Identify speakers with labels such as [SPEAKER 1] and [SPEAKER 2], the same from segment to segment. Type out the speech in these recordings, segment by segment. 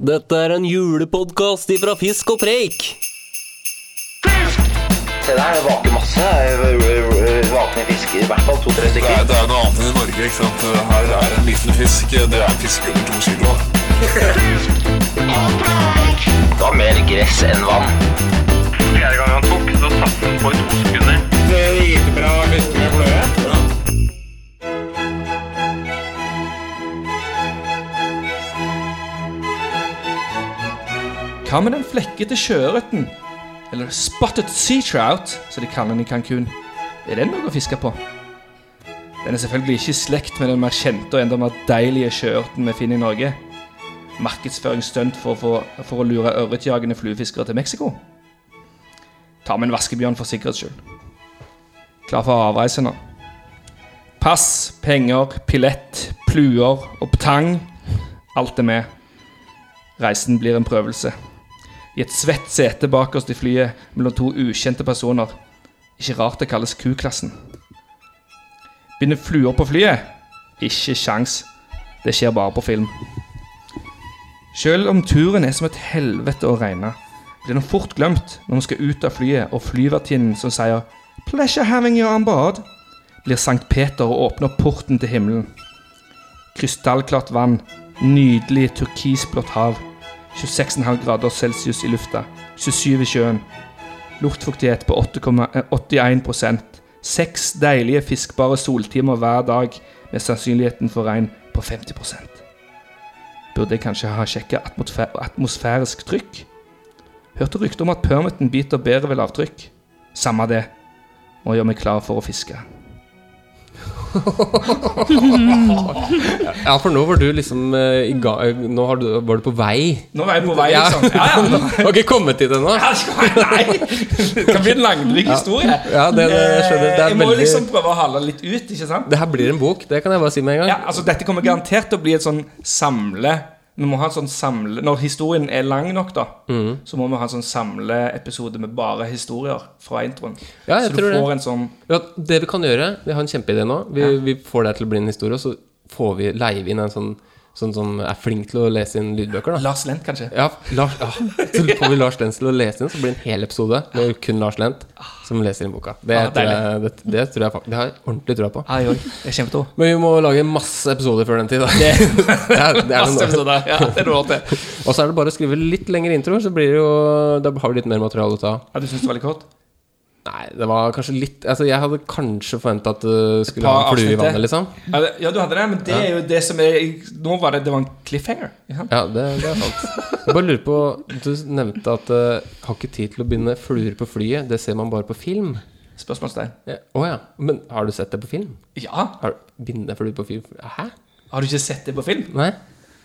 [SPEAKER 1] Dette er en julepodkast ifra Fisk og Preik.
[SPEAKER 2] Se der, det vaker masse. Vakne fisker, i hvert fall to-tre
[SPEAKER 3] Det
[SPEAKER 2] stykker.
[SPEAKER 3] er, det er noe annet enn i Norge. ikke sant? Her er en liten fisk. Det er en fisk under to kilo.
[SPEAKER 2] Det var mer gress enn vann.
[SPEAKER 4] Fjerde gang han tok, så satt han på i to sekunder.
[SPEAKER 5] Hva med den flekkete sjøørreten? Eller spotted sea trout, som de kaller den i Cancún. Er den noe å fiske på? Den er selvfølgelig ikke i slekt med den mer kjente og enda mer deilige sjøørreten vi finner i Norge. Markedsføringsstunt for, å få- for å lure ørretjagende fluefiskere til Mexico. Ta med en vaskebjørn for sikkerhets skyld. Klar for avreise nå. Pass, penger, pilett, pluer og ptang. Alt er med. Reisen blir en prøvelse. I et svett sete bakerst i flyet mellom to ukjente personer. Ikke rart det kalles Q-klassen. Begynner fluer på flyet? Ikke sjans. Det skjer bare på film. Selv om turen er som et helvete å regne, blir den fort glemt når vi skal ut av flyet og flyvertinnen som sier 'Pleasure having you on board', blir Sankt Peter og åpner porten til himmelen. Krystallklart vann, nydelig turkisblått hav, 26,5 grader celsius i lufta, 27 i sjøen. Luftfuktighet på 8,81 Seks deilige fiskbare soltimer hver dag, med sannsynligheten for regn på 50 Burde jeg kanskje ha sjekka atmosfæ- atmosfærisk trykk? Hørte rykter om at permiten biter bedre ved lavtrykk. Samme det. Må gjøre meg klar for å fiske.
[SPEAKER 6] Ja, for nå var du liksom eh, i ga eh, Nå har du, var du på vei.
[SPEAKER 5] Nå var jeg på vei,
[SPEAKER 6] Ja.
[SPEAKER 5] liksom. Ja, ja, nå-
[SPEAKER 6] Du har ikke kommet dit ennå?
[SPEAKER 5] Ja, skal- Nei! Det kan bli en langdryg historie.
[SPEAKER 6] Ja, det, det, jeg skjønner. Det
[SPEAKER 5] jeg
[SPEAKER 6] er
[SPEAKER 5] må
[SPEAKER 6] veldig
[SPEAKER 5] liksom prøve å hale litt ut, ikke sant?
[SPEAKER 6] Det her blir en bok, det kan jeg bare si med en gang.
[SPEAKER 5] Ja, altså Dette kommer garantert til å bli et sånn samle Vi må ha en sånn samle Når historien er lang nok, da,
[SPEAKER 6] Mm.
[SPEAKER 5] så må vi ha en sånn samleepisode med bare historier fra introen.
[SPEAKER 6] Ja, jeg
[SPEAKER 5] så du
[SPEAKER 6] tror det.
[SPEAKER 5] får en sånn
[SPEAKER 6] Ja, det vi kan gjøre Vi har en kjempeidé nå. Vi, vi får det her til å bli en historie, og så får vi leier vi inn en sånn, sånn som er flink til å lese inn lydbøker. da
[SPEAKER 5] Lars Lent, kanskje.
[SPEAKER 6] ja, Lars, ja. Så får vi Lars Lent til å lese inn, så blir det en hel episode med kun Lars Lent som leser inn boka. Det,
[SPEAKER 5] Ah,
[SPEAKER 6] tror, jeg, det, det tror jeg faktisk Det har jeg ordentlig trua på.
[SPEAKER 5] Ai, oi. Jeg kommer til å
[SPEAKER 6] Men vi må lage masse episoder før den tid. Da. Det, er- det er noen
[SPEAKER 5] Masse
[SPEAKER 6] år.
[SPEAKER 5] episoder. Ja, det er noe år til.
[SPEAKER 6] Og så er det bare å skrive litt lengre introer, så blir det jo, da har vi litt mer materiale å ta. av.
[SPEAKER 5] Ja, du syns det var litt kort?
[SPEAKER 6] Nei, det var kanskje litt Altså, jeg hadde kanskje forventa at du skulle ha
[SPEAKER 5] par
[SPEAKER 6] en flue i
[SPEAKER 5] avsnitt til.
[SPEAKER 6] vannet, liksom.
[SPEAKER 5] Ja, det- ja, du hadde det, men det er jo det som er Nå var det Det var en cliffhanger. ikke sant?
[SPEAKER 6] Ja, det, det er sant. Jeg bare lurer på Du nevnte at uh, har ikke tid til å binde fluer på flyet, det ser man bare på film.
[SPEAKER 5] Spørsmålstegn.
[SPEAKER 6] Å ja, åja. Men har du sett det på film?
[SPEAKER 5] Ja,
[SPEAKER 6] Har Binde fluer på fly Hæ?
[SPEAKER 5] har du ikke sett det på film?
[SPEAKER 6] Nei?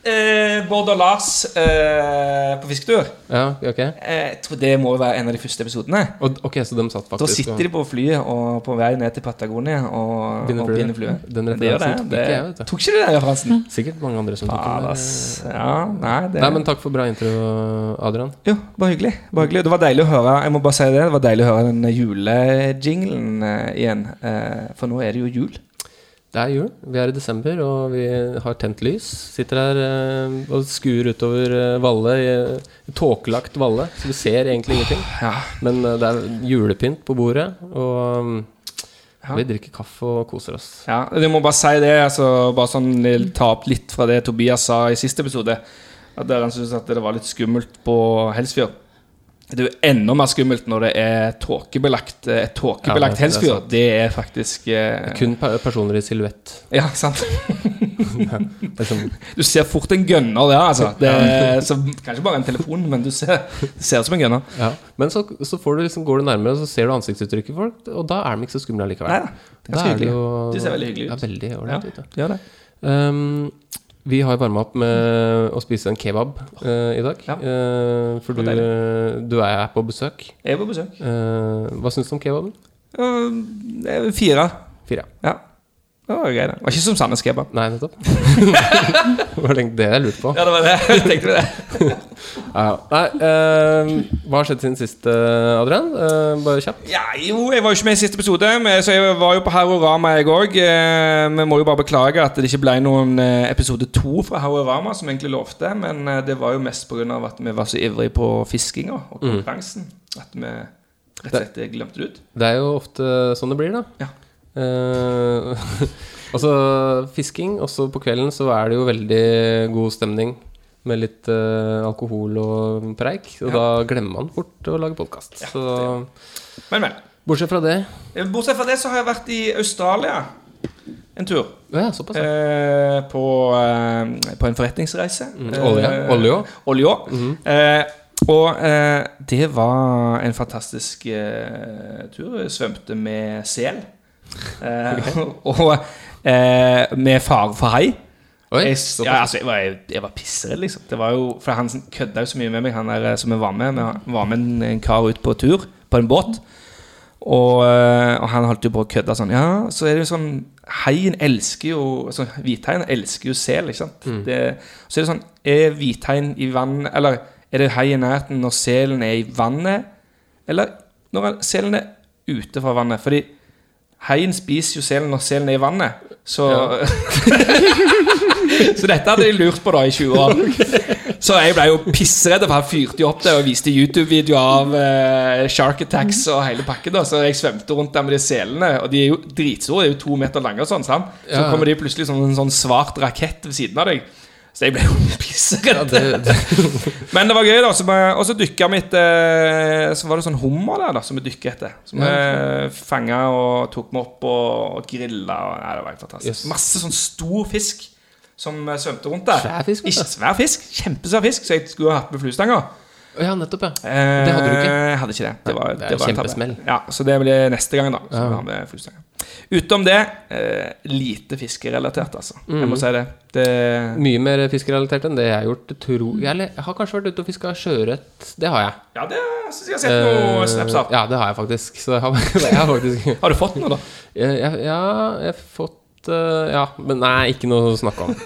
[SPEAKER 5] Eh, Bård og Lars eh, på fisketur.
[SPEAKER 6] Ja, ok.
[SPEAKER 5] Eh, jeg tror det må jo være en av de første episodene.
[SPEAKER 6] Og, ok, så de satt
[SPEAKER 5] Da
[SPEAKER 6] faktisk
[SPEAKER 5] sitter de på flyet og på vei ned til Patagonia og
[SPEAKER 6] Binder
[SPEAKER 5] og
[SPEAKER 6] flue.
[SPEAKER 5] binder flue.
[SPEAKER 6] Den
[SPEAKER 5] Men det gjør
[SPEAKER 6] referansen tok
[SPEAKER 5] det.
[SPEAKER 6] ikke jeg, vet du.
[SPEAKER 5] Tok ikke du den referansen?
[SPEAKER 6] og Sikkert mange andre som tok den
[SPEAKER 5] Faen,
[SPEAKER 6] der.
[SPEAKER 5] ass. Ja, nei, det
[SPEAKER 6] Nei, men takk for bra intro, Adrian.
[SPEAKER 5] Jo, bare hyggelig. Bare hyggelig. Det var deilig å høre Jeg må bare si det. Det var deilig å høre den julejinglen eh, igjen. Eh, for nå er det jo jul.
[SPEAKER 6] Det er jul. Vi er i desember, og vi har tent lys. Sitter her eh, og skuer utover eh, Valle, i- i tåkelagt Valle, så du ser egentlig ingenting.
[SPEAKER 5] Ja.
[SPEAKER 6] Men eh, det er julepynt på bordet, og mm,
[SPEAKER 5] Ja.
[SPEAKER 6] vi drikker kaffe og koser oss.
[SPEAKER 5] Ja, jeg må bare si det, altså, bare sånn eh, ta opp litt fra det Tobias sa i siste episode. At der han syntes at det var litt skummelt på Helsfjord. Det er jo enda mer skummelt når det er tåkebelagt eh, Et
[SPEAKER 6] Ja,
[SPEAKER 5] tåkebelagt
[SPEAKER 6] det er
[SPEAKER 5] Helsfjord.
[SPEAKER 6] sant.
[SPEAKER 5] Det er faktisk eh,
[SPEAKER 6] Kun pe- personer i silhuett.
[SPEAKER 5] Ja, sant?
[SPEAKER 6] Liksom.
[SPEAKER 5] Du ser fort en gønner der, altså. Det er, så, kanskje bare en telefon, men du ser, det ser ut som en gønner.
[SPEAKER 6] Ja. Men så, så får du liksom, går du nærmere, og så ser du ansiktsuttrykket til folk, og da er de ikke så skumle
[SPEAKER 5] Nei
[SPEAKER 6] allikevel.
[SPEAKER 5] da. Ganske
[SPEAKER 6] det
[SPEAKER 5] hyggelig.
[SPEAKER 6] jo-
[SPEAKER 5] Du ser veldig hyggelig ut.
[SPEAKER 6] Ja, veldig
[SPEAKER 5] Ja,
[SPEAKER 6] ålreit ut. Ja.
[SPEAKER 5] gjør det.
[SPEAKER 6] Ehm, vi har varma opp med å spise en kebab eh, i dag.
[SPEAKER 5] Ja.
[SPEAKER 6] Eh, for du,
[SPEAKER 5] Det var
[SPEAKER 6] du er her på besøk.
[SPEAKER 5] Jeg er på besøk.
[SPEAKER 6] Eh, hva syns du om kebaben?
[SPEAKER 5] Eh, det er Fire.
[SPEAKER 6] Fire.
[SPEAKER 5] Ja. Det var greit. det. Det var ikke som Sandnes kebab.
[SPEAKER 6] Nei, nettopp. det var egentlig det jeg lurte på.
[SPEAKER 5] Ja, det var det. Jeg tenkte det.
[SPEAKER 6] Ja, ja. Nei, eh, hva har skjedd siden sist, eh, Adrian? Eh, bare kjapt.
[SPEAKER 5] Ja, jo, jeg var jo ikke med i siste episode, men- så jeg var jo på Haurorama, jeg òg. Eh, Vi må jo bare beklage at det ikke ble noen eh, episode to fra Haurorama, som egentlig lovte. Men eh, det var jo mest pga. at vi var så ivrige på fiskinga og konkurransen at vi rett og slett eh, glemte det ut.
[SPEAKER 6] Det er jo ofte sånn det blir, da.
[SPEAKER 5] Ja.
[SPEAKER 6] Eh, altså fisking, også på kvelden så er det jo veldig god stemning med litt eh, alkohol og preik. Og da glemmer man fort å lage podkast. så
[SPEAKER 5] Men, men.
[SPEAKER 6] bortsett fra det
[SPEAKER 5] Eh, Bortsett fra det så har jeg vært i Australia en tur.
[SPEAKER 6] Ja, såpass. ja.
[SPEAKER 5] Eh, på, eh, på en forretningsreise. Eh,
[SPEAKER 6] Mm. olje. Olje. Mm.
[SPEAKER 5] olje. eh, og eh, det var en fantastisk eh, tur. Jeg svømte med sel. Eh, Og eh, med fare for hai.
[SPEAKER 6] Oi,
[SPEAKER 5] Jeg,
[SPEAKER 6] såpass.
[SPEAKER 5] ja, altså, jeg, var, jeg, jeg var pissredd, liksom. Det var jo, for han kødda jo så mye med meg, han der eh, som jeg var med. Vi var med en, en kar ut på tur på en båt. Og, eh, og han holdt jo på å kødde sånn. Ja, så er det jo sånn Haien elsker jo altså, Hvithaien elsker jo sel, ikke sant? Det, så er det sånn Er hvithaien i vann Eller er det hai i nærheten når selen er i vannet? Eller når han- selen er ute fra vannet? Fordi haien spiser jo selen når selen er i vannet. Så Så dette hadde de lurt på da i 20 år. Så jeg ble jo pissredd, for han fyrte jo opp det og viste YouTube-videoer av eh, Shark Attacks og hele pakken. da Så jeg svømte rundt der med de selene, og de er jo dritsore. De er jo to meter lange og sånn. sant? Så
[SPEAKER 6] Ja.
[SPEAKER 5] kommer de plutselig som en sånn svart rakett ved siden av deg. Så jeg ble jo pissredd.
[SPEAKER 6] Ja, det, det,
[SPEAKER 5] Men det var gøy, da. så vi- Og så dykka vi etter Så var det sånn hummer der da som vi dykka etter. Som vi fanga og tok med opp og, og grilla. Og, nei, det var helt
[SPEAKER 6] Yes.
[SPEAKER 5] fantastisk. Masse sånn stor fisk som eh, svømte rundt der.
[SPEAKER 6] Svær fisk, altså.
[SPEAKER 5] Ikke svær fisk. Kjempesvær fisk, så jeg skulle ha hatt med fluestanga.
[SPEAKER 6] ja, nettopp, ja. Det hadde du ikke.
[SPEAKER 5] Jeg hadde ikke det. Det var,
[SPEAKER 6] det er
[SPEAKER 5] det var en tabbe.
[SPEAKER 6] kjempesmell.
[SPEAKER 5] Ja, så det blir neste gang, da. Så vi har med fluestanga. Utenom det, eh, lite fiskerelatert, altså. Jeg
[SPEAKER 6] Mm.
[SPEAKER 5] må si det. det
[SPEAKER 6] Mye mer fiskerelatert enn det jeg har gjort. Tro. Jeg, eller, jeg har kanskje vært ute og fiska sjøørret. Det har jeg.
[SPEAKER 5] ja, det syns jeg har sett noe snaps
[SPEAKER 6] Eh,
[SPEAKER 5] av.
[SPEAKER 6] Ja, det har jeg faktisk. Så jeg har, jeg har faktisk jeg,
[SPEAKER 5] Har du fått noe, da?
[SPEAKER 6] jeg, Ja, jeg har fått eh, Ja, men nei, ikke noe å snakke om.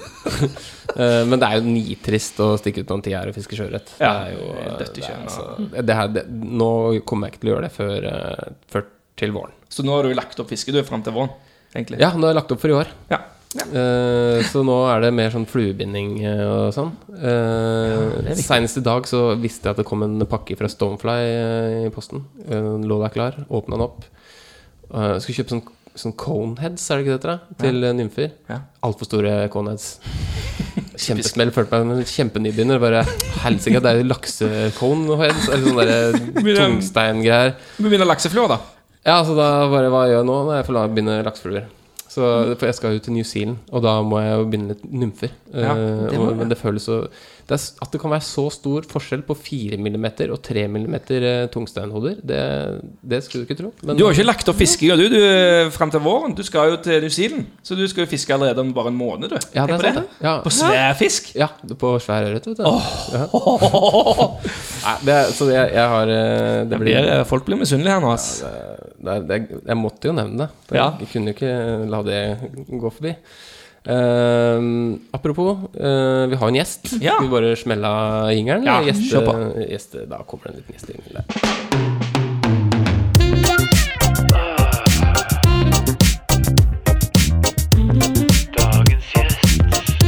[SPEAKER 6] Eh, men det er jo nitrist å stikke ut noen tiår og fiske sjøørret. Det
[SPEAKER 5] Ja,
[SPEAKER 6] er jo eh,
[SPEAKER 5] dødt i
[SPEAKER 6] det er
[SPEAKER 5] sjøen,
[SPEAKER 6] altså- det her- det- Nå kommer jeg ikke til å gjøre det før, eh, før til våren.
[SPEAKER 5] Så nå har du lagt opp fisket du fram til våren, egentlig?
[SPEAKER 6] Ja, nå har jeg lagt opp for i år.
[SPEAKER 5] Ja.
[SPEAKER 6] Eh, så nå er det mer sånn fluebinding eh, og sånn. Uh, Senest i dag så visste jeg at det kom en pakke fra Stonefly eh, i posten. Eh, Den lå der klar. Åpna den opp. Eh, skulle kjøpe sånn, sånn coneheads, er det ikke det heter? da? Til eh, nymfer.
[SPEAKER 5] Ja.
[SPEAKER 6] Altfor store coneheads. Kjempesmell. Følte meg som en kjempenybegynner. Bare helsike, det er jo lakseconeheads. Eller sånne sånn der eh, tungsteingreier.
[SPEAKER 5] Vi begynner laksefluer, da.
[SPEAKER 6] Ja, så da bare Hva gjør jeg nå? Nei, jeg får la- begynne laksefluer. Så, for jeg skal jo til New Zealand, og da må jeg jo begynne litt nymfer.
[SPEAKER 5] Ja, det
[SPEAKER 6] Eh, og,
[SPEAKER 5] må du.
[SPEAKER 6] men det føles så det er, s- At det kan være så stor forskjell på 4 mm og 3 mm eh, tungsteinhoder, det, det skulle du ikke tro. Men
[SPEAKER 5] Du har ikke lagt opp fiskinga, du, du fram til våren. Du skal jo til New Zealand, så du skal jo fiske allerede om bare en måned, du.
[SPEAKER 6] ja, det er
[SPEAKER 5] Tenk
[SPEAKER 6] sant,
[SPEAKER 5] på
[SPEAKER 6] det. Ja.
[SPEAKER 5] På svær fisk.
[SPEAKER 6] Ja, på svær ørret, vet du. Ja. Nei, det, er- så det, jeg har eh, Det blir
[SPEAKER 5] Blir, folk blir misunnelige her nå, ass.
[SPEAKER 6] det, er- det, er- Jeg måtte jo nevne det. Jeg
[SPEAKER 5] Ja.
[SPEAKER 6] kunne jo ikke la det gå forbi. Ehm, apropos, eh, vi har en gjest.
[SPEAKER 5] Ja.
[SPEAKER 6] Skal vi bare smelle av jingeren?
[SPEAKER 5] Ja,
[SPEAKER 6] Gjeste-
[SPEAKER 5] kjør
[SPEAKER 6] gjeste- da kommer det en liten gjestejingel der.
[SPEAKER 7] Dagens gjest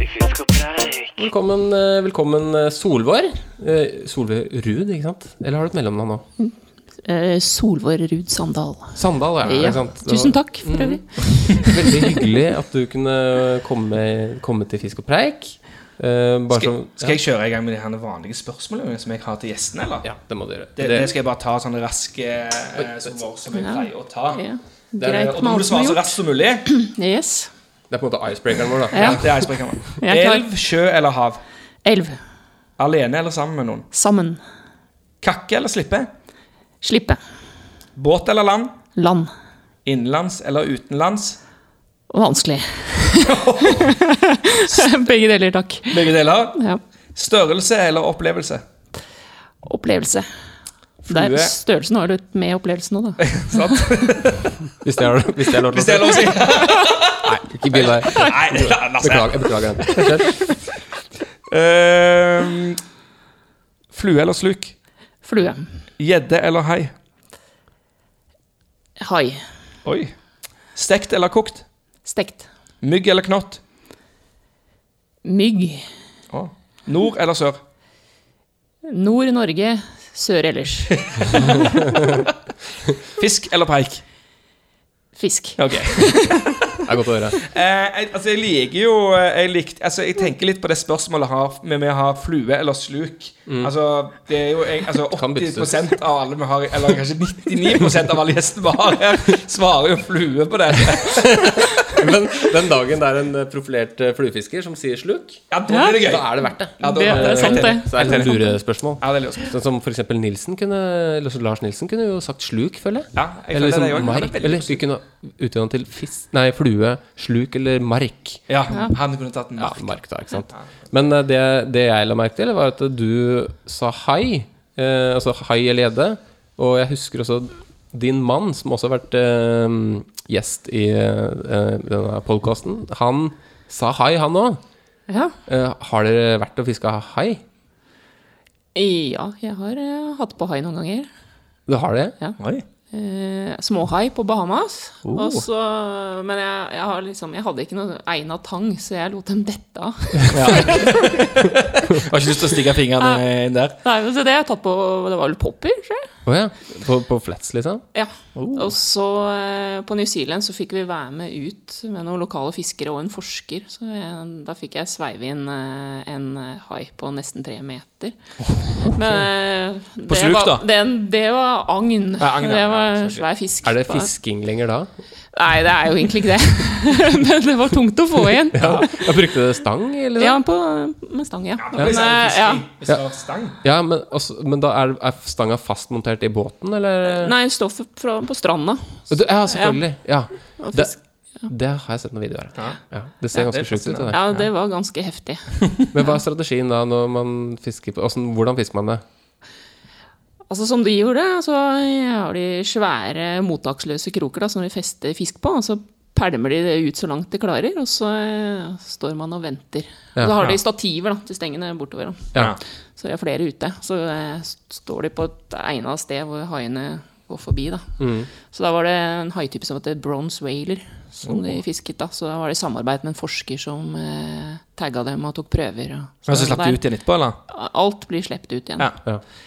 [SPEAKER 7] i Fisk og Preik.
[SPEAKER 6] Velkommen, eh, velkommen eh, Solvår. Eh, Solvår Ruud, ikke sant? Eller har du et mellomnavn nå?
[SPEAKER 8] Eh, Solvår Ruud Sandal.
[SPEAKER 6] Sandal, ja.
[SPEAKER 8] Ja,
[SPEAKER 6] Ikke sant? Det
[SPEAKER 8] Tusen
[SPEAKER 6] var Mm.
[SPEAKER 8] takk, for øvrig.
[SPEAKER 6] Veldig hyggelig at du kunne komme, komme til Fisk og Preik. Eh, bare
[SPEAKER 5] Skal,
[SPEAKER 6] så-
[SPEAKER 5] skal jeg kjøre i gang med de her vanlige spørsmålene som jeg har til gjestene, eller?
[SPEAKER 6] ja, det må du gjøre.
[SPEAKER 5] Det, det skal jeg bare ta sånn raske eh, som, vår- som jeg
[SPEAKER 8] Ja.
[SPEAKER 5] pleier å ta.
[SPEAKER 8] Ja.
[SPEAKER 5] Eh,
[SPEAKER 8] Greit med
[SPEAKER 5] Og da må
[SPEAKER 8] alt
[SPEAKER 5] du
[SPEAKER 8] som
[SPEAKER 5] svare
[SPEAKER 8] er
[SPEAKER 5] så
[SPEAKER 8] gjort.
[SPEAKER 5] raskt som mulig.
[SPEAKER 8] Yes.
[SPEAKER 6] Det er på en måte icebreakeren vår, da.
[SPEAKER 8] Ja.
[SPEAKER 5] Det er icebreakeren.
[SPEAKER 8] Jeg er klar.
[SPEAKER 5] Elv, sjø eller hav?
[SPEAKER 8] Elv.
[SPEAKER 5] Alene eller sammen med noen?
[SPEAKER 8] Sammen.
[SPEAKER 5] Kakke eller slippe?
[SPEAKER 8] Slippe.
[SPEAKER 5] Båt eller land?
[SPEAKER 8] Land.
[SPEAKER 5] Innenlands eller utenlands?
[SPEAKER 8] Vanskelig. Begge deler, takk.
[SPEAKER 5] Begge deler.
[SPEAKER 8] Ja.
[SPEAKER 5] Størrelse eller opplevelse?
[SPEAKER 8] Opplevelse.
[SPEAKER 9] Det er
[SPEAKER 6] Flue.
[SPEAKER 9] størrelsen har du med opplevelsen nå, da.
[SPEAKER 6] Hvis det er, hvis det er lov til å
[SPEAKER 5] Hvis det er lov å si.
[SPEAKER 6] Nei, ikke bind deg.
[SPEAKER 5] Nei, la- la oss se.
[SPEAKER 6] Beklager. Altså, Jeg beklager den. Kjør.
[SPEAKER 5] Ehm, Flue eller sluk?
[SPEAKER 9] Flue.
[SPEAKER 5] Gjedde eller hai?
[SPEAKER 9] Hai.
[SPEAKER 5] Oi. Stekt eller kokt?
[SPEAKER 9] Stekt.
[SPEAKER 5] Mygg eller knott?
[SPEAKER 9] Mygg.
[SPEAKER 5] Å. Nord eller sør?
[SPEAKER 9] Nord Norge, sør ellers.
[SPEAKER 5] Fisk eller preik?
[SPEAKER 9] Fisk.
[SPEAKER 5] Ok.
[SPEAKER 6] Det er godt å høre.
[SPEAKER 5] Eh, jeg, altså, jeg liker jo eh, jeg, likte, altså, jeg tenker litt på det spørsmålet har, med med å ha flue eller sluk. Altså, det er jo jeg, altså,
[SPEAKER 6] Kan byttes ut.
[SPEAKER 5] 80 av alle vi har Eller kanskje 99 av alle gjestene vi har her, svarer jo flue på det.
[SPEAKER 6] Men den dagen det er en eh, profilert eh, fluefisker som sier sluk,
[SPEAKER 5] Ja, da er det gøy.
[SPEAKER 6] da er det verdt det.
[SPEAKER 5] Ja, da-
[SPEAKER 9] Det er sant, det.
[SPEAKER 6] Så det er et lurespørsmål.
[SPEAKER 5] Ja, det er lurt.
[SPEAKER 6] Sånn som for eksempel Nilsen kunne, eller så Lars Nilsen kunne jo sagt sluk, føler jeg.
[SPEAKER 5] Ja, jeg
[SPEAKER 6] eller
[SPEAKER 5] føler det, jeg
[SPEAKER 6] liksom
[SPEAKER 5] også.
[SPEAKER 6] mark. Eller vi kunne utdannet til fisk Nei, flue, sluk eller mark.
[SPEAKER 5] Ja, han kunne tatt en
[SPEAKER 6] Ja,
[SPEAKER 5] mark.
[SPEAKER 6] mark da, ikke sant. Men eh, det, det jeg la merke til, var at du sa hai. Eh, altså hai eller gjedde. Og jeg husker også din mann, som også har vært eh, gjest i eh, denne podkasten, han sa hai, han òg.
[SPEAKER 9] Ja.
[SPEAKER 6] Eh, har dere vært og fiska hai?
[SPEAKER 9] ja, jeg har eh, hatt på hai noen ganger.
[SPEAKER 6] Du har det?
[SPEAKER 9] Eh, småhai på Bahamas.
[SPEAKER 6] Oh.
[SPEAKER 9] Og så, men jeg, jeg, har liksom, jeg hadde ikke noe egna tang, så jeg lot dem dette av.
[SPEAKER 5] Har ikke lyst til å stikke fingrene
[SPEAKER 9] Ah.
[SPEAKER 5] inn der.
[SPEAKER 9] Nei, men så det har jeg tatt på Det var vel popper, tror jeg.
[SPEAKER 6] Å ja. På, på flets, liksom?
[SPEAKER 9] Ja.
[SPEAKER 5] Oh.
[SPEAKER 9] Og så eh, på New Zealand så fikk vi være med ut med noen lokale fiskere og en forsker. Så jeg, da fikk jeg sveive inn eh, en eh, hai på nesten tre meter. Men eh, det
[SPEAKER 5] Oh, sluk,
[SPEAKER 9] var,
[SPEAKER 5] da?
[SPEAKER 9] Den, det var agn.
[SPEAKER 5] Ja, agn, ja.
[SPEAKER 9] det var
[SPEAKER 5] Ja, selvfølgelig.
[SPEAKER 9] svær fisk.
[SPEAKER 6] Er det
[SPEAKER 9] på-
[SPEAKER 6] fisking lenger da?
[SPEAKER 9] Nei, det er jo egentlig ikke det. Men det var tungt å få igjen.
[SPEAKER 6] Ja. Jeg brukte det stang, eller?
[SPEAKER 9] Ja, på, med stang, ja.
[SPEAKER 5] Hvis det er
[SPEAKER 9] Men, eh, ja.
[SPEAKER 5] fisking, hvis det er stang.
[SPEAKER 6] Ja, men, også, men da er, er stanga fastmontert i båten, eller?
[SPEAKER 9] Nei, stoff fra, på stranda.
[SPEAKER 6] Du, ja, selvfølgelig. Ja.
[SPEAKER 9] Og
[SPEAKER 6] Det,
[SPEAKER 9] fisk.
[SPEAKER 6] det har jeg sett noen videoer av. Ja. Det ser ganske sjukt ut. Det der.
[SPEAKER 9] Ja, det var ganske heftig.
[SPEAKER 6] Men hva er strategien da når man fisker på hvordan, hvordan fisker man det?
[SPEAKER 9] Altså Som de gjorde, så har de svære mottaksløse kroker da, som de fester fisk på. og Så pælmer de det ut så langt de klarer, og så eh, står man og venter.
[SPEAKER 6] Ja,
[SPEAKER 9] og så har
[SPEAKER 6] ja.
[SPEAKER 9] de stativer da, til stengene bortover. Da.
[SPEAKER 6] Ja.
[SPEAKER 9] Så det er flere ute. Så eh, s- står de på et egna sted hvor haiene går forbi. Da.
[SPEAKER 5] Mm.
[SPEAKER 9] Så da var det en haitype som heter bronze whaler, som de fisket. da. Så da var det i samarbeid med en forsker som eh, tagga dem og tok prøver. Og,
[SPEAKER 5] Men så slapp
[SPEAKER 9] der-
[SPEAKER 5] du ut igjen etterpå, eller?
[SPEAKER 9] Alt blir sluppet ut igjen.
[SPEAKER 5] Ja.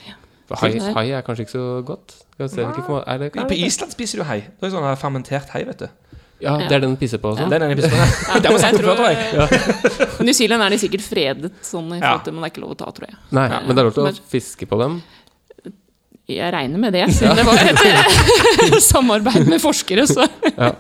[SPEAKER 6] ja. For Hai,
[SPEAKER 9] Nei.
[SPEAKER 6] hai er kanskje ikke så godt? Skal vi se hvilken form- er det,
[SPEAKER 5] På Island spiser du hai. Det er jo sånn her fermentert hai, vet du.
[SPEAKER 6] Ja, det er den den pisser på og sånn?
[SPEAKER 5] Den er den jeg spiser. Det har vi sett før, tror jeg.
[SPEAKER 9] New Zealand er de sikkert fredet, sånn i
[SPEAKER 5] Ja.
[SPEAKER 9] forhold til, men det er ikke lov å ta, tror jeg.
[SPEAKER 6] Nei, men det er lov til
[SPEAKER 9] Men-
[SPEAKER 6] å fiske på dem?
[SPEAKER 9] Jeg regner med det, siden det var et samarbeid med forskere, så
[SPEAKER 6] Nei,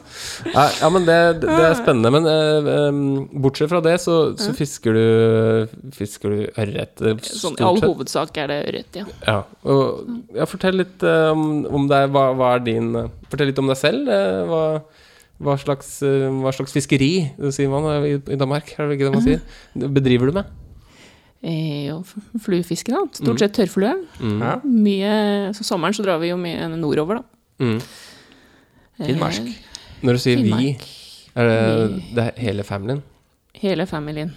[SPEAKER 6] Ja, men det, det er spennende. Men eh, em, bortsett fra det, så, så fisker du Fisker du ørret eh,
[SPEAKER 9] sånn,
[SPEAKER 6] stort
[SPEAKER 9] i all
[SPEAKER 6] sett?
[SPEAKER 9] hovedsak er det ørret, ja.
[SPEAKER 6] Ja. Og, ja, fortell litt eh, om, om deg. Hva, hva er din eh, Fortell litt om deg selv. eh, hva, hva, slags, eh, hva slags fiskeri, det sier man eh, i, i Danmark, er det ikke det man sier? Bedriver du med?
[SPEAKER 9] Eh, og f- Fluefiske, da.
[SPEAKER 5] Mm.
[SPEAKER 9] Stort sett tørrflue.
[SPEAKER 5] Ja.
[SPEAKER 9] Mye, så sommeren så drar vi jo mye nordover, da.
[SPEAKER 6] Mm.
[SPEAKER 9] Eh,
[SPEAKER 5] Finnmark.
[SPEAKER 6] Når du sier
[SPEAKER 9] Finnmark.
[SPEAKER 6] vi, er det, det er hele familien?
[SPEAKER 9] Hele familien.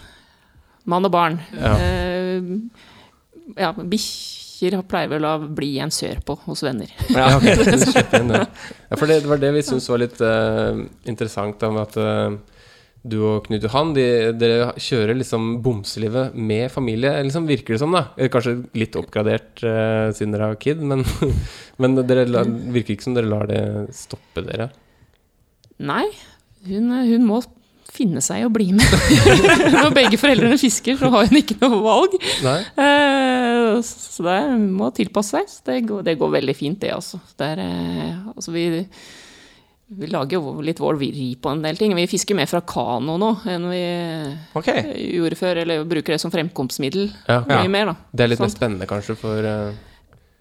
[SPEAKER 9] Mann og barn.
[SPEAKER 6] Ja.
[SPEAKER 9] Eh, ja, bikkjer pleier vel å bli en sørpå hos venner.
[SPEAKER 6] Ja, ok. Du slipper inn det. Ja, for det, det var det vi syntes var litt eh, interessant, da, med at eh, du og Knut Johan de, dere kjører liksom bomselivet med familie, liksom virker det som, da. Eller Kanskje litt oppgradert eh, siden dere har kid, men, men dere la, virker ikke som dere lar det stoppe dere.
[SPEAKER 9] Nei, hun, hun må finne seg å bli med. Når begge foreldrene fisker, så har hun ikke noe valg.
[SPEAKER 6] Nei?
[SPEAKER 9] Eh, Så det hun må tilpasse seg. Så det går, det går veldig fint, det, altså. Det er, eh, altså vi, vi lager jo litt vår vri på en del ting. Vi fisker mer fra kano nå enn vi eh,
[SPEAKER 5] Ok.
[SPEAKER 9] gjorde før, eller bruker det som fremkomstmiddel
[SPEAKER 6] Ja.
[SPEAKER 9] mye mer, da.
[SPEAKER 6] Det er litt
[SPEAKER 9] Sant.
[SPEAKER 6] mer spennende, kanskje, for eh,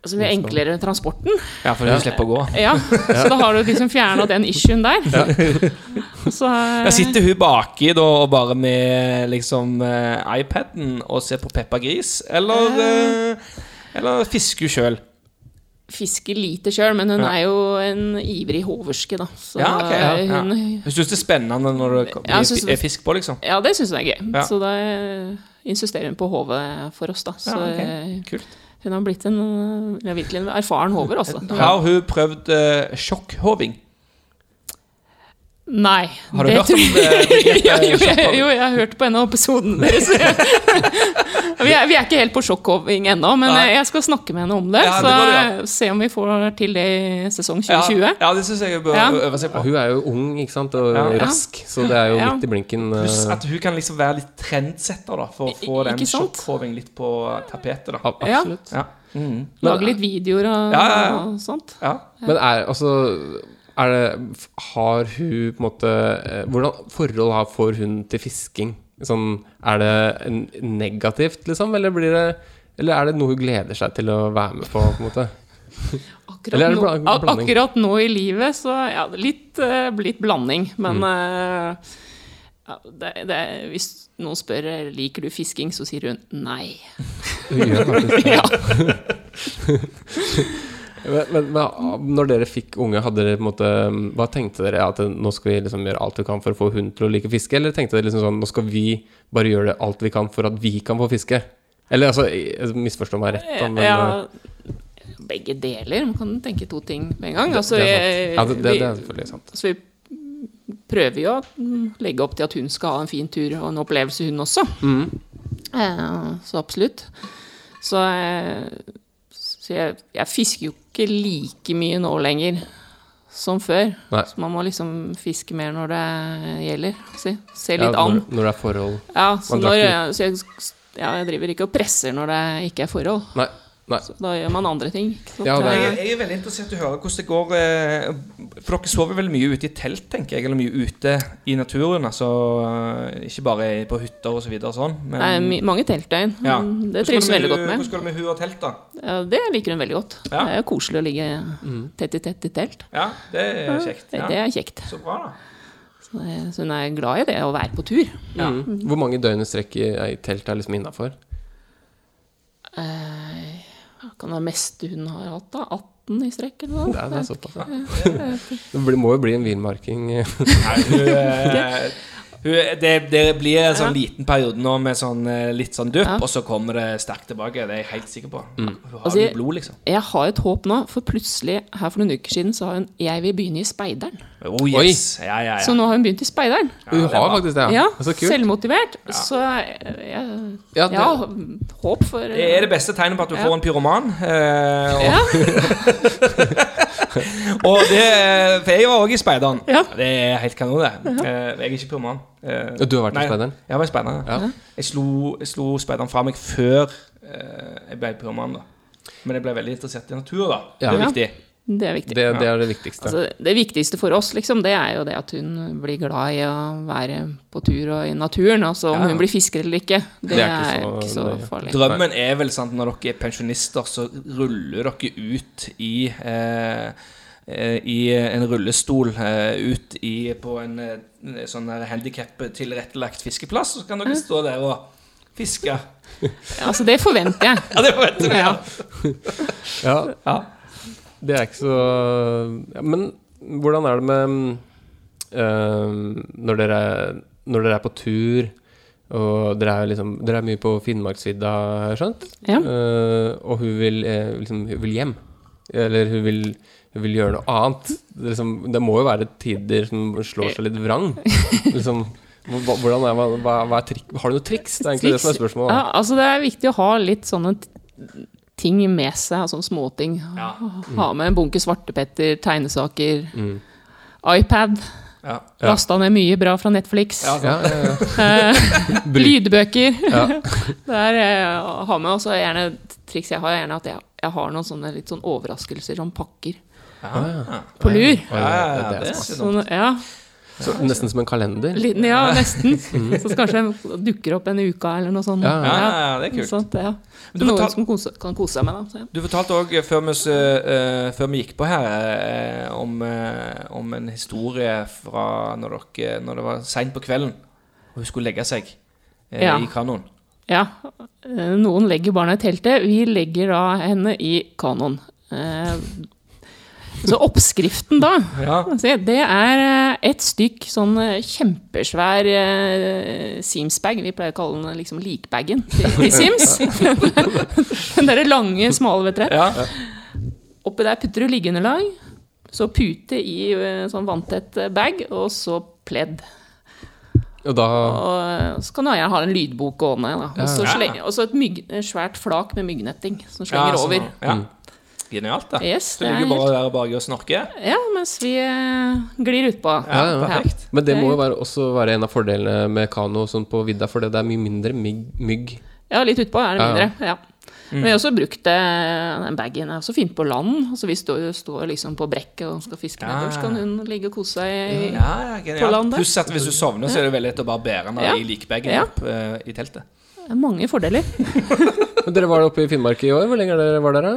[SPEAKER 9] Altså, vi er enklere transporten.
[SPEAKER 5] Ja, for du slipper å gå.
[SPEAKER 9] Ja, så da har du liksom fjerna den issuen der. Så, eh,
[SPEAKER 5] Jeg sitter hun baki da og bare med liksom eh, iPaden og ser på Peppa Gris, eller eh, Eller fisker hun sjøl?
[SPEAKER 9] fisker lite sjøl, men hun er jo en ivrig hoverske, da. Så eh,
[SPEAKER 5] Ja, ok. Ja, ja.
[SPEAKER 9] hun
[SPEAKER 5] Jeg syns det er spennende når det
[SPEAKER 9] Ja, jeg synes
[SPEAKER 5] kommer-
[SPEAKER 9] det-
[SPEAKER 5] er fisk på, liksom.
[SPEAKER 9] Ja, det syns hun er gøy.
[SPEAKER 5] Ja.
[SPEAKER 9] Så da eh, insisterer hun på HV for oss, da. Så
[SPEAKER 5] Ja, ok.
[SPEAKER 9] eh,
[SPEAKER 5] Kult.
[SPEAKER 9] hun har blitt en eh, ja, virkelig en erfaren hover, altså.
[SPEAKER 5] Har hun prøvd eh, sjokkhoving?
[SPEAKER 9] Nei.
[SPEAKER 5] Har du
[SPEAKER 9] det
[SPEAKER 5] hørt
[SPEAKER 9] tror
[SPEAKER 5] om
[SPEAKER 9] jeg-
[SPEAKER 5] det begrepet
[SPEAKER 9] ja, jo, jeg,
[SPEAKER 5] sjokkhoving?
[SPEAKER 9] jo, jeg har hørt på en av episodene deres. vi, er, vi er ikke helt på sjokkhoving ennå, men
[SPEAKER 5] Nei.
[SPEAKER 9] eh, jeg skal snakke med henne om det.
[SPEAKER 5] Ja, det
[SPEAKER 9] så eh,
[SPEAKER 5] må du,
[SPEAKER 9] se om vi får til det i sesong
[SPEAKER 5] Ja,
[SPEAKER 9] 2020.
[SPEAKER 5] ja, det syns jeg hun bør
[SPEAKER 9] Ja.
[SPEAKER 5] øve seg på.
[SPEAKER 6] Hun er jo ung ikke sant? og
[SPEAKER 5] Ja.
[SPEAKER 6] rask, så det er jo
[SPEAKER 9] Ja.
[SPEAKER 6] midt i blinken. eh,
[SPEAKER 5] Pluss at hun kan liksom være litt trendsetter da for å få
[SPEAKER 9] I-
[SPEAKER 5] den
[SPEAKER 9] ikke sant?
[SPEAKER 5] sjokkhoving litt på tapetet. da
[SPEAKER 6] ab- Absolutt.
[SPEAKER 5] Ja.
[SPEAKER 9] Lage litt videoer og,
[SPEAKER 5] Ja, ja, ja.
[SPEAKER 9] og sånt.
[SPEAKER 5] Ja.
[SPEAKER 6] Men er, altså, er det, f- har hun på en måte eh, Hvordan forhold har får hun til fisking? Sånn, er det en- negativt, liksom? Eller, blir det, eller er det noe hun gleder seg til å være med på? på en måte? Eller er
[SPEAKER 9] Akkurat,
[SPEAKER 6] det bla-
[SPEAKER 9] nå- ak-
[SPEAKER 6] blanding?
[SPEAKER 9] akkurat nå i livet, så ja, det er litt, eh, litt blanding. Men
[SPEAKER 6] Mm.
[SPEAKER 9] eh, ja, det, det, hvis noen spør eh, liker du fisking, så sier hun nei.
[SPEAKER 6] Hun gjør faktisk det.
[SPEAKER 9] Ja.
[SPEAKER 6] Men, men, men når dere fikk unge, hadde dere på en måte Hva tenkte dere? At nå skal vi liksom gjøre alt vi kan for å få hun til å like fiske? Eller tenkte dere liksom sånn Nå skal vi bare gjøre det alt vi kan for at vi kan få fiske? Eller altså, jeg misforstå meg rett, da, men eh,
[SPEAKER 9] ja, begge deler. Man kan tenke to ting med en gang. Altså,
[SPEAKER 6] det er sant.
[SPEAKER 9] vi-
[SPEAKER 6] Ja, det, det, det er
[SPEAKER 9] vi-
[SPEAKER 6] selvfølgelig sant.
[SPEAKER 9] altså, vi prøver jo å mm, legge opp til at hun skal ha en fin tur og en opplevelse, hun også.
[SPEAKER 6] Mm.
[SPEAKER 9] Eh, Så absolutt. Så, eh, så jeg, jeg fisker jo ikke like mye nå lenger som før.
[SPEAKER 6] Nei.
[SPEAKER 9] Så man må liksom fiske mer når det gjelder. Si. Se
[SPEAKER 6] Ja,
[SPEAKER 9] litt an.
[SPEAKER 6] når, når det er forhold
[SPEAKER 9] Ja, så,
[SPEAKER 6] man
[SPEAKER 9] når,
[SPEAKER 6] drar
[SPEAKER 9] så jeg, ja, jeg driver ikke og presser når det ikke er forhold.
[SPEAKER 6] Nei. nei.
[SPEAKER 9] Så da gjør man andre ting. ikke sant?
[SPEAKER 6] Ja, det
[SPEAKER 5] Jeg, jeg er veldig interessert i å høre hvordan det går eh, For dere sover vel mye ute i telt, tenker jeg? Eller mye ute i naturen? Altså eh, ikke bare i- på hytter og så videre og sånn? Men,
[SPEAKER 9] det er my- mange teltdøgn.
[SPEAKER 5] ja.
[SPEAKER 9] Mm, Det
[SPEAKER 5] Hvordan
[SPEAKER 9] trives hun
[SPEAKER 5] går
[SPEAKER 9] veldig
[SPEAKER 5] med
[SPEAKER 9] godt
[SPEAKER 5] hu-
[SPEAKER 9] med.
[SPEAKER 5] Hvordan går det med hun og telt, da?
[SPEAKER 9] Ja, det liker hun veldig godt.
[SPEAKER 5] Ja.
[SPEAKER 9] Det er jo koselig å ligge
[SPEAKER 6] Mm.
[SPEAKER 9] tett i tett i telt.
[SPEAKER 5] Ja, det er kjekt.
[SPEAKER 9] Det,
[SPEAKER 5] Ja.
[SPEAKER 9] det er kjekt.
[SPEAKER 5] Så bra, da.
[SPEAKER 9] Så det- så hun er glad i det, å være på tur.
[SPEAKER 6] Mm. Hvor mange døgn i strekk i i telt er liksom innafor?
[SPEAKER 9] Eh, hva kan det være meste hun har hatt, da? 18 i strekk, eller
[SPEAKER 6] Det,
[SPEAKER 9] noe?
[SPEAKER 6] er- det er sånn. såpass. Det blir- må jo bli en villmarking.
[SPEAKER 5] Nei, hun, eh, hun, det, det blir en sånn liten periode nå med sånn, eh, litt sånn dupp,
[SPEAKER 9] Ja.
[SPEAKER 5] og så kommer det sterkt tilbake. Det er jeg helt sikker på. Hun har
[SPEAKER 9] Altså,
[SPEAKER 5] jo
[SPEAKER 9] jeg-
[SPEAKER 5] blod, liksom.
[SPEAKER 9] Jeg har et håp nå, for plutselig her for noen uker siden sa hun 'jeg vil begynne i Speideren'.
[SPEAKER 5] Oh, yes. Ja, ja, ja.
[SPEAKER 9] Så nå har hun begynt i Speideren.
[SPEAKER 6] Hun har faktisk det,
[SPEAKER 9] Ja,
[SPEAKER 6] Så kult.
[SPEAKER 9] selvmotivert. Så eh, jeg,
[SPEAKER 6] Ja,
[SPEAKER 9] ja,
[SPEAKER 6] det-
[SPEAKER 9] håp for
[SPEAKER 5] Det er det beste tegnet på at du får en pyroman. eh, og,
[SPEAKER 9] Ja.
[SPEAKER 5] og det, for jeg var òg i Speideren.
[SPEAKER 9] Ja.
[SPEAKER 5] Det er helt kanon, det. Eh, jeg er ikke pyroman. Eh,
[SPEAKER 6] Ja, du har vært i
[SPEAKER 5] nei,
[SPEAKER 6] Speideren?
[SPEAKER 5] Jeg var i Speideren.
[SPEAKER 6] Ja.
[SPEAKER 5] Jeg slo, jeg slo Speideren fra meg før eh, jeg ble pyroman. da Men jeg ble veldig interessert i natur, da. Det er
[SPEAKER 6] Ja.
[SPEAKER 5] viktig.
[SPEAKER 9] Det er viktig.
[SPEAKER 6] Det, det er det viktigste.
[SPEAKER 9] altså, det viktigste for oss, liksom, det er jo det at hun blir glad i å være på tur og i naturen. Altså om
[SPEAKER 6] Ja.
[SPEAKER 9] hun blir fisker eller ikke, det,
[SPEAKER 6] Det er ikke
[SPEAKER 9] er
[SPEAKER 6] så
[SPEAKER 9] ikke så
[SPEAKER 6] nøye.
[SPEAKER 9] farlig.
[SPEAKER 5] Drømmen er vel sant når dere er pensjonister, så ruller dere ut i eh, eh, i en rullestol eh, ut i, på en eh, sånn handikap-tilrettelagt fiskeplass, så kan dere stå der og fiske.
[SPEAKER 9] Altså, det forventer jeg.
[SPEAKER 5] Ja, det vet vi! Ja.
[SPEAKER 6] Ja.
[SPEAKER 5] Ja.
[SPEAKER 6] Det er ikke så ja, Men hvordan er det med øhm, når, dere, når dere er på tur og dere er, liksom, dere er mye på Finnmarksvidda, har jeg skjønt?
[SPEAKER 9] Ja.
[SPEAKER 6] Eh, og hun vil, eh, liksom, hun vil hjem. Eller hun vil, hun vil gjøre noe annet. Det, liksom, det må jo være tider som slår seg litt vrang. Liksom, hva, hvordan er, hva, hva- hva er trik, har du noen triks? Det er egentlig det som er spørsmålet.
[SPEAKER 9] Ja,
[SPEAKER 6] da.
[SPEAKER 9] altså, det er viktig å ha litt sånne t- ting med seg, altså småting.
[SPEAKER 5] Ja.
[SPEAKER 9] Ha med en bunke svartepetter, tegnesaker,
[SPEAKER 6] Mm.
[SPEAKER 9] iPad.
[SPEAKER 5] Ja.
[SPEAKER 9] Lasta ned mye bra fra Netflix.
[SPEAKER 6] Ja, ja, ja.
[SPEAKER 9] Eh, Lydbøker.
[SPEAKER 6] Ja.
[SPEAKER 9] det er eh, å ha med også gjerne et triks jeg har, er gjerne at jeg, jeg har noen sånne litt sånn overraskelser som pakker på lur.
[SPEAKER 6] Ja, ja, ja, det er
[SPEAKER 5] det er sånn.
[SPEAKER 9] Sånn, ja,
[SPEAKER 6] så, nesten som en kalender.
[SPEAKER 9] liten, ja, nesten. Så kanskje jeg dukker opp en uke eller noe sånt.
[SPEAKER 6] Mm. Ja,
[SPEAKER 5] ja, ja, det er kult.
[SPEAKER 9] Sånt, ja.
[SPEAKER 5] du må
[SPEAKER 9] Noen
[SPEAKER 5] ta-
[SPEAKER 9] som kose, kan kose seg med, da. Så, ja.
[SPEAKER 5] Du fortalte òg før, vi s- eh, før vi gikk på her, eh, om, eh, om en historie fra når, dere, når det var seint på kvelden, og hun skulle legge seg eh,
[SPEAKER 9] Ja.
[SPEAKER 5] i kanoen.
[SPEAKER 9] Ja, eh, noen legger barna i teltet. Vi legger da henne i kanoen. Eh, Så oppskriften da,
[SPEAKER 5] Ja.
[SPEAKER 9] se, det er eh, et stykk sånn eh, kjempesvær eh, Sims-bag. Vi pleier å kalle den liksom likbagen til, til Sims. den derre lange, smale, vet dere.
[SPEAKER 5] Ja.
[SPEAKER 9] Oppi der putter du liggeunderlag, så pute i eh, sånn vanntett eh, bag, og så pledd.
[SPEAKER 6] Og da
[SPEAKER 9] Og så kan du gjerne ha en lydbok gående. Da. Og så
[SPEAKER 5] Ja.
[SPEAKER 9] slenge- og så et mygg, et svært flak med myggnetting som
[SPEAKER 5] Ja,
[SPEAKER 9] slenger
[SPEAKER 5] sånn,
[SPEAKER 9] over.
[SPEAKER 5] Ja.
[SPEAKER 6] Mm.
[SPEAKER 5] Genialt, da.
[SPEAKER 9] Yes,
[SPEAKER 5] du
[SPEAKER 9] det er
[SPEAKER 5] ligger bare der baki og snorker.
[SPEAKER 9] Ja, mens vi eh, glir utpå.
[SPEAKER 5] Ja, perfekt.
[SPEAKER 6] Men det må jo være, også være en av fordelene med kano og sånn på vidda, for det er mye mindre mygg. mygg.
[SPEAKER 9] Ja, litt utpå er det
[SPEAKER 6] Ja, ja.
[SPEAKER 9] mindre. Ja.
[SPEAKER 5] Mm.
[SPEAKER 9] Men jeg har også brukt eh, den bagen er også fint på land. Så hvis du står liksom på brekket og skal fiske
[SPEAKER 5] Ja.
[SPEAKER 9] nedover, så kan hun ligge og kose seg. i-
[SPEAKER 5] Ja, ja,
[SPEAKER 9] På
[SPEAKER 5] genialt.
[SPEAKER 9] landet.
[SPEAKER 5] Pluss at hvis du sovner, så er det veldig lett å bare bære den
[SPEAKER 9] Ja.
[SPEAKER 5] i likbagen
[SPEAKER 9] Ja.
[SPEAKER 5] opp eh, i teltet.
[SPEAKER 9] Det er mange fordeler.
[SPEAKER 6] Men dere var oppe i Finnmark i år. Hvor lenge dere var dere?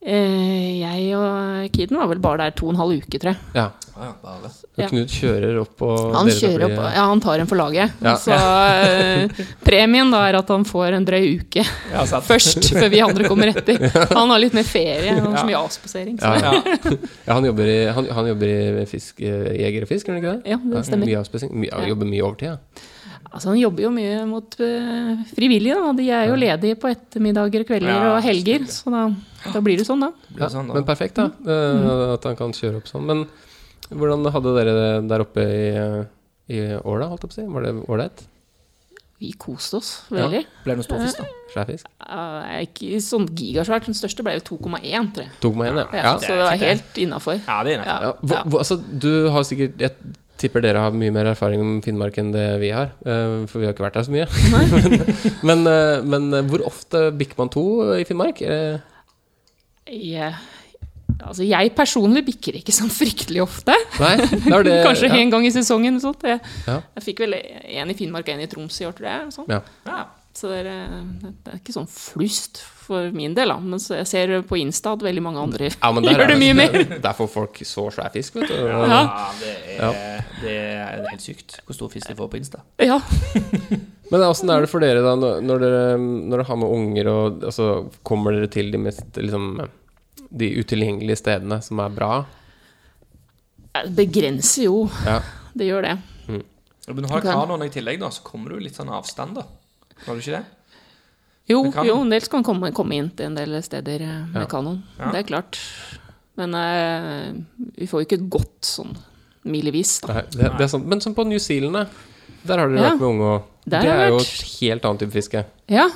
[SPEAKER 9] Eh, jeg og kiden var vel bare der to og en halv uke, tror jeg.
[SPEAKER 6] Ja.
[SPEAKER 5] Ja, bare.
[SPEAKER 6] Og
[SPEAKER 9] Ja.
[SPEAKER 6] Knut kjører opp og
[SPEAKER 9] Han
[SPEAKER 6] dere tar
[SPEAKER 9] kjører
[SPEAKER 6] fly-
[SPEAKER 9] opp, ja, han tar en for laget.
[SPEAKER 6] Ja.
[SPEAKER 9] Så eh, premien da er at han får en drøy uke
[SPEAKER 5] Ja, sant.
[SPEAKER 9] først, før vi andre kommer etter. Han har litt mer ferie, han har så mye avspasering. Så.
[SPEAKER 6] Ja.
[SPEAKER 5] Ja.
[SPEAKER 6] Ja, han jobber i, han, han jobber i fisk, eh, Jeger og Fisk, gjør han ikke det?
[SPEAKER 9] Ja, det stemmer.
[SPEAKER 6] Mye avspesing. Mye, han
[SPEAKER 9] Ja.
[SPEAKER 6] jobber mye overtid, ja.
[SPEAKER 9] Altså, han jobber jo mye mot eh, frivillige, da. De er jo ledige på ettermiddager, kvelder
[SPEAKER 5] Ja,
[SPEAKER 9] og helger. Så da, da blir det sånn, da.
[SPEAKER 5] Blir
[SPEAKER 6] ja
[SPEAKER 5] det sånn, da?
[SPEAKER 6] men perfekt, da.
[SPEAKER 9] Mm.
[SPEAKER 6] eh, At han kan kjøre opp sånn. Men hvordan hadde dere det der oppe i, eh, i år, da? Holdt jeg på å si? Var det ålreit?
[SPEAKER 9] Vi koste oss veldig.
[SPEAKER 5] Ble det noe småfisk, da?
[SPEAKER 6] Svær fisk?
[SPEAKER 9] Eh, ikke sånn gigasvært. Den største ble jo 2,1, tror jeg.
[SPEAKER 6] 2,1, ja.
[SPEAKER 9] Ja,
[SPEAKER 6] ja.
[SPEAKER 9] så det var helt innafor.
[SPEAKER 5] Ja, det er innafor.
[SPEAKER 6] ja. Hva, hva, altså, du har sikkert Jeg tipper dere har mye mer erfaring om Finnmark enn det vi har. eh, For vi har ikke vært der så mye. men, eh, men eh, hvor ofte bikker man to i Finnmark? Eh,
[SPEAKER 9] Jeg, altså, jeg personlig bikker ikke sånn fryktelig ofte.
[SPEAKER 6] Nei, det er det
[SPEAKER 9] Kanskje
[SPEAKER 6] ja.
[SPEAKER 9] en gang i sesongen. eller Sånt. Jeg,
[SPEAKER 6] Ja.
[SPEAKER 9] jeg fikk vel en i Finnmark og en i Troms i år, tror jeg. eller Sånn.
[SPEAKER 6] Ja.
[SPEAKER 9] Ja, Så det er, eh, det er ikke sånn flust for min del, da. Men så jeg ser på Insta at veldig mange andre
[SPEAKER 6] Ja, men der
[SPEAKER 9] gjør
[SPEAKER 6] er
[SPEAKER 9] det mye mer.
[SPEAKER 6] Der får folk så svær fisk, vet du.
[SPEAKER 9] Ja.
[SPEAKER 5] det, er, det er helt sykt hvor stor fisk de får på Insta.
[SPEAKER 9] Ja,
[SPEAKER 6] Men eh, åssen er det for dere, da, når- når dere, når dere har med unger og altså, Kommer dere til de mest liksom De utilgjengelige stedene som er bra?
[SPEAKER 9] det begrenser jo.
[SPEAKER 6] Ja.
[SPEAKER 9] Det gjør det.
[SPEAKER 5] Ja, Men du har
[SPEAKER 9] Ok.
[SPEAKER 5] kanoen i tillegg, da, så kommer du litt sånn avstand, da. Har du ikke det?
[SPEAKER 9] Jo,
[SPEAKER 5] Med kanon.
[SPEAKER 9] jo en del skal man komme, komme inn til en del steder eh, med
[SPEAKER 6] Ja.
[SPEAKER 9] kanon.
[SPEAKER 5] Ja.
[SPEAKER 9] Det er klart. Men eh, vi får jo ikke et godt sånn milevis, da.
[SPEAKER 6] Nei, det, det er sant. Men som på New Zealand, da. Der har dere
[SPEAKER 9] Ja.
[SPEAKER 6] vært med unge òg.
[SPEAKER 9] Der
[SPEAKER 6] Det
[SPEAKER 9] har jeg
[SPEAKER 6] er jo
[SPEAKER 9] vært.
[SPEAKER 6] et helt annet type fiske.
[SPEAKER 9] Ja,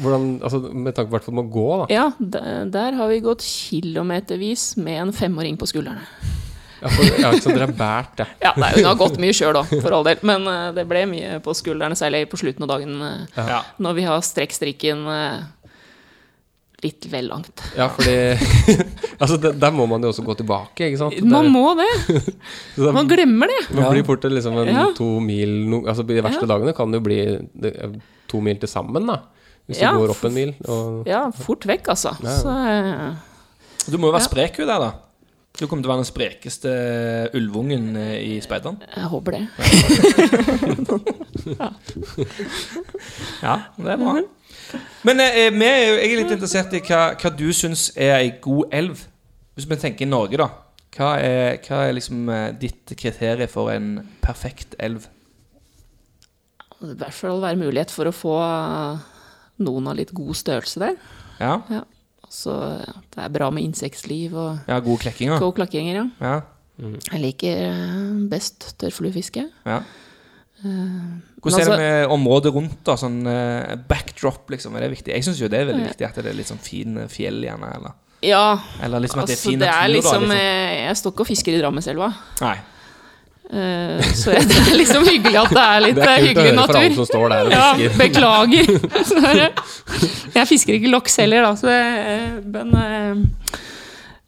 [SPEAKER 6] Hvordan, altså, med tanke på hvert fall med å gå, da.
[SPEAKER 9] ja der, der har vi gått kilometervis med en femåring på skuldrene.
[SPEAKER 6] Ja, for, ja, ikke sant, dere er båret, ja.
[SPEAKER 9] Ja, nei, hun har gått mye sjøl òg, for all del. Men eh, det ble mye på skuldrene, særlig på slutten av dagen. eh,
[SPEAKER 5] Ja.
[SPEAKER 9] Når vi har strekkstrikken eh, litt vel langt.
[SPEAKER 6] ja fordi Altså, det, der må man jo også gå tilbake, ikke sant?
[SPEAKER 9] Man
[SPEAKER 6] Der-
[SPEAKER 9] må det!
[SPEAKER 6] så da-
[SPEAKER 9] Man glemmer det!
[SPEAKER 6] Man blir fort liksom en
[SPEAKER 9] Ja.
[SPEAKER 6] to mil no, Altså De verste
[SPEAKER 9] Ja.
[SPEAKER 6] dagene kan jo bli det- to mil til sammen, da. Hvis
[SPEAKER 9] Ja.
[SPEAKER 6] du går opp en mil. Og,
[SPEAKER 9] Ja, fort vekk, altså. Så, eh,
[SPEAKER 5] Du må jo være sprek jo der, da. Du kommer til å være den sprekeste ulvungen eh, i speideren.
[SPEAKER 9] jeg håper det.
[SPEAKER 5] Ja, det er bra. Men eh, vi er jo, jeg er litt interessert i hva, hva du syns er ei god elv. Hvis vi tenker i Norge, da. Hva er, hva er liksom eh, ditt kriterium for en perfekt elv?
[SPEAKER 9] Det bør i hvert fall være mulighet for å få eh, noen av litt god størrelse der.
[SPEAKER 5] Ja,
[SPEAKER 9] Ja. Så ja, det er bra med insektliv og
[SPEAKER 5] ja gode klekkinger?
[SPEAKER 9] få klakkinger, ja.
[SPEAKER 5] Ja,
[SPEAKER 9] Jeg liker eh, best tørrfluefiske. Eh,
[SPEAKER 5] ja. Hvordan er det med området rundt, da? Sånn eh, backdrop, liksom. Er det viktig? Jeg syns jo det er veldig viktig at det er litt sånn fin eh, fjell, gjerne. Eller,
[SPEAKER 9] Ja,
[SPEAKER 5] eller liksom at det er
[SPEAKER 9] altså
[SPEAKER 5] fin
[SPEAKER 9] det
[SPEAKER 5] natur,
[SPEAKER 9] er liksom
[SPEAKER 5] da.
[SPEAKER 9] eh, Jeg står ikke og fisker i Drammenselva.
[SPEAKER 5] Liksom. Nei.
[SPEAKER 9] Eh, Så jeg, det er liksom hyggelig at det er litt
[SPEAKER 6] Det er kult
[SPEAKER 9] eh,
[SPEAKER 6] å
[SPEAKER 9] hyggelig
[SPEAKER 6] høre fra han
[SPEAKER 9] natur.
[SPEAKER 6] som står der og
[SPEAKER 9] Ja,
[SPEAKER 6] fisker.
[SPEAKER 9] beklager. Så er det- Jeg fisker ikke loks heller, da, så eh, Men eh,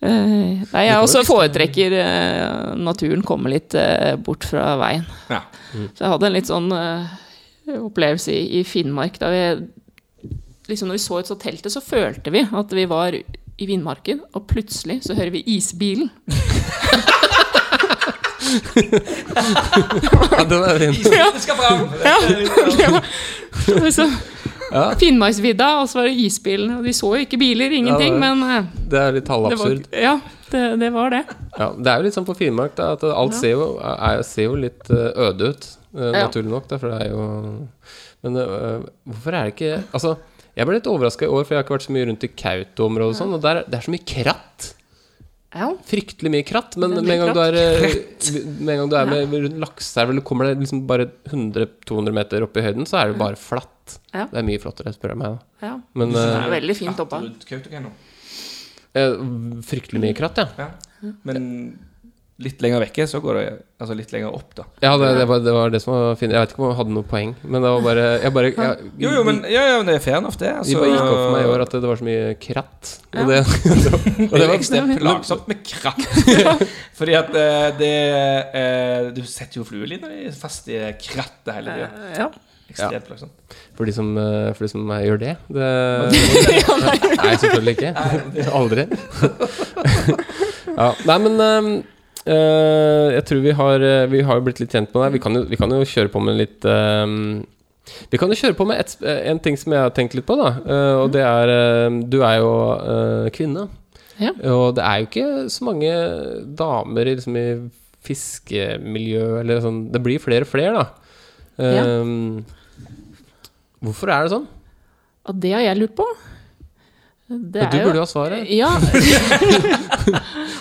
[SPEAKER 9] eh, Nei, jeg også foretrekker eh, naturen kommer litt eh, bort fra veien.
[SPEAKER 5] Ja.
[SPEAKER 6] Mm.
[SPEAKER 9] Så jeg hadde en litt sånn eh, opplevelse i, i Finnmark da vi liksom Når vi så ut så teltet, så følte vi at vi var i villmarken, og plutselig så hører vi isbilen.
[SPEAKER 6] Ja, den er fin.
[SPEAKER 9] Ja. Ja. Det var- Så, Finnmarksvidda, og så var det isbilen. Og de så jo ikke biler, ingenting,
[SPEAKER 6] Ja, det-
[SPEAKER 9] men eh,
[SPEAKER 6] Det er litt
[SPEAKER 9] det var,
[SPEAKER 6] halvabsurd.
[SPEAKER 9] ja, det, det var det.
[SPEAKER 6] Ja, det er jo litt sånn på Finnmark da, at alt ser, jo, er, ser jo litt eh, øde ut, eh,
[SPEAKER 9] Ja.
[SPEAKER 6] naturlig nok. Da, for det er jo Men eh, hvorfor er det ikke Altså, jeg ble litt overraska i år, for jeg har ikke vært så mye rundt i Kautoområdet og sånn, og der, er- det er så mye kratt.
[SPEAKER 9] Ja.
[SPEAKER 6] Fryktelig mye kratt, men
[SPEAKER 9] Veldig
[SPEAKER 6] med en gang du er, eh, med, en gang du er med rundt Lakseelv, eller kommer deg liksom bare 100-200 meter opp i høyden, så er det bare flatt.
[SPEAKER 9] Ja.
[SPEAKER 6] Det er mye flottere, spør du meg. da.
[SPEAKER 9] ja.
[SPEAKER 6] Men
[SPEAKER 9] Det
[SPEAKER 6] eh,
[SPEAKER 9] er veldig fint oppe.
[SPEAKER 5] Rundt Kautokeino.
[SPEAKER 6] eh, fryktelig mye kratt, ja.
[SPEAKER 5] Men litt lenger vekke, så går det Altså litt lenger opp, da.
[SPEAKER 6] Ja, det, det, var, det var det som var fint. Jeg vet ikke om jeg hadde noe poeng, men det var bare Jeg, bare, jeg,
[SPEAKER 5] Jo, jo, men, ja, ja, men det er fair enough, det.
[SPEAKER 6] de
[SPEAKER 5] Altså,
[SPEAKER 6] bare gikk opp for meg i år at det var så mye kratt.
[SPEAKER 9] Ja.
[SPEAKER 6] Og det, og
[SPEAKER 5] det
[SPEAKER 6] det
[SPEAKER 5] er
[SPEAKER 6] var
[SPEAKER 5] ekstremt plagsomt med kratt. Fordi at eh, det eh, Du setter jo fluelina di fast i krattet hele tida.
[SPEAKER 9] Eh, Ja.
[SPEAKER 5] Ekstremt plagsomt.
[SPEAKER 6] For de som, eh, for de som eh, gjør det, det Nei, selvfølgelig ikke. Aldri. ja, nei, men eh, eh, jeg tror vi har, eh, vi har jo blitt litt kjent med deg. Vi kan jo, vi kan jo kjøre på med litt eh, Vi kan jo kjøre på med et, sp- eh, en ting som jeg har tenkt litt på, da. eh,
[SPEAKER 9] Mm.
[SPEAKER 6] og det er eh, Du er jo eh, kvinne.
[SPEAKER 9] Ja.
[SPEAKER 6] Og det er jo ikke så mange damer i, liksom, i fiskemiljø eller sånn Det blir flere og flere, da. Eh, Hvorfor er det sånn?
[SPEAKER 9] Og det har jeg lurt på. Det
[SPEAKER 6] Ja, du burde jo ha svaret.
[SPEAKER 9] Ja.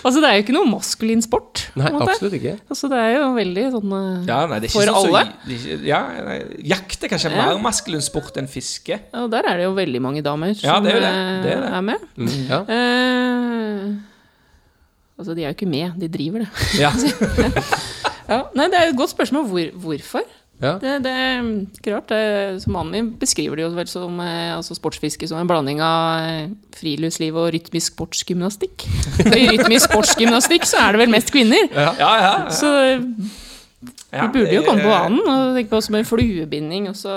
[SPEAKER 9] altså, det er jo ikke noe maskulin sport. på en
[SPEAKER 6] Nei,
[SPEAKER 9] måte.
[SPEAKER 6] absolutt ikke.
[SPEAKER 9] Altså, det er jo veldig sånn eh,
[SPEAKER 5] Ja, nei, det er ikke
[SPEAKER 9] For
[SPEAKER 5] sånn som-
[SPEAKER 9] alle?
[SPEAKER 5] det er ikke- ja, nei, jakt er kanskje
[SPEAKER 9] Ja.
[SPEAKER 5] mer maskulin sport enn fiske.
[SPEAKER 9] Og der er det jo veldig mange damer som
[SPEAKER 5] Ja, det er jo det.
[SPEAKER 9] eh,
[SPEAKER 5] Det er det.
[SPEAKER 9] med.
[SPEAKER 6] Mm, ja.
[SPEAKER 9] Eh, altså, de er jo ikke med, de driver det.
[SPEAKER 5] Ja.
[SPEAKER 9] Ja. Nei, det er jo et godt spørsmål hvor, hvorfor.
[SPEAKER 6] Ja.
[SPEAKER 9] Det, det er klart, det, som mannen min beskriver det jo vel som eh, altså sportsfiske som en blanding av eh, friluftsliv og rytmisk sportsgymnastikk. Og I rytmisk sportsgymnastikk så er det vel mest kvinner.
[SPEAKER 5] Ja, ja, ja.
[SPEAKER 9] Så
[SPEAKER 5] ja.
[SPEAKER 9] vi burde jo komme på annen og tenke på oss med fluebinding og så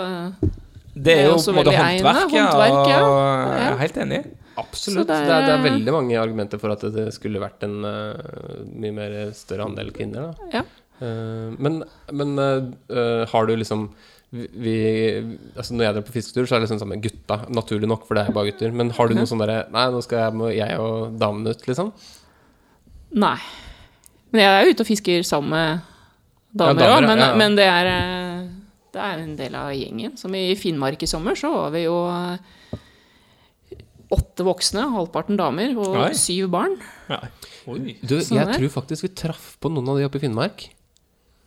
[SPEAKER 5] Det er jo
[SPEAKER 9] også
[SPEAKER 5] på en måte
[SPEAKER 9] veldig egnet.
[SPEAKER 5] håndverk, ja.
[SPEAKER 9] Håndverk, ja.
[SPEAKER 5] Og jeg
[SPEAKER 9] Ja.
[SPEAKER 5] er helt enig.
[SPEAKER 9] Så
[SPEAKER 6] Absolutt. Det
[SPEAKER 9] det er-
[SPEAKER 6] er, det, er, veldig mange argumenter for at det skulle vært en eh, mye mer større andel kvinner. Da.
[SPEAKER 9] Ja.
[SPEAKER 6] Eh, men men eh, eh, har du liksom vi, vi, altså Når jeg drar på fisketur, så er det liksom sammen med gutta, naturlig nok, for det er bare gutter. Men har du noe sånn derre Nei, nå skal jeg, må jeg og damene ut, liksom.
[SPEAKER 9] Nei. Men jeg er jo ute og fisker sammen med damer
[SPEAKER 6] Ja, damer,
[SPEAKER 9] òg, men,
[SPEAKER 6] ja, ja.
[SPEAKER 9] men det, er, eh, det er en del av gjengen. Som i Finnmark i sommer, så var vi jo eh, åtte voksne, halvparten damer, og
[SPEAKER 5] Oi.
[SPEAKER 9] syv barn.
[SPEAKER 6] Du,
[SPEAKER 9] Sånn
[SPEAKER 6] jeg
[SPEAKER 9] er.
[SPEAKER 6] tror faktisk vi traff på noen av de oppe i Finnmark.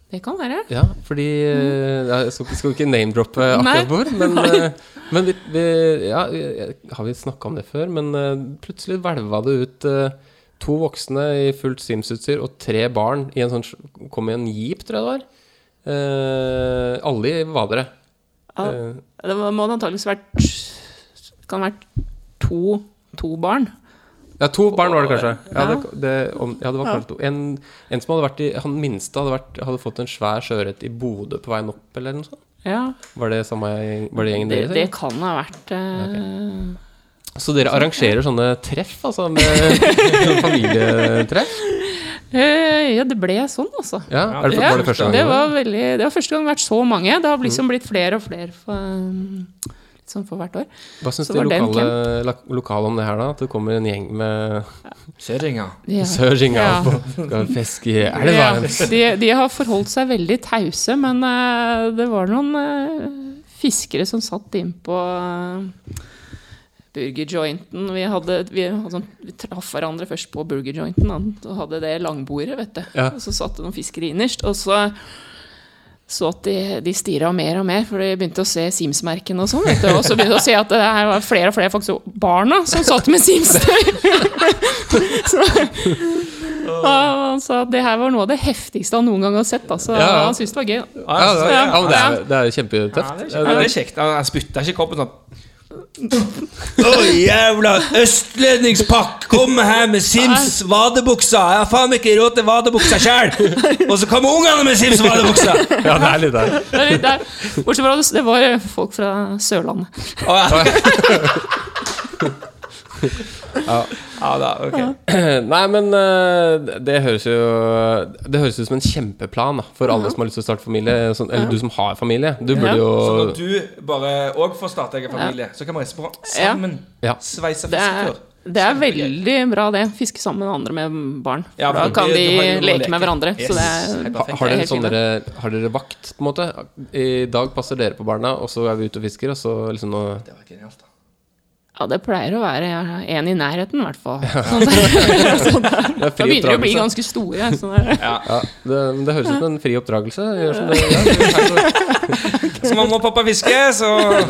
[SPEAKER 9] Det kan være.
[SPEAKER 6] Ja, fordi eh, Jeg skal, ikke- skal ikke name-droppe
[SPEAKER 9] Nei.
[SPEAKER 6] akkurat hvor, men, eh, men vi, vi, ja, vi- Har vi snakka om det før? Men eh, plutselig hvelva det ut eh, to voksne i fullt Sims-utstyr og tre barn i en sånn sj- Kom i en jeep, tror jeg det var. Eh, alle i vadere.
[SPEAKER 9] Ja.
[SPEAKER 6] Eh,
[SPEAKER 9] Det må må det antakeligvis vært det kan ha vært to, to barn.
[SPEAKER 6] ja, to barn var det kanskje. Ja, det, det, om, ja, det var kanskje to. En, en som hadde vært i Han minste hadde, vært, hadde fått en svær sjøørret i Bodø på veien opp, eller noe sånt.
[SPEAKER 9] Ja,
[SPEAKER 6] Var det samme gjeng- var det gjengen
[SPEAKER 9] det,
[SPEAKER 6] deres?
[SPEAKER 9] det
[SPEAKER 6] eller?
[SPEAKER 9] kan ha vært eh,
[SPEAKER 6] Så dere arrangerer sånne treff, altså? Med sånn familietreff?
[SPEAKER 9] eh, Ja, det ble sånn, altså.
[SPEAKER 6] Ja, er det,
[SPEAKER 9] Ja,
[SPEAKER 6] var Mm. det første gang?
[SPEAKER 9] det var, veldig, det var første gang det har vært så mange. Det har liksom blitt flere og flere for, um, litt sånn for hvert år.
[SPEAKER 6] Hva syns
[SPEAKER 9] så
[SPEAKER 6] de
[SPEAKER 9] var det en
[SPEAKER 6] lokale, lo- lokale om det her, da? At det kommer en gjeng med
[SPEAKER 5] Kjøringa.
[SPEAKER 9] Ja.
[SPEAKER 6] sørginger
[SPEAKER 9] Ja.
[SPEAKER 6] opp og skal fiske i elva?
[SPEAKER 9] Ja, de, de har forholdt seg veldig tause, men eh, det var noen eh, fiskere som satt innpå uh, burgerjointen. Vi, hadde, vi, hadde sånn, vi traff hverandre først på burgerjointen da, og hadde det langbordet, vet du.
[SPEAKER 6] Ja.
[SPEAKER 9] Og så satt det noen fiskere innerst. Og så så at de, de stirra mer og mer, for de begynte å se Sims-merkene og sånn. vet du. Og så begynte de å se at det her var flere og flere faktisk barna som satt med Sims-tøy. Og han sa at det her var noe av det heftigste han noen gang har sett. Altså,
[SPEAKER 6] Ja.
[SPEAKER 9] Han syntes det var gøy.
[SPEAKER 5] Ja,
[SPEAKER 6] Ja, det,
[SPEAKER 5] altså,
[SPEAKER 6] var- ja,
[SPEAKER 5] ja.
[SPEAKER 6] men det er, det er jo kjempetøft.
[SPEAKER 5] Ja, det er kjekt. Han han spytta ikke i koppen sånn. Å, jævla østlendingspakk! Kom her med Sims vadebuksa! Jeg har faen ikke råd til vadebuksa sjæl! Og så kommer ungene med Sims vadebuksa!
[SPEAKER 6] Ja, det er litt der.
[SPEAKER 9] Det er litt der. Bortsett fra det, det var eh, folk fra Sørlandet.
[SPEAKER 5] Å, ja. Ja da, ok.
[SPEAKER 6] Nei, men eh, det høres jo Det høres ut som en kjempeplan da, for alle som har lyst til å starte familie. Sånn, eller du som har familie. Du burde jo
[SPEAKER 5] Så når du bare òg får starte egen familie, så kan vi reise på sammen?
[SPEAKER 6] Ja.
[SPEAKER 5] Sveise
[SPEAKER 9] Det er,
[SPEAKER 5] fisketur?
[SPEAKER 9] det er veldig bra, det. Fiske sammen med andre med barn.
[SPEAKER 5] Ja,
[SPEAKER 9] da
[SPEAKER 5] for
[SPEAKER 9] kan
[SPEAKER 5] du-
[SPEAKER 9] de
[SPEAKER 5] du har jo noe å
[SPEAKER 9] leke
[SPEAKER 5] leke.
[SPEAKER 9] med hverandre.
[SPEAKER 5] Yes.
[SPEAKER 9] Så det er,
[SPEAKER 6] ha,
[SPEAKER 5] Helt perfekt.
[SPEAKER 6] har, dere
[SPEAKER 9] helt
[SPEAKER 6] sånn
[SPEAKER 9] fint,
[SPEAKER 6] dere, har dere vakt, på en måte? I dag passer dere på barna, og så er vi ute og fisker, og så liksom nå
[SPEAKER 5] Det var genialt, da.
[SPEAKER 9] ja, det pleier å være en i nærheten, i hvert fall. Sånn, sånn,
[SPEAKER 6] Det er
[SPEAKER 9] da
[SPEAKER 6] fri
[SPEAKER 9] begynner de å bli
[SPEAKER 6] oppdragelse.
[SPEAKER 9] ganske store. sånn Så det,
[SPEAKER 6] Ja, det, det høres ut som en fri oppdragelse. Gjør som dere gjør.
[SPEAKER 5] Skal mamma og pappa fiske, så
[SPEAKER 6] Bare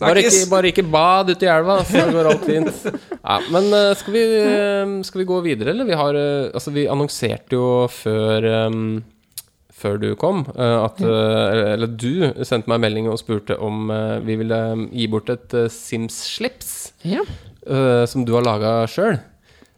[SPEAKER 5] snakkes.
[SPEAKER 6] ikke, bare ikke bad ute i elva, så går alt fint. Ja, men eh, skal vi, eh, skal vi gå videre, eller? Vi, har, eh, altså, vi annonserte jo før eh, før du kom, eh, at, eh, eller- eller du sendte meg en melding og spurte om eh, vi ville eh, gi bort et eh, Sims-slips
[SPEAKER 9] ja.
[SPEAKER 6] eh, som du har laga sjøl.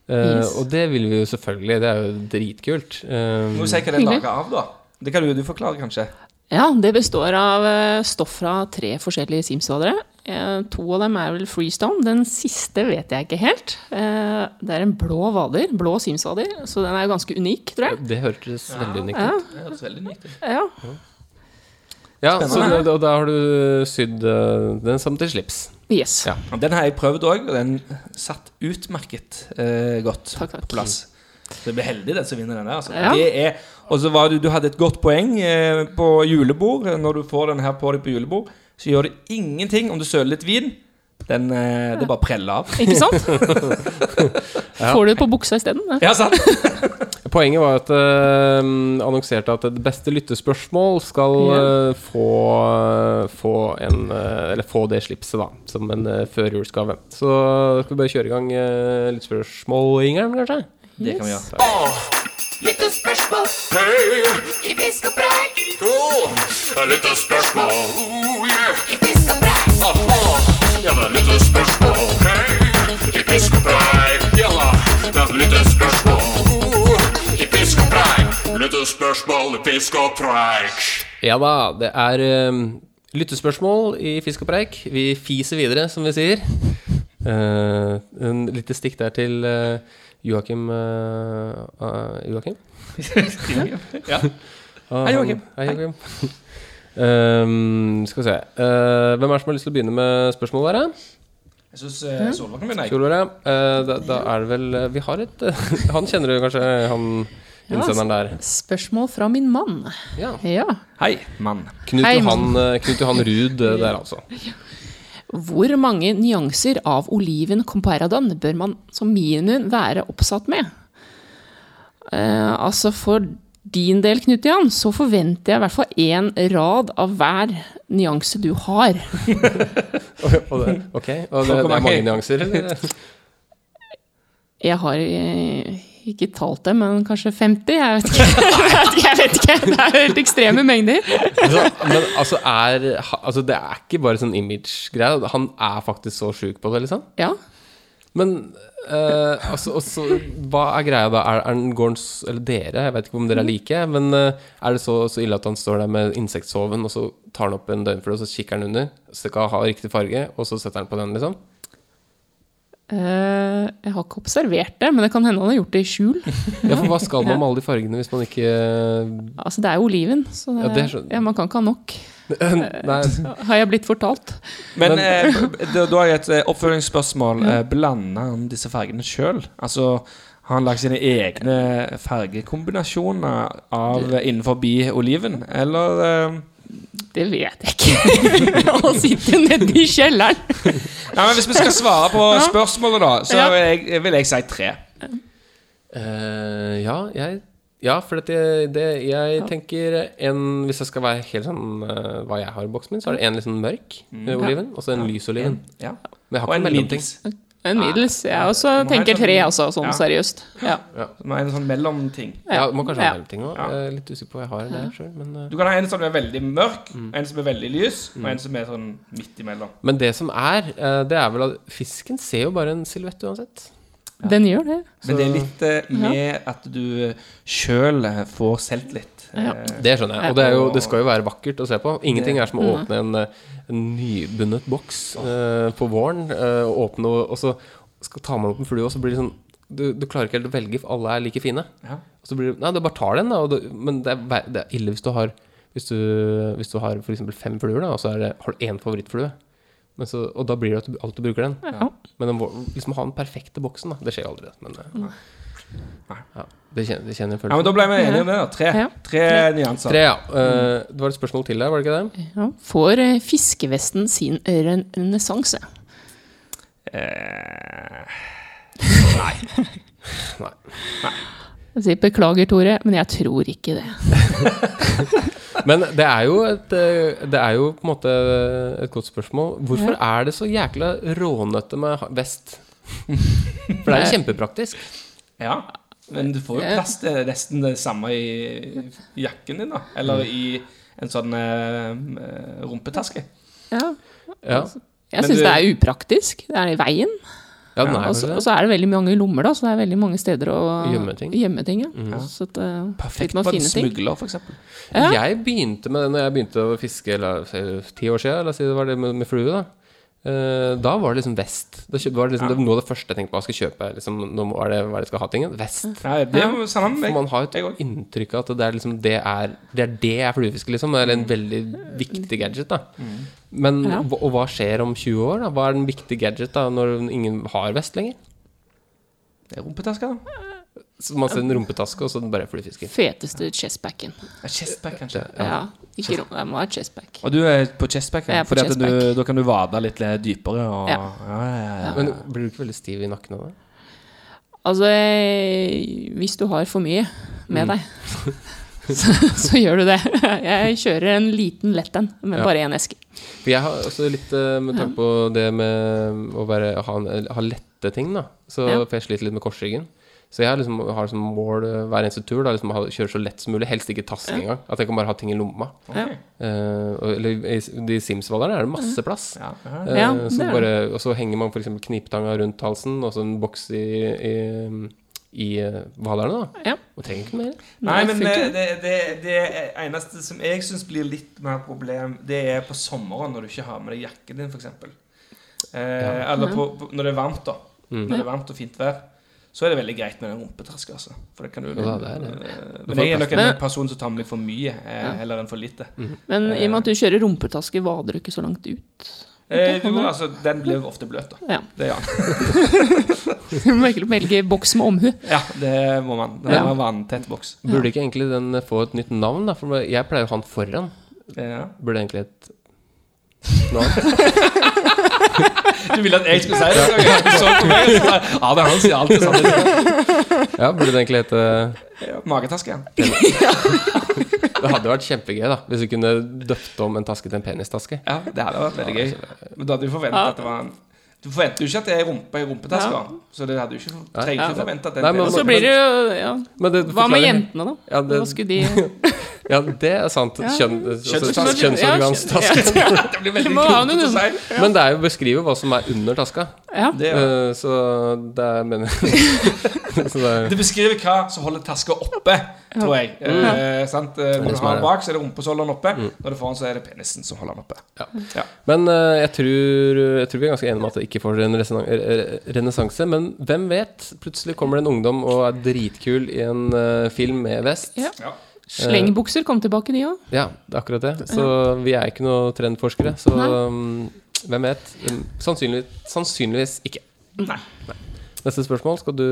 [SPEAKER 9] Yes.
[SPEAKER 6] Og det vil vi jo selvfølgelig. Det er jo dritkult. Eh,
[SPEAKER 5] Må du si hva det er laget av, da? Det kan jo du forklare, kanskje.
[SPEAKER 9] ja, det består av eh, stoff fra tre forskjellige simsvadere. Eh, To av dem er vel freestone. Den siste vet jeg ikke helt. Eh, Det er en blå vader, blå simsvader, så den er jo ganske unik, tror jeg.
[SPEAKER 6] det hørtes veldig unikt ut.
[SPEAKER 9] Ja,
[SPEAKER 5] Det høres veldig nytt ut.
[SPEAKER 9] ja.
[SPEAKER 6] Ja, så, og da har du sydd eh, den sammen til slips.
[SPEAKER 9] Yes.
[SPEAKER 6] Ja.
[SPEAKER 5] Den har jeg prøvd òg, og den satt utmerket eh, godt
[SPEAKER 9] Takk, takk.
[SPEAKER 5] på plass. Så det blir heldig den som vinner den der. Altså.
[SPEAKER 9] Ja.
[SPEAKER 5] Det er, og så var du, du hadde et godt poeng eh, på julebord. Når du får den her på deg på julebord, så gjør det ingenting om du søler litt vin. Den, eh, det bare preller av.
[SPEAKER 9] Ikke sant? Får du det på buksa isteden? da?
[SPEAKER 5] Ja, sant?
[SPEAKER 6] Poenget var at eh, annonserte at det beste lyttespørsmål skal eh, få, få, en, eh, eller få det slipset, da, som en eh, førjulsgave. Så skal vi bare kjøre i gang eh, lyttespørsmål, Ingeren, kanskje?
[SPEAKER 5] Det kan vi gjøre.
[SPEAKER 6] Ja da, det er eh, lyttespørsmål i Fisk og preik. Vi fiser videre, som vi sier. Uh, en lite stikk der til eh, Joakim eh, eh, Joakim? Ah,
[SPEAKER 5] Hei,
[SPEAKER 6] han-
[SPEAKER 5] Joakim.
[SPEAKER 6] Hei, Joakim. Ehm, skal vi se Eh, Hvem er det som har lyst til å begynne med spørsmålet? her? eh?
[SPEAKER 5] Jeg syns eh, Solvang kan begynne.
[SPEAKER 9] Mm.
[SPEAKER 5] jeg.
[SPEAKER 6] Solveig, ja. Eh, da, da er det vel eh, Vi har et eh, Han kjenner du kanskje, han
[SPEAKER 5] altså.
[SPEAKER 6] innsenderen der.
[SPEAKER 9] Spørsmål fra min mann.
[SPEAKER 6] Ja.
[SPEAKER 9] Ja.
[SPEAKER 5] Hei, mann.
[SPEAKER 6] Knut,
[SPEAKER 9] Hei,
[SPEAKER 6] Johan, eh, Knut Johan Ruud eh, der, altså.
[SPEAKER 9] Hvor mange nyanser av oliven comparadon bør man som minimum være oppsatt med? Eh, altså for din del, Knut Jan, så forventer jeg i hvert fall én rad av hver nyanse du har.
[SPEAKER 6] Og det, ok, og det, det er mange nyanser, eller?
[SPEAKER 9] Jeg har eh, ikke talt det, men kanskje 50? Jeg vet ikke. Jeg vet ikke, jeg vet ikke. Det er jo helt ekstreme mengder.
[SPEAKER 6] Altså, men altså, er, ha- altså, det er ikke bare sånn image-greie. Han er faktisk så sjuk på det, liksom.
[SPEAKER 9] Ja.
[SPEAKER 6] Men eh, altså, og så- hva er greia da? Er, er den går han s- Eller dere, jeg vet ikke om dere er like, men eh, er det så, så ille at han står der med insektsoven, og så tar han opp en døgnflue, og så kikker han under, så det ikke har riktig farge, og så setter han på den, liksom?
[SPEAKER 9] Eh, jeg har ikke observert det, men det kan hende han har gjort det i skjul.
[SPEAKER 6] Ja, for hva skal man med alle de fargene hvis man ikke
[SPEAKER 9] Altså, det er jo oliven, så det,
[SPEAKER 6] Ja, det er så-
[SPEAKER 9] ja, man kan ikke ha nok.
[SPEAKER 6] eh, Nei,
[SPEAKER 9] Har jeg blitt fortalt?
[SPEAKER 5] Men eh, da, da har jeg et eh, oppfølgingsspørsmål. Eh, blander han disse fargene sjøl? Altså, har han lagd sine egne fargekombinasjoner av eh, innenfor oliven? Eller eh,
[SPEAKER 9] Det vet jeg ikke. Han sitter jo nede i kjelleren.
[SPEAKER 5] Nei, men Hvis vi skal svare på spørsmålet, da, så
[SPEAKER 9] Ja.
[SPEAKER 5] vil jeg, vil jeg si tre.
[SPEAKER 6] Eh, ja, jeg ja, for at det, det, jeg tenker en Hvis jeg skal være helt sånn eh, hva jeg har i boksen min, så er det en litt sånn mørk eh, oliven, og så en lys oliven.
[SPEAKER 5] Mm. Ja.
[SPEAKER 6] Men jeg
[SPEAKER 5] Og
[SPEAKER 6] har
[SPEAKER 5] en
[SPEAKER 6] ikke mellomting.
[SPEAKER 5] middels.
[SPEAKER 9] En middels. Jeg også tenker tre, altså, sånn
[SPEAKER 5] Ja.
[SPEAKER 9] seriøst. Ja.
[SPEAKER 5] Som er en sånn mellomting.
[SPEAKER 6] Ja, må kanskje ha
[SPEAKER 9] Ja.
[SPEAKER 6] mellomting òg. Litt usikker på hva jeg har der sjøl, men eh,
[SPEAKER 5] Du kan ha en som er veldig mørk, en som er veldig lys, og en som er sånn midt imellom.
[SPEAKER 6] Men det som er, eh, det er vel at fisken ser jo bare en silhuett uansett.
[SPEAKER 9] Den gjør det.
[SPEAKER 5] Men det er litt eh, med at du sjøl får solgt litt.
[SPEAKER 9] Ja.
[SPEAKER 5] Eh,
[SPEAKER 6] Det skjønner jeg. Og det, er jo, det skal jo være vakkert å se på. Ingenting er
[SPEAKER 5] Mm.
[SPEAKER 6] som å åpne en, eh, en nybundet boks eh, på våren. eh, og åpne og og så skal ta med opp en flue, og så blir det sånn du, du klarer ikke helt å velge, for alle er like fine.
[SPEAKER 5] Ja.
[SPEAKER 6] Og så blir det Nei, du bare tar den, da. Og du, men det er, ver- det er ille hvis du har Hvis du, hvis du har f.eks. fem fluer, da, og så er det, har du én favorittflue. Men så, og da blir det at du alltid bruker den. Men den må liksom ha den perfekte boksen, da. Det skjer jo aldri, det. Men eh, ja, det kjenner, det kjenner jeg
[SPEAKER 5] Mm. Ja,
[SPEAKER 6] følelsen.
[SPEAKER 5] men Da ble vi enige om det. da. Tre,
[SPEAKER 9] Ja.
[SPEAKER 5] tre nyanser.
[SPEAKER 6] Tre, ja. Eh, det var et spørsmål til der, var det ikke det?
[SPEAKER 9] Ja. Får eh, fiskevesten sin ren- renessanse?
[SPEAKER 5] Eh,
[SPEAKER 6] Nei.
[SPEAKER 9] Jeg sier beklager, Tore, men jeg tror ikke det.
[SPEAKER 6] Men det er jo et eh, Det er jo på en måte et godt spørsmål. Hvorfor er det så jækla rånøtte med ha- vest? For det er jo kjempepraktisk.
[SPEAKER 5] Ja. Men du får jo plass til nesten det samme i i jakken din, da. Eller i en sånn eh, rumpetaske.
[SPEAKER 9] Ja.
[SPEAKER 6] Ja,
[SPEAKER 9] Jeg
[SPEAKER 5] Men
[SPEAKER 9] syns
[SPEAKER 5] du-
[SPEAKER 9] det er upraktisk. Det er i veien.
[SPEAKER 6] ja den er
[SPEAKER 9] Og så
[SPEAKER 6] kanskje
[SPEAKER 9] og
[SPEAKER 6] det.
[SPEAKER 9] så er det veldig mange lommer, da, så det er veldig mange steder å
[SPEAKER 6] Gjemme ting.
[SPEAKER 9] Gjemme ting ja.
[SPEAKER 6] Mhm.
[SPEAKER 9] Så at, eh,
[SPEAKER 5] Perfekt
[SPEAKER 9] litt med å
[SPEAKER 5] på en
[SPEAKER 9] finne ting.
[SPEAKER 5] smugler, for eksempel.
[SPEAKER 9] Ja.
[SPEAKER 6] Jeg begynte med det når jeg begynte å fiske eller, si, ti år siden, eller si det var det med, med flue. Da Eh, Da var det liksom vest. Da kjøp- var det, liksom, det var noe av det første jeg tenkte på. Jeg skal kjøpe liksom, nå må- hva er det, hva er det jeg skal ha tingen? Vest.
[SPEAKER 5] Ja, det er jo samme med
[SPEAKER 6] For
[SPEAKER 5] meg.
[SPEAKER 6] man har jo
[SPEAKER 5] Jeg
[SPEAKER 6] et inntrykk av at det er liksom det er det er, det er fluefiske, liksom. Eller en veldig viktig gadget, da. Men
[SPEAKER 9] Ja.
[SPEAKER 6] hva- og hva skjer om 20 år? da? Hva er den viktige gadget da når ingen har vest lenger?
[SPEAKER 5] Det er rumpetaske, da.
[SPEAKER 6] Så man ser en rumpetaske, og så bare fluefisker.
[SPEAKER 9] Feteste chestbacken.
[SPEAKER 5] Ja, Chestback, kanskje.
[SPEAKER 6] Det-
[SPEAKER 9] Ja.
[SPEAKER 6] Ja.
[SPEAKER 9] Ikke rom, det må være chestback.
[SPEAKER 5] Og du er på chestback?
[SPEAKER 9] Jeg
[SPEAKER 5] Ja,
[SPEAKER 9] er på
[SPEAKER 5] fordi at du,
[SPEAKER 9] chestback.
[SPEAKER 5] da kan du vade litt eh, dypere? Og,
[SPEAKER 9] Ja.
[SPEAKER 5] Ja, ja, ja.
[SPEAKER 6] Men blir du ikke veldig stiv i nakken av det?
[SPEAKER 9] Altså, eh, hvis du har for mye med deg, så, så gjør du det. Jeg kjører en liten lett en med
[SPEAKER 6] Ja.
[SPEAKER 9] bare én eske.
[SPEAKER 6] For jeg har også litt eh, med tanke på det med å være, ha, en- ha lette ting, da. Så,
[SPEAKER 9] Ja.
[SPEAKER 6] For jeg sliter litt med korsryggen. Så jeg har liksom, har som mål eh, hver eneste tur da, liksom, å ha- kjøre så lett som mulig. Helst ikke taske engang. At jeg kan bare ha ting i lomma. Eh, og, eller i s- de Sims-hvalerne er det masse plass.
[SPEAKER 5] Ja, ja.
[SPEAKER 6] Eh,
[SPEAKER 9] Mm. Ja,
[SPEAKER 6] så
[SPEAKER 9] det er
[SPEAKER 6] bare, og så henger man f.eks. kniptanga rundt halsen, og så en boks i, i, i eh, hvalerne, da.
[SPEAKER 9] Ja.
[SPEAKER 6] Og trenger ikke mer.
[SPEAKER 5] Nei, men
[SPEAKER 9] funker
[SPEAKER 5] eh, det, det, det eneste som jeg syns blir litt mer problem, det er på sommeren når du ikke har med deg jakken din, f.eks. Eh, Eller på, på, når det er varmt, da.
[SPEAKER 6] Mm.
[SPEAKER 5] Når det er varmt og fint vær. Så er det veldig greit med en rumpetaske. Altså. For det kan du,
[SPEAKER 6] Ja, det er det.
[SPEAKER 5] Eh,
[SPEAKER 6] Du
[SPEAKER 5] Men
[SPEAKER 6] får
[SPEAKER 5] jeg er nok en
[SPEAKER 9] plass.
[SPEAKER 5] person som tar med for mye eh, heller enn for lite.
[SPEAKER 9] Men i og med at du kjører rumpetaske, vader du ikke så langt ut.
[SPEAKER 5] Eh, jo, altså, den blir ofte bløt, da.
[SPEAKER 9] Ja.
[SPEAKER 5] Det, ja.
[SPEAKER 9] Du må virkelig velge boks med omhu.
[SPEAKER 5] ja, det må man. Det
[SPEAKER 9] Ja.
[SPEAKER 5] må være vanntett boks.
[SPEAKER 6] Burde ikke egentlig den eh, få et nytt navn, da? For jeg pleier å ha den foran.
[SPEAKER 5] Ja.
[SPEAKER 6] Burde egentlig et navn.
[SPEAKER 5] Du ville at jeg skulle si det? så jeg ikke så på meg, og så sa jeg, Ja, men han sier alltid sånn.
[SPEAKER 6] Ja, burde det egentlig hete
[SPEAKER 5] Ja, Magetaske. ja.
[SPEAKER 6] Det hadde vært kjempegøy da hvis du kunne døpt om en taske til en penistaske.
[SPEAKER 5] Ja, det hadde vært veldig
[SPEAKER 6] altså,
[SPEAKER 5] gøy. Men da hadde du forventet at det var en Du forventer jo ikke at det er rumpe i rumpetaska. Så det hadde du ikke, trenger ikke forvente at det
[SPEAKER 6] Nei,
[SPEAKER 5] er
[SPEAKER 6] men-
[SPEAKER 5] en
[SPEAKER 9] Og
[SPEAKER 5] del-
[SPEAKER 9] så blir det jo ja.
[SPEAKER 6] Men det
[SPEAKER 9] Hva med
[SPEAKER 6] forklarer-
[SPEAKER 9] jentene, da?
[SPEAKER 6] Ja, det,
[SPEAKER 9] Hva skulle de
[SPEAKER 6] ja, det er sant. Kjønn, altså,
[SPEAKER 5] Kjønnsorganstaske.
[SPEAKER 6] Kjønnsorganstaske.
[SPEAKER 5] Det blir veldig
[SPEAKER 9] må ha noe
[SPEAKER 5] klotete å si.
[SPEAKER 6] Men det er jo å beskrive hva som er under taska.
[SPEAKER 9] Ja.
[SPEAKER 5] Det, er-
[SPEAKER 6] Eh, Så det er men, så det er,
[SPEAKER 5] Eh, det beskriver hva som holder taska oppe, tror jeg. Eh, sant? Eh, Når
[SPEAKER 6] Mm. det
[SPEAKER 5] du
[SPEAKER 6] som er
[SPEAKER 5] har den
[SPEAKER 6] det. Mm.
[SPEAKER 5] bak, så er det rumpa som holder den oppe. Når du får den, så er det penisen som holder den oppe.
[SPEAKER 6] men eh, jeg tror, jeg tror vi er ganske enige om at det ikke får en resonan- eh, renessanse. Men hvem vet? Plutselig kommer det en ungdom og er dritkul i en eh, film med vest.
[SPEAKER 9] Ja.
[SPEAKER 5] Ja.
[SPEAKER 9] Slengbukser kom tilbake, de òg.
[SPEAKER 6] Ja, det er akkurat det. Så vi er ikke noe trendforskere. Så um, hvem vet? Um, Sannsynligvis, sannsynligvis ikke.
[SPEAKER 5] Nei.
[SPEAKER 6] Neste spørsmål skal du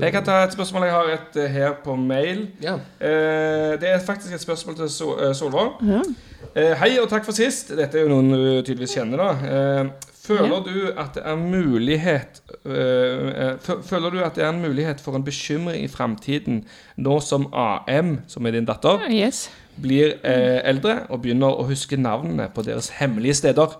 [SPEAKER 5] Jeg kan ta et spørsmål jeg har et eh, her på mail.
[SPEAKER 6] Ja.
[SPEAKER 5] Eh, det er faktisk et spørsmål til Sol eh, Solvang. Eh, hei og takk for sist. Dette er jo noen du tydeligvis kjenner, da. Eh, føler du at det er mulighet eh, eh, fø- Føler du at det er en mulighet for en bekymring i framtiden nå som AM, som er din datter,
[SPEAKER 9] Yes.
[SPEAKER 5] blir eh, eldre og begynner å huske navnene på deres hemmelige steder?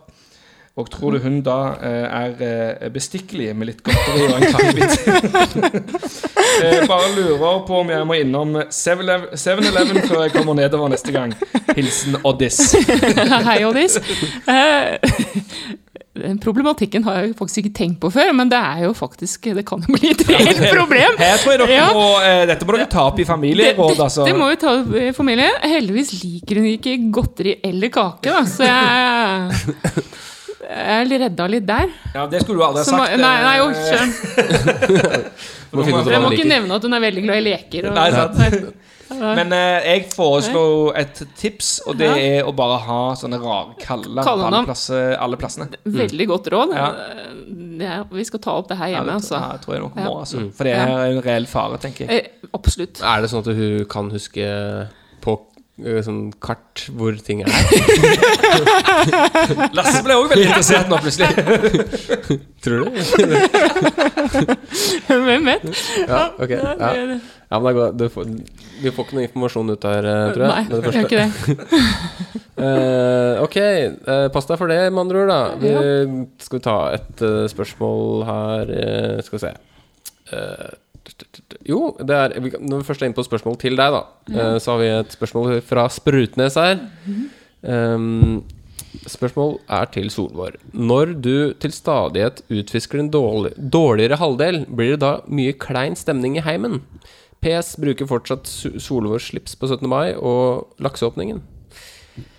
[SPEAKER 5] Og tror du hun da eh, er eh, bestikkelig med litt godteri og en kakebit? Eh, bare lurer på om jeg må innom 7-Eleven 7-Eleven før jeg kommer nedover neste gang. Hilsen Oddis.
[SPEAKER 9] Hei, Oddis. Eh, Den problematikken har jeg jo faktisk ikke tenkt på før, men det er jo faktisk Det kan jo bli et reelt problem.
[SPEAKER 5] Her tror jeg dere
[SPEAKER 9] Ja.
[SPEAKER 5] må, eh, dette må dere ta opp i
[SPEAKER 9] Det,
[SPEAKER 5] familieråd, altså.
[SPEAKER 9] dette må vi ta opp i familie. Heldigvis liker hun ikke godteri eller kake, da, så jeg Jeg redda litt der.
[SPEAKER 5] Ja, det skulle du aldri ha
[SPEAKER 9] Så må,
[SPEAKER 5] sagt.
[SPEAKER 9] nei, nei, jo,
[SPEAKER 5] eh,
[SPEAKER 9] skjønn.
[SPEAKER 6] Må finne ut hva
[SPEAKER 9] Jeg må
[SPEAKER 6] man
[SPEAKER 9] ikke
[SPEAKER 6] liker.
[SPEAKER 9] nevne at hun er veldig glad i leker. Og, sånn.
[SPEAKER 5] Nei, sant. Men eh, jeg foreslår et tips, og det er å bare ha sånne rare kaller på alle,
[SPEAKER 9] Kallenavn.
[SPEAKER 5] plasser, alle plassene.
[SPEAKER 9] Veldig godt råd.
[SPEAKER 5] Mm. Ja.
[SPEAKER 9] Ja, vi skal ta opp det her
[SPEAKER 5] Ja,
[SPEAKER 9] hjemme,
[SPEAKER 5] det
[SPEAKER 9] altså.
[SPEAKER 5] tror, ja, tror jeg nok vi må,
[SPEAKER 9] Ja.
[SPEAKER 5] altså. For det er en reell fare, tenker jeg.
[SPEAKER 9] Eh, Absolutt.
[SPEAKER 6] Er det sånn at hun kan huske på eh, sånn kart hvor ting er?
[SPEAKER 5] Lasse ble òg veldig interessert nå, plutselig.
[SPEAKER 6] Tror du?
[SPEAKER 9] Hvem vet?
[SPEAKER 6] Ja, ok. Ja. Ja, men det er godt. Du får, du får ikke noe informasjon ut der, eh, tror jeg.
[SPEAKER 9] Nei,
[SPEAKER 6] med
[SPEAKER 9] jeg
[SPEAKER 6] det første.
[SPEAKER 9] gjør ikke det.
[SPEAKER 6] Eh, ok, eh, pass deg for det, med andre ord. da vi, Skal vi ta et eh, spørsmål her eh, Skal vi se. Eh, t- t- t- jo, det er, vi, kan- når vi først er inne på spørsmål til deg, da, eh, så har vi et spørsmål fra Sprutnes her. Um, spørsmål er til Solvår. Når du til stadighet utfisker en dårlig, dårligere halvdel, blir det da mye klein stemning i heimen? PS bruker fortsatt Su- Solvårs slips på 17. mai og lakseåpningen.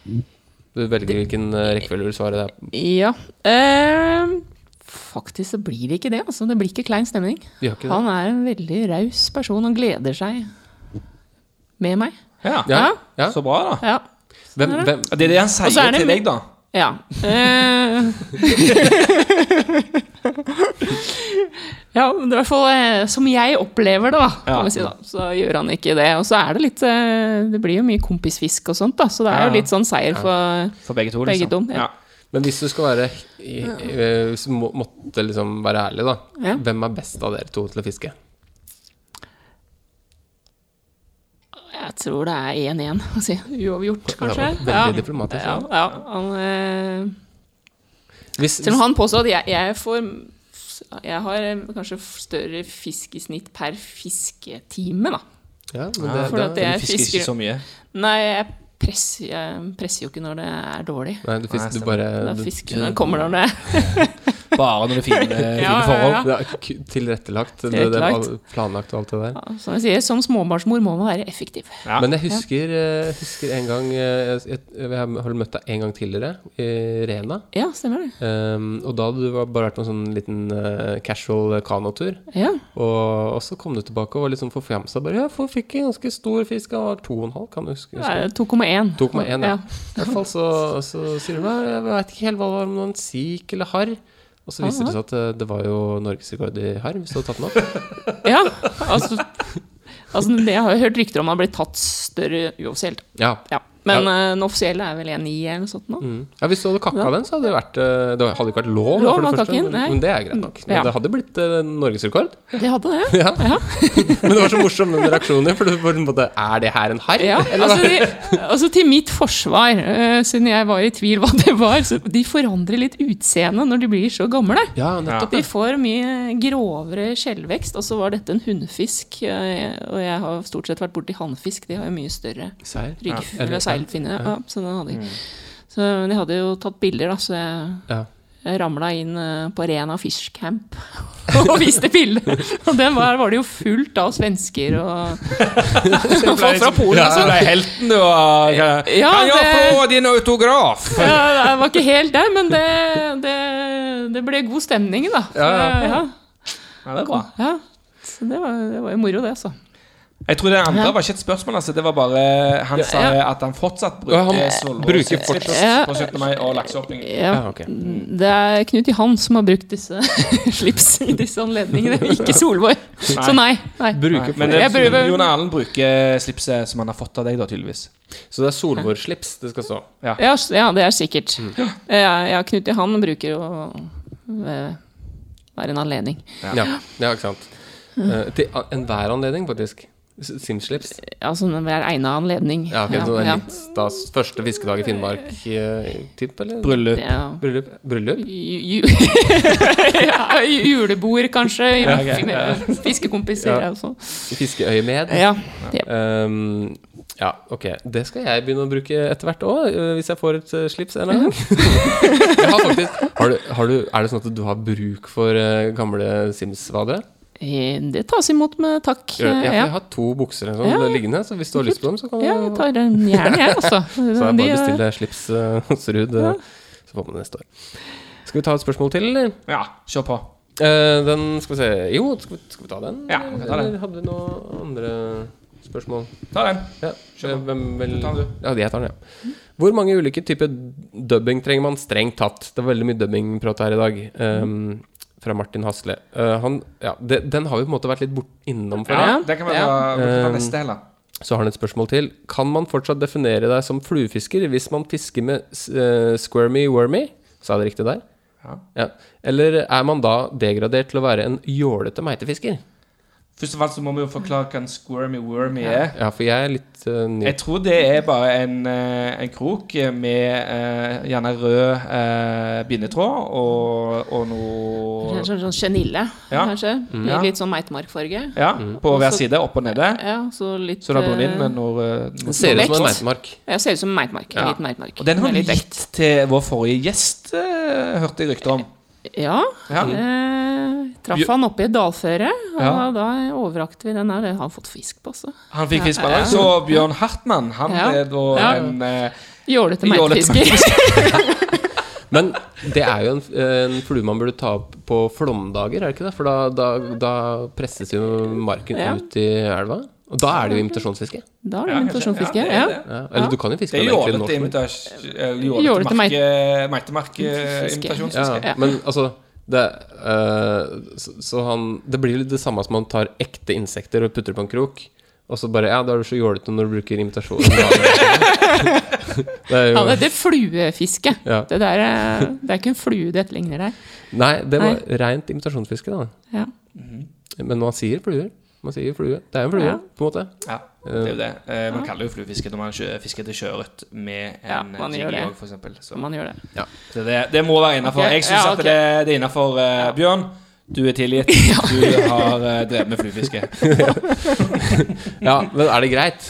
[SPEAKER 6] Du velger hvilken eh, rekkefølge du vil svare der.
[SPEAKER 9] Ja. Eh, faktisk så blir det ikke det. Altså. Det blir ikke klein stemning.
[SPEAKER 6] Vi har ikke det.
[SPEAKER 9] Han er en veldig raus person og gleder seg med meg.
[SPEAKER 5] Ja.
[SPEAKER 6] Ja, ja.
[SPEAKER 9] Sånn
[SPEAKER 5] Så bra, da.
[SPEAKER 9] Ja.
[SPEAKER 6] Hvem, hvem,
[SPEAKER 5] Og Det er det han
[SPEAKER 9] Og så er
[SPEAKER 5] sier
[SPEAKER 9] det
[SPEAKER 5] til
[SPEAKER 9] mi-
[SPEAKER 5] deg, da.
[SPEAKER 9] ja. Eh, ja, men det er i hvert fall eh, som jeg opplever det, da,
[SPEAKER 5] Ja.
[SPEAKER 9] kan vi si, da. Så gjør han ikke det. Og så er det litt eh, Det blir jo mye kompisfisk og sånt, da, så det er
[SPEAKER 5] Ja, ja.
[SPEAKER 9] jo litt sånn seier for
[SPEAKER 5] For begge to, liksom.
[SPEAKER 9] Begge to, ja.
[SPEAKER 6] men hvis du skal være i, eh, Hvis du må, måtte liksom være ærlig, da.
[SPEAKER 9] Ja.
[SPEAKER 6] Hvem er best av dere to til å fiske?
[SPEAKER 9] Jeg tror det er 1-1. Altså, uavgjort,
[SPEAKER 6] var
[SPEAKER 9] kanskje.
[SPEAKER 6] veldig diplomatisk,
[SPEAKER 9] Ja,
[SPEAKER 6] Sånn. ja.
[SPEAKER 9] ja, han, eh,
[SPEAKER 6] Hvis,
[SPEAKER 9] selv om han påstår at jeg, jeg får Jeg har eh, kanskje større fisk i snitt per fisketime, da.
[SPEAKER 6] ja, men det,
[SPEAKER 5] Ja,
[SPEAKER 9] For
[SPEAKER 6] da-
[SPEAKER 9] at
[SPEAKER 5] Du
[SPEAKER 9] jeg
[SPEAKER 5] fisker ikke
[SPEAKER 9] fisker
[SPEAKER 5] så mye.
[SPEAKER 9] Nei, jeg presser, jeg presser jo ikke når det er dårlig.
[SPEAKER 6] Nei, du
[SPEAKER 5] Nei,
[SPEAKER 6] fisker du
[SPEAKER 5] stemmer.
[SPEAKER 6] bare
[SPEAKER 9] Da
[SPEAKER 6] du-
[SPEAKER 9] fisker når det kommer når det
[SPEAKER 5] Bare når det er fine,
[SPEAKER 9] Ja,
[SPEAKER 5] fine
[SPEAKER 9] ja,
[SPEAKER 5] forhold.
[SPEAKER 9] ja.
[SPEAKER 6] Det er ku- tilrettelagt. Det, det var
[SPEAKER 9] Tilrettelagt.
[SPEAKER 6] planlagt og alt det der.
[SPEAKER 9] Ja, Som jeg sier, som småbarnsmor må man være effektiv.
[SPEAKER 5] Ja.
[SPEAKER 6] Men jeg husker, eh, husker en gang eh, jeg, jeg, jeg har møtt deg en gang tidligere, i Rena.
[SPEAKER 9] Ja, stemmer det.
[SPEAKER 6] Um, og da hadde du var- bare vært på en sånn liten eh, casual kanotur.
[SPEAKER 9] Ja,
[SPEAKER 6] Og, og så kom du tilbake og var litt sånn forfjamsa. Bare, ja, for fikk en ganske stor fisk. Han var to og en halv, kan du huske.
[SPEAKER 9] det er 2,1.
[SPEAKER 6] 2,1, ja. I hvert fall så, så sier hun «Nei, jeg veit ikke helt hva det var, om det var en sik eller harr. Og så viser det seg at eh, det var jo norgesrekord i harr, hvis du hadde tatt den opp.
[SPEAKER 9] Ja, altså, altså det Jeg har jo hørt rykter om at det har blitt tatt større uoffisielt.
[SPEAKER 6] Ja.
[SPEAKER 9] Ja. Men eh, den offisielle er vel 1,9 eller noe sånt nå.
[SPEAKER 6] Mm. ja Hvis du hadde kakka den, så hadde det vært eh, Det hadde ikke vært lov, da, for
[SPEAKER 9] Lov å
[SPEAKER 6] det
[SPEAKER 9] kakke
[SPEAKER 6] første.
[SPEAKER 9] den, nei.
[SPEAKER 6] men det er greit nok. Men
[SPEAKER 9] Ja.
[SPEAKER 6] det hadde blitt eh, norgesrekord.
[SPEAKER 9] Det hadde det.
[SPEAKER 6] Ja. men det var så morsom den reaksjonen din, for du var på en måte Er det her en harr?
[SPEAKER 9] Ja,
[SPEAKER 6] Eller hva?
[SPEAKER 9] altså, de, altså til mitt forsvar, eh, siden jeg var i tvil hva det var, så de forandrer litt utseende når de blir så gamle.
[SPEAKER 6] ja, nettopp.
[SPEAKER 9] De får mye grovere skjellvekst, og så var dette en hunnfisk. eh, Og jeg har stort sett vært borti hannfisk, de har jo mye større
[SPEAKER 6] Seil.
[SPEAKER 9] ryggfinne
[SPEAKER 6] Eller- Mm.
[SPEAKER 9] eller seilfinne. Ja, så den hadde jeg. Så men de hadde jo tatt bilder, da, så jeg
[SPEAKER 6] Ja.
[SPEAKER 9] jeg ramla inn eh, på Rena Fish Camp og viste bildet. Og den var, var det jo fullt av svensker og og folk fra Polen.
[SPEAKER 5] Ja,
[SPEAKER 9] Altså.
[SPEAKER 5] du ble helten, du. Og, eh,
[SPEAKER 9] Ja,
[SPEAKER 5] kan jeg
[SPEAKER 9] det-
[SPEAKER 5] få din autograf?
[SPEAKER 9] Ja, jeg var ikke helt der, men det, det, det ble god stemning, da. Så,
[SPEAKER 6] Ja,
[SPEAKER 9] ja.
[SPEAKER 5] Ja, det er bra.
[SPEAKER 9] ja. Så det var, det var jo moro, det, altså.
[SPEAKER 5] Jeg tror det andre var ikke et spørsmål, altså. Det var bare Han sa
[SPEAKER 9] ja.
[SPEAKER 5] at han fortsatt
[SPEAKER 6] Ja,
[SPEAKER 5] bruker
[SPEAKER 6] han
[SPEAKER 5] Solvås
[SPEAKER 6] bruker
[SPEAKER 5] slips
[SPEAKER 9] Ja.
[SPEAKER 5] på 17. mai og lakseåpning.
[SPEAKER 6] Ja, ok.
[SPEAKER 9] Det er Knut Johan som har brukt disse slips i disse anledningene, ikke Solvår. Så nei. nei.
[SPEAKER 6] Bruker
[SPEAKER 5] Men eh,
[SPEAKER 9] Jeg prøver-
[SPEAKER 5] Jon Erlend bruker slipset som han har fått av deg, da, tydeligvis.
[SPEAKER 6] Så det er Solvår-slips det skal stå.
[SPEAKER 9] Ja, s- ja, det er sikkert.
[SPEAKER 6] Mm.
[SPEAKER 9] Ja, ja Knut Johan bruker jo eh, være en anledning.
[SPEAKER 6] Ja, ja ikke sant. Eh, til a- enhver anledning, faktisk. S- Simslips.
[SPEAKER 9] Altså hver egna anledning.
[SPEAKER 6] Ja, ok, så det
[SPEAKER 9] ja.
[SPEAKER 6] er sånn litt stas. Første fiskedag i Finnmark-tipp, eller?
[SPEAKER 5] Bryllup.
[SPEAKER 9] Ja.
[SPEAKER 6] Bryllup? Bryllup?
[SPEAKER 9] Ju- ju- ja, julebord, kanskje. Fiskekompiser
[SPEAKER 6] Ja.
[SPEAKER 9] også.
[SPEAKER 6] Fiskeøyemed?
[SPEAKER 9] Ja.
[SPEAKER 6] Ehm, ja, ok. Det skal jeg begynne å bruke etter hvert òg, hvis jeg får et eh, slips en eller annen gang. jeg har faktisk, har du, har du, er det sånn at du har bruk for eh, gamle Sims-vadere?
[SPEAKER 9] Eh, Det tas imot med takk.
[SPEAKER 6] Ja, for
[SPEAKER 9] eh,
[SPEAKER 6] jeg
[SPEAKER 9] Ja,
[SPEAKER 6] har to bukser eller sånn,
[SPEAKER 9] Ja.
[SPEAKER 6] liggende, så hvis du har lyst på dem, så kan du
[SPEAKER 9] ja jeg tar den gjerne, jeg, altså.
[SPEAKER 5] Mm,
[SPEAKER 6] Så er det bare
[SPEAKER 9] De,
[SPEAKER 6] å
[SPEAKER 9] eh,
[SPEAKER 6] bestille slips eh, hos Ruud, eh, så får man det neste år. Skal vi ta et spørsmål til, eller?
[SPEAKER 5] Ja, kjør på.
[SPEAKER 6] Eh, den skal vi se Jo, skal vi, skal vi ta den?
[SPEAKER 5] Ja, vi kan ta den.
[SPEAKER 6] Eller hadde vi noen andre spørsmål?
[SPEAKER 5] Ta den.
[SPEAKER 6] Ja,
[SPEAKER 5] Kjør på.
[SPEAKER 6] Hvem vil
[SPEAKER 5] Ta den, Mm.
[SPEAKER 6] Ja, jeg tar den, ja. Hvor mange ulike typer dubbing trenger man strengt tatt? Det var veldig mye dubbingprat her i dag.
[SPEAKER 5] Mm.
[SPEAKER 6] ehm, fra Martin Hasle. Eh, han, ja, det, den har vi på en måte vært litt bort innom for. Ehm,
[SPEAKER 5] Ja, Eh. den kan vi ta, vi kan ta neste, heller.
[SPEAKER 6] Så har han et spørsmål til. Kan man fortsatt definere deg som fluefisker hvis man fisker med eh, squirmy wormy? Sa jeg det riktig der?
[SPEAKER 5] Ja.
[SPEAKER 6] Eller er man da degradert til å være en jålete meitefisker?
[SPEAKER 5] Først av alt så må vi jo forklare hva en squirmy wormy er.
[SPEAKER 6] Ja, for jeg er litt eh, ny.
[SPEAKER 5] Jeg tror det er bare en, eh, en krok med eh, gjerne rød eh, bindetråd og, og noe
[SPEAKER 9] Sånn, sånn genille,
[SPEAKER 5] Ja. Mm.
[SPEAKER 9] kanskje.
[SPEAKER 5] Ja.
[SPEAKER 9] Med litt sånn meitemarkfarge.
[SPEAKER 5] Ja, på hver
[SPEAKER 9] Også-
[SPEAKER 5] side, opp og nede.
[SPEAKER 9] Ja, så litt
[SPEAKER 5] Så da brun inn
[SPEAKER 9] eh,
[SPEAKER 5] med noe, rød-
[SPEAKER 6] Det ser ut som en
[SPEAKER 9] Korrekt.
[SPEAKER 6] meitemark.
[SPEAKER 9] Ja, ser ut som meitemark. En
[SPEAKER 5] Ja.
[SPEAKER 9] liten meitemark.
[SPEAKER 5] Og den har
[SPEAKER 9] Med litt
[SPEAKER 5] litt
[SPEAKER 9] vekt.
[SPEAKER 5] til vår forrige gjest, eh, hørte jeg rykter om.
[SPEAKER 9] Ja.
[SPEAKER 5] Ja.
[SPEAKER 9] Eh, traff han oppe i et dalføre, og
[SPEAKER 5] Ja.
[SPEAKER 9] da overrakte vi den her. Det har han fått fisk på altså. også.
[SPEAKER 5] Han fikk fisk på den. Så Bjørn Hartmann, han
[SPEAKER 9] Ja.
[SPEAKER 5] er da
[SPEAKER 9] Ja.
[SPEAKER 5] en eh,
[SPEAKER 9] Jålete
[SPEAKER 5] Jålete
[SPEAKER 9] meitefisker.
[SPEAKER 6] Men det er jo en, en flue man burde ta opp på flomdager, er det ikke det? For da, da, da presses jo marken
[SPEAKER 9] Ja.
[SPEAKER 6] ut i elva. Og da er det jo invitasjonsfiske.
[SPEAKER 9] da er
[SPEAKER 5] ja,
[SPEAKER 9] det
[SPEAKER 5] kanskje-
[SPEAKER 9] invitasjonsfiske.
[SPEAKER 5] det
[SPEAKER 9] Ja,
[SPEAKER 5] er det.
[SPEAKER 6] Ja. Eller du kan jo fiske
[SPEAKER 5] Det eh, er
[SPEAKER 6] den egentlig når
[SPEAKER 5] jålete
[SPEAKER 6] som helst.
[SPEAKER 5] invitasjon...
[SPEAKER 9] Jålete
[SPEAKER 5] Jålete merke- eh,
[SPEAKER 9] Fiske.
[SPEAKER 5] merkeinvitasjonsfiske.
[SPEAKER 6] Ja, men altså det, eh, så, så han Det blir jo litt det samme som man tar ekte insekter og putter på en krok. Og så bare Ja, da er du så jålete når du bruker invitasjon. det er
[SPEAKER 9] Ja,
[SPEAKER 6] jo
[SPEAKER 9] det heter fluefiske.
[SPEAKER 6] Ja.
[SPEAKER 9] Det, der er, det er ikke en flue det etterligner der.
[SPEAKER 6] Nei, det var rent invitasjonsfiske, da. Mhm.
[SPEAKER 9] Ja.
[SPEAKER 6] Men man sier fluer. Man sier flue. Det er jo en flue,
[SPEAKER 9] Ja.
[SPEAKER 6] på en måte.
[SPEAKER 5] Ja, det er jo det. Eh, man kaller det jo fluefiske når man kjø- fisker til sjøørret med
[SPEAKER 9] Ja,
[SPEAKER 5] en
[SPEAKER 9] man gjør
[SPEAKER 5] jiggelig
[SPEAKER 9] det.
[SPEAKER 5] òg, for eksempel. Så
[SPEAKER 9] Man gjør det.
[SPEAKER 5] det, det, det må være innafor.
[SPEAKER 9] Ok,
[SPEAKER 5] Jeg syns
[SPEAKER 9] ja,
[SPEAKER 5] at
[SPEAKER 9] ok.
[SPEAKER 5] det, det er innafor. Bjørn, du er tilgitt. Du har eh, drevet med fluefiske.
[SPEAKER 6] Eh, Ja, men er det greit?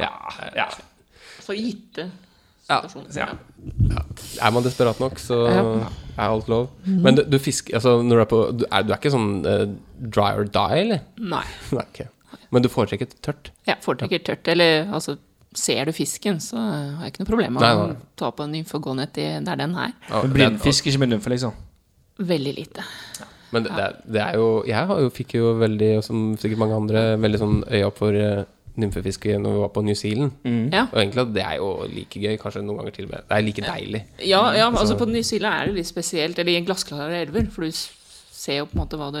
[SPEAKER 5] Ja. ja.
[SPEAKER 9] For gitte
[SPEAKER 6] Ja.
[SPEAKER 5] ja.
[SPEAKER 6] Er man desperat nok, så er alt lov. Men du, du fisker Altså, når du er på Du er, du er ikke sånn eh, dry or die, eller?
[SPEAKER 9] Nei.
[SPEAKER 6] Nei, ok. Men du foretrekker tørt?
[SPEAKER 9] Jeg foretrekker tørt. Eller altså, ser du fisken, så har jeg ikke noe problem med
[SPEAKER 6] Nei,
[SPEAKER 9] å
[SPEAKER 6] nei.
[SPEAKER 9] ta på en nymfe og gå ned til der den er.
[SPEAKER 6] Ja,
[SPEAKER 5] Men blindfisk ikke med lymfe, liksom.
[SPEAKER 9] Veldig lite.
[SPEAKER 6] Men det, det, er- det er jo Jeg har jo, fikk jo veldig, og som sikkert mange andre, veldig sånn øya opp for eh, nymfefiske når vi var på New Zealand.
[SPEAKER 9] Ja.
[SPEAKER 6] Og egentlig det er jo like gøy, kanskje noen ganger til og med. Det er like deilig.
[SPEAKER 9] Ja, ja
[SPEAKER 6] Mm.
[SPEAKER 9] men altså på New Zealand er det litt spesielt, eller i glassklare elver, for du s- ser jo på en måte hva du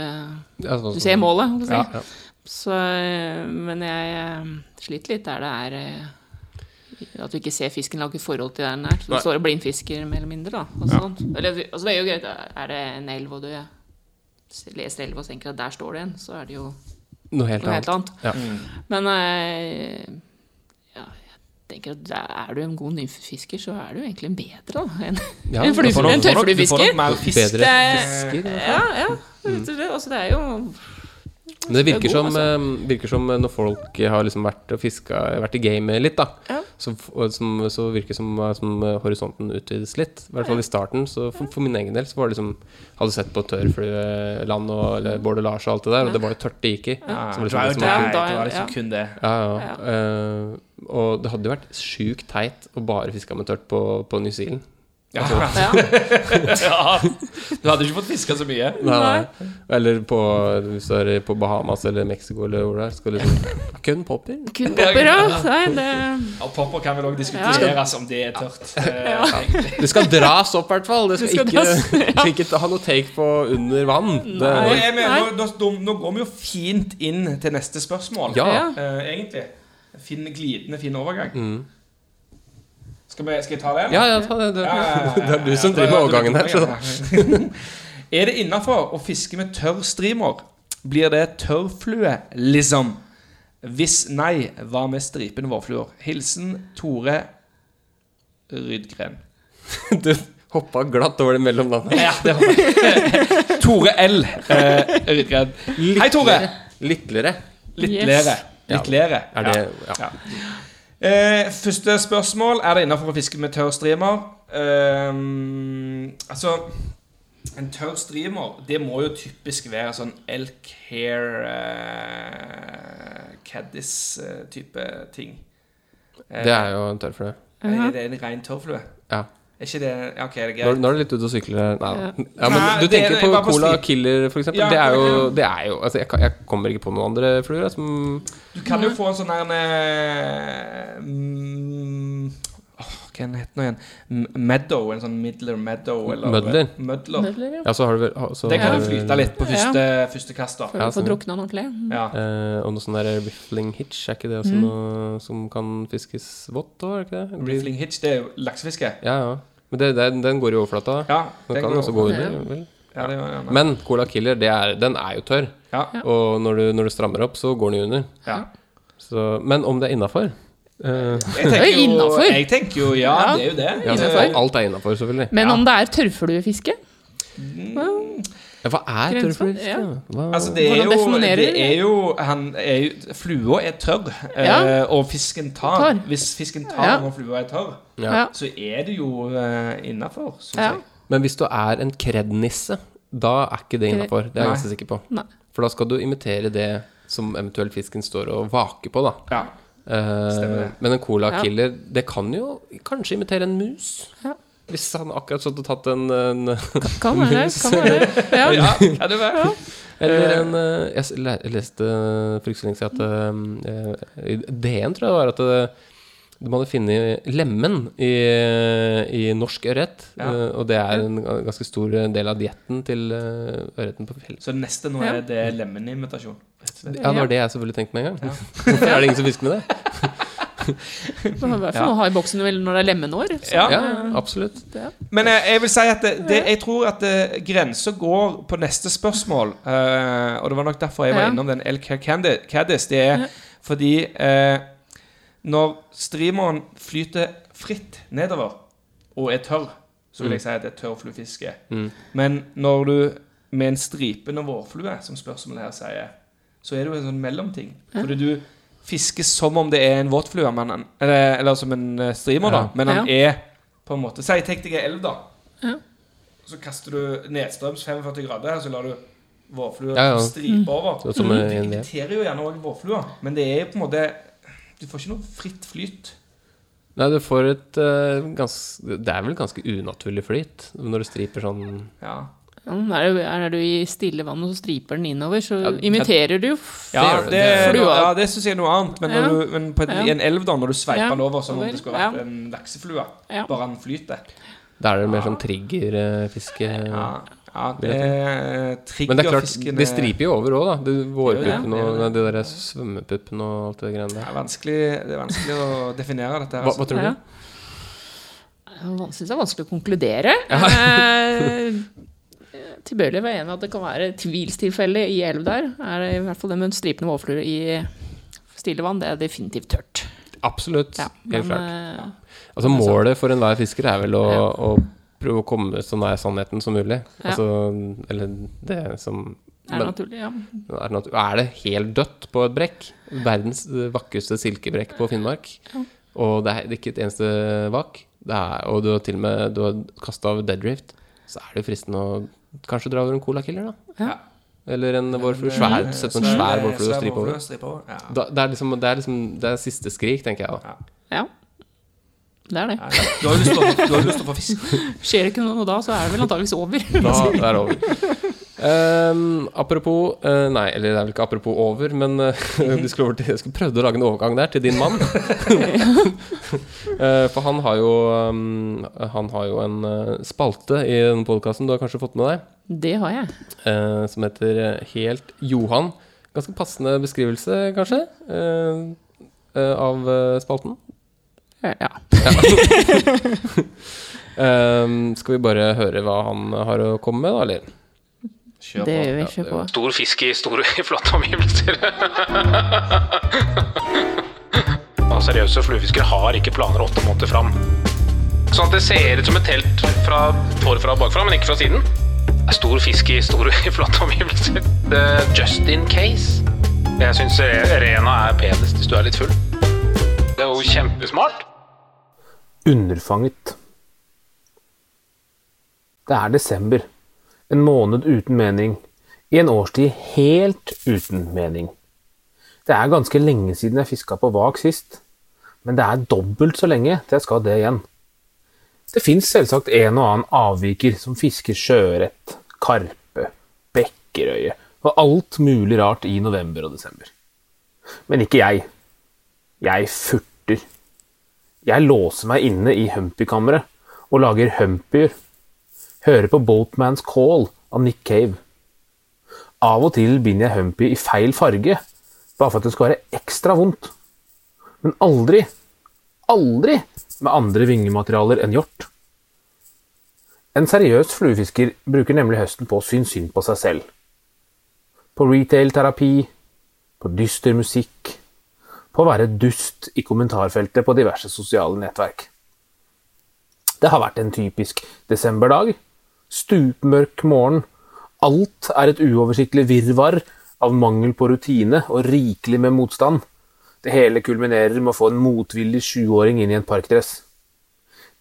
[SPEAKER 6] Altså,
[SPEAKER 9] Du ser målet, holdt jeg
[SPEAKER 6] Ja,
[SPEAKER 9] på å
[SPEAKER 6] ja.
[SPEAKER 9] si. Så, eh, men jeg eh, sliter litt der det er eh, At du ikke ser fisken lage forhold til der den er. Så du
[SPEAKER 6] Nei.
[SPEAKER 9] står og blindfisker mer eller mindre, da. Og sånt. Eller, altså, det er jo greit. Er det en elv, og du s- leser elva og tenker at der står det en, så er det jo
[SPEAKER 6] Noe helt
[SPEAKER 9] noe helt
[SPEAKER 6] annet.
[SPEAKER 9] annet. Mm.
[SPEAKER 6] Ja.
[SPEAKER 9] Men eh, ja, jeg tenker at der er du en god nymfefisker, så er du jo egentlig bedre, da. enn-
[SPEAKER 6] Ja,
[SPEAKER 9] En
[SPEAKER 6] du får
[SPEAKER 9] fluefisker.
[SPEAKER 6] nok-
[SPEAKER 9] En
[SPEAKER 5] du får nok- du får
[SPEAKER 9] tørrfluefisker.
[SPEAKER 5] nok mer fisk.
[SPEAKER 6] Bedre
[SPEAKER 9] Det-
[SPEAKER 6] fisker.
[SPEAKER 9] Ja, ja. rett og slett.
[SPEAKER 6] Mm.
[SPEAKER 9] Altså, det er jo
[SPEAKER 6] Men det virker,
[SPEAKER 9] Det er god,
[SPEAKER 6] som, eh, virker som eh, når folk har liksom vært og fiska, vært i gamet litt, da,
[SPEAKER 9] Ja.
[SPEAKER 6] så, f- og som, så virker det som, eh, som eh, horisonten utvides litt. I hvert fall i starten. Så for, for min egen del så var det liksom Hadde sett på Tørrflueland og eller Bård og Lars og alt det der, og det var jo tørt det gikk i.
[SPEAKER 5] Ja,
[SPEAKER 6] Så
[SPEAKER 5] Ah, det
[SPEAKER 6] var
[SPEAKER 5] var jo
[SPEAKER 6] liksom,
[SPEAKER 5] det.
[SPEAKER 6] liksom,
[SPEAKER 9] Ja,
[SPEAKER 5] Det
[SPEAKER 9] da-
[SPEAKER 5] var liksom
[SPEAKER 9] ja.
[SPEAKER 5] kun det.
[SPEAKER 6] ja, ja. Eh, og det hadde jo vært sjukt teit å bare fiske med tørt på, på New Zealand. Altså,
[SPEAKER 5] Ja.
[SPEAKER 9] Ja.
[SPEAKER 5] Ja. Du hadde ikke fått fiska så mye.
[SPEAKER 6] Nei, nei. Eller på, hvis du er på Bahamas eller Mexico eller hvor det er. Skal liksom Kun popper.
[SPEAKER 9] Kun popper, ja. Nei, det,
[SPEAKER 5] Og popper kan vel òg diskuteres om det er tørt. Eh,
[SPEAKER 6] Det skal dras opp, i hvert fall. Det skal,
[SPEAKER 9] skal dras,
[SPEAKER 6] ikke, ikke ha noe take på under vann. Det,
[SPEAKER 5] Nå, er vi, nå, nå, nå, nå går vi jo fint inn til neste spørsmål,
[SPEAKER 6] ja.
[SPEAKER 9] Ja.
[SPEAKER 5] eh, egentlig. Fin glidende, fin overgang. Skal, vi, skal jeg ta det? eller?
[SPEAKER 6] Mm. ja, ja, ta det, det,
[SPEAKER 5] Ja, ja, ja, ja.
[SPEAKER 6] det er du som
[SPEAKER 5] Ja,
[SPEAKER 6] driver med
[SPEAKER 5] det er du
[SPEAKER 6] overgangen her. Så.
[SPEAKER 5] som driver med overgangen. er det innafor å fiske med tørr streamer? Blir det tørrflue, liksom? Hvis nei, hva med stripende vårfluer? Hilsen Tore Rydgren.
[SPEAKER 6] Du hoppa glatt over det mellom landene.
[SPEAKER 5] Ja, det var Tore L. Eh, Rydgren. Hei, Tore!
[SPEAKER 6] Litlere.
[SPEAKER 5] Litt
[SPEAKER 9] Yes.
[SPEAKER 5] lere. Litt lere.
[SPEAKER 6] Er det
[SPEAKER 5] Ja.
[SPEAKER 6] ja.
[SPEAKER 5] Ja. Eh, første spørsmål. Er det innafor å fiske med tørr streamer? Ehm, altså En tørr streamer, det må jo typisk være sånn elk hair eh, caddis-type ting. Eh,
[SPEAKER 6] Det er jo en tørrflue.
[SPEAKER 5] er det en rein tørrflue?
[SPEAKER 6] Ja.
[SPEAKER 5] Er ikke det ja, Ok, det er
[SPEAKER 6] Nå, er-
[SPEAKER 5] greit.
[SPEAKER 6] nå er du litt ute og sykler her. Nei, da. ja, men
[SPEAKER 5] Nei,
[SPEAKER 6] Du
[SPEAKER 5] det-
[SPEAKER 6] tenker
[SPEAKER 5] jeg
[SPEAKER 6] på
[SPEAKER 5] var på
[SPEAKER 6] Cola
[SPEAKER 5] stil.
[SPEAKER 6] Killer, for eksempel.
[SPEAKER 5] Ja,
[SPEAKER 6] Det er jo,
[SPEAKER 5] det
[SPEAKER 6] det er jo altså, jeg, kan, jeg kommer ikke på noen andre fluer. jeg, Som,
[SPEAKER 5] Du kan jo få en sånn her en eh, mm, åh, Hva den heter den igjen? M- Meadow, en sånn Midler Meadow. Eller,
[SPEAKER 6] Mødler?
[SPEAKER 5] Mødler.
[SPEAKER 6] ja, så har du vel ha- så
[SPEAKER 5] Det
[SPEAKER 6] har
[SPEAKER 5] kan
[SPEAKER 6] du
[SPEAKER 5] jo
[SPEAKER 6] vel-
[SPEAKER 5] flyte litt på første, første kast, da.
[SPEAKER 6] Ja,
[SPEAKER 9] Får
[SPEAKER 6] stemmer.
[SPEAKER 9] drukna den ordentlig.
[SPEAKER 5] Ja.
[SPEAKER 6] Eh, og noe sånn der riffling hitch, er ikke det
[SPEAKER 9] Mm.
[SPEAKER 6] også noe som kan fiskes vått da, Er det ikke det? Det blir-
[SPEAKER 5] Riffling hitch, det er jo laksefiske.
[SPEAKER 6] Ja, ja. Men det, den, den går i overflata.
[SPEAKER 5] Ja,
[SPEAKER 6] den
[SPEAKER 5] det
[SPEAKER 6] kan
[SPEAKER 5] går
[SPEAKER 6] også gå
[SPEAKER 5] over.
[SPEAKER 6] under. Vel?
[SPEAKER 5] Ja, det var, ja, nei.
[SPEAKER 6] Men Cola Killer, det er, den er jo tørr.
[SPEAKER 5] ja,
[SPEAKER 6] Og når du, når du strammer opp, så går den jo under.
[SPEAKER 5] ja.
[SPEAKER 6] Så, men om det er innafor
[SPEAKER 5] Jeg tenker jo,
[SPEAKER 9] innenfor.
[SPEAKER 5] jeg tenker jo ja, det er jo det.
[SPEAKER 6] ja, altså,
[SPEAKER 9] Innenfor.
[SPEAKER 6] Alt er innafor, selvfølgelig.
[SPEAKER 9] Men om det er tørrfluefiske
[SPEAKER 6] Ja, Hva er
[SPEAKER 9] Grensa,
[SPEAKER 6] tørrfluefiske?
[SPEAKER 9] ja.
[SPEAKER 6] Hva-
[SPEAKER 5] Altså, det er
[SPEAKER 9] Hvordan
[SPEAKER 5] jo,
[SPEAKER 9] definerer
[SPEAKER 5] det
[SPEAKER 9] du det?
[SPEAKER 5] er jo, han er jo Flua er tørr, eh,
[SPEAKER 9] Ja.
[SPEAKER 5] og fisken tar.
[SPEAKER 9] Tar.
[SPEAKER 5] Hvis fisken tar
[SPEAKER 9] Ja.
[SPEAKER 5] når flua er tørr,
[SPEAKER 6] Ja.
[SPEAKER 9] Ja.
[SPEAKER 5] så er det jo eh, innafor, syns
[SPEAKER 9] Ja.
[SPEAKER 5] jeg.
[SPEAKER 6] Men hvis du er en krednisse, da er ikke det innafor. Det er jeg
[SPEAKER 5] Nei.
[SPEAKER 6] ganske sikker på.
[SPEAKER 9] Nei.
[SPEAKER 6] For da skal du imitere det som eventuelt fisken står og vaker på, da.
[SPEAKER 5] Ja.
[SPEAKER 6] Eh,
[SPEAKER 5] Stemmer det.
[SPEAKER 6] men en cola
[SPEAKER 9] Ja.
[SPEAKER 6] killer, det kan jo kanskje imitere en mus.
[SPEAKER 9] Ja.
[SPEAKER 6] Hvis han akkurat stått og tatt en, en
[SPEAKER 9] Kan være det. Kan være det. Ja.
[SPEAKER 5] Ja, ja, det var
[SPEAKER 6] Eller en eh, Jeg s- læ- jeg leste for ikke så lenge siden at eh, eh, i DN, tror jeg det var, at eh, de hadde funnet lemen i, i norsk ørret.
[SPEAKER 5] Ja.
[SPEAKER 6] eh, Og det er en ga- ganske stor del av dietten til eh, ørreten på fjellet.
[SPEAKER 5] Så neste nå er det lemenimitasjon.
[SPEAKER 6] Ja, det var det jeg selvfølgelig tenkte med en gang. Hvorfor er det ingen som fisker med det?
[SPEAKER 9] Det er i hvert fall å ha i boksen vel når det er lemenår. Så.
[SPEAKER 5] Ja.
[SPEAKER 6] Ja, absolutt.
[SPEAKER 5] Men eh, jeg vil si at det, det, jeg tror at eh, grensa går på neste spørsmål. eh, og det var nok derfor jeg var
[SPEAKER 9] Ja.
[SPEAKER 5] innom den El Cadi- Cadiz. Det er fordi eh, når streameren flyter fritt nedover og er tørr, så vil jeg si at det er tørrfluefiske. Men når du med en stripende vårflue, som spørsmålet her sier, så er det jo en sånn mellomting. Fordi du fisker som om det er en våtflue, men han- eller, eller som en eh, streamer, da.
[SPEAKER 6] Ja.
[SPEAKER 5] Men han er på en måte Si, tenk deg ei elv, da. Så kaster du nedstrøms 45 grader, og så lar du vårflua
[SPEAKER 6] Ja, ja.
[SPEAKER 5] stripe over.
[SPEAKER 6] Sånn som
[SPEAKER 9] Mm.
[SPEAKER 5] Det
[SPEAKER 6] en-
[SPEAKER 5] irriterer jo gjerne òg vårflua, men det er jo på en måte Du får ikke noe fritt flyt.
[SPEAKER 6] Nei, du får et eh, gans, Det er vel ganske unaturlig flyt når du striper sånn
[SPEAKER 5] Ja.
[SPEAKER 9] Ja, men er, du, er du i stille vann og så striper den innover, så
[SPEAKER 6] Ja, jeg-
[SPEAKER 9] imiterer du jo f-
[SPEAKER 5] Ja,
[SPEAKER 6] gjør det.
[SPEAKER 5] det,
[SPEAKER 9] Det gjør det.
[SPEAKER 5] ja, det syns jeg er noe annet. Men,
[SPEAKER 9] Ja.
[SPEAKER 5] når du, men på et, i en elv, da, når du sveiper
[SPEAKER 9] Ja.
[SPEAKER 5] den over som om
[SPEAKER 9] Over.
[SPEAKER 5] det skulle vært
[SPEAKER 9] Ja.
[SPEAKER 5] en lakseflue,
[SPEAKER 9] Ja.
[SPEAKER 5] bare den flyter.
[SPEAKER 6] Da er det mer sånn triggerfiske.
[SPEAKER 5] Ja, ja det
[SPEAKER 6] vil
[SPEAKER 5] trigger
[SPEAKER 6] Men det er klart,
[SPEAKER 5] fisken,
[SPEAKER 6] det
[SPEAKER 5] eh,
[SPEAKER 6] striper jo over òg, da. Det Vårpuppen
[SPEAKER 5] Det gjør
[SPEAKER 6] og
[SPEAKER 5] det.
[SPEAKER 6] nei, de der svømmepuppene og alt det greiene
[SPEAKER 5] Det
[SPEAKER 6] der.
[SPEAKER 5] er vanskelig, det er vanskelig å definere dette. her,
[SPEAKER 6] Hva,
[SPEAKER 5] altså.
[SPEAKER 6] hva tror du?
[SPEAKER 9] Ja. Jeg syns det er vanskelig å konkludere. Eh, Tilbøyelig å være enig i at det kan være tvilstilfelle i elv der. Er det I hvert fall det med stripende vårfluer i stille vann, det er definitivt tørt.
[SPEAKER 6] Absolutt.
[SPEAKER 9] Ja,
[SPEAKER 6] Helt
[SPEAKER 9] men,
[SPEAKER 6] klart.
[SPEAKER 9] eh,
[SPEAKER 6] Altså, målet for enhver fisker er vel å,
[SPEAKER 9] Ja.
[SPEAKER 6] å prøve å komme så nær sannheten som mulig.
[SPEAKER 9] Ja.
[SPEAKER 6] Altså, eller det som
[SPEAKER 9] er
[SPEAKER 6] men-
[SPEAKER 9] naturlig, ja.
[SPEAKER 6] er, det natu- er det helt dødt på et brekk? Verdens eh, vakreste silkebrekk på Finnmark. Og det er det er ikke et eneste vak. Det er, og du har til og med du har kasta av deadrift. Så er det jo fristende å kanskje dra over en colakiller, da.
[SPEAKER 9] Ja.
[SPEAKER 6] Eller en vårflue. Svær,
[SPEAKER 5] Mm-hmm.
[SPEAKER 6] sett på en svær vårflue og stripe over.
[SPEAKER 5] stripe over. Ja.
[SPEAKER 6] Da, det, er liksom, det er liksom Det er siste skrik, tenker jeg. da
[SPEAKER 9] ja. Det er det.
[SPEAKER 5] Nei, Du har jo lyst til å- du har jo lyst til å få fisk.
[SPEAKER 9] Skjer det ikke noe da, så er det vel antakeligvis over.
[SPEAKER 6] Da det er det over. Ehm, apropos eh, Nei, eller det er vel ikke apropos over, men eh, du skulle over til, jeg skulle prøvde å lage en overgang der til din mann. Eh, for han har jo ehm, Han har jo en eh, spalte i denne podkasten du har kanskje fått med deg,
[SPEAKER 9] Det har jeg.
[SPEAKER 6] eh, som heter eh, Helt Johan. Ganske passende beskrivelse, kanskje, eh, eh, av eh, spalten.
[SPEAKER 9] Ja.
[SPEAKER 6] Ehm, skal vi bare høre hva han har å komme med, da, eller?
[SPEAKER 9] Det gjør vi ikke på.
[SPEAKER 4] Stor fisk i store, flotte omgivelser. Og seriøse fluefiskere har ikke planer åtte måneder fram. Sånn at det ser ut som et telt fra forfra og bakfra, men ikke fra siden. Stor fisk i store, flotte omgivelser. Det- Just in case. Jeg syns Rena er penest hvis du er litt full. Det er jo kjempesmart.
[SPEAKER 10] Underfanget. Det er desember. En måned uten mening. I en årstid helt uten mening. Det er ganske lenge siden jeg fiska på vak sist, men det er dobbelt så lenge til jeg skal det igjen. Det fins selvsagt en og annen avviker som fisker sjøørret, karpe, bekkerøye og alt mulig rart i november og desember. Men ikke jeg. Jeg furter. Jeg låser meg inne i Humpy-kammeret og lager Humpyer. Hører på Boatman's Call av Nick Cave. Av og til binder jeg Humpy i feil farge, bare for at det skal være ekstra vondt. Men aldri, aldri med andre vingematerialer enn hjort. En seriøs fluefisker bruker nemlig høsten på å synes synd på seg selv. På retail-terapi, på dyster musikk, på å være dust i kommentarfeltet på diverse sosiale nettverk. Det har vært en typisk desemberdag. Stupmørk morgen. Alt er et uoversiktlig virvar av mangel på rutine og rikelig med motstand. Det hele kulminerer med å få en motvillig sjuåring inn i en parkdress.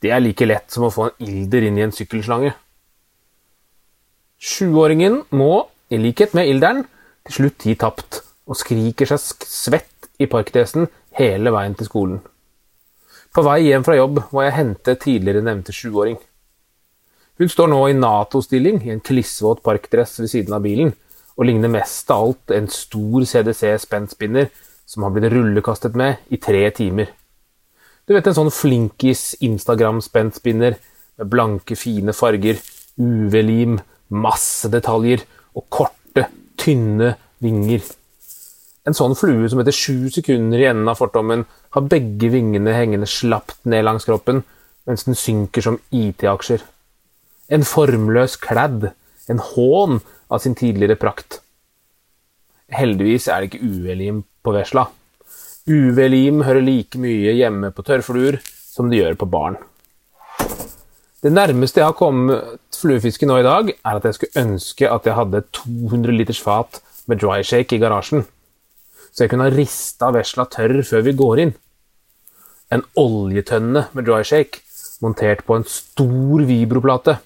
[SPEAKER 10] Det er like lett som å få en ilder inn i en sykkelslange. Sjuåringen må, i likhet med ilderen, til slutt gi tapt, og skriker seg sk- svett i parkdressen hele veien til skolen. På vei hjem fra jobb må jeg hente tidligere nevnte sjuåring. Hun står nå i Nato-stilling i en klissvåt parkdress ved siden av bilen, og ligner mest av alt en stor CDC spentspinner som har blitt rullekastet med i tre timer. Du vet en sånn flinkis Instagram-spentspinner med blanke, fine farger, UV-lim, masse detaljer og korte, tynne vinger. En sånn flue som etter sju sekunder i enden av fortommen har begge vingene hengende slapt ned langs kroppen, mens den synker som IT-aksjer. En formløs kladd, en hån av sin tidligere prakt. Heldigvis er det ikke E UV-lim på vesla. E UV-lim hører like mye hjemme på tørrfluer som det gjør på barn. Det nærmeste jeg har kommet fluefiske nå i dag, er at jeg skulle ønske at jeg hadde et 200 liters fat med dry shake i garasjen så jeg kunne ha rista vesla tørr før vi går inn. En oljetønne med dry shake, montert på en stor vibroplate.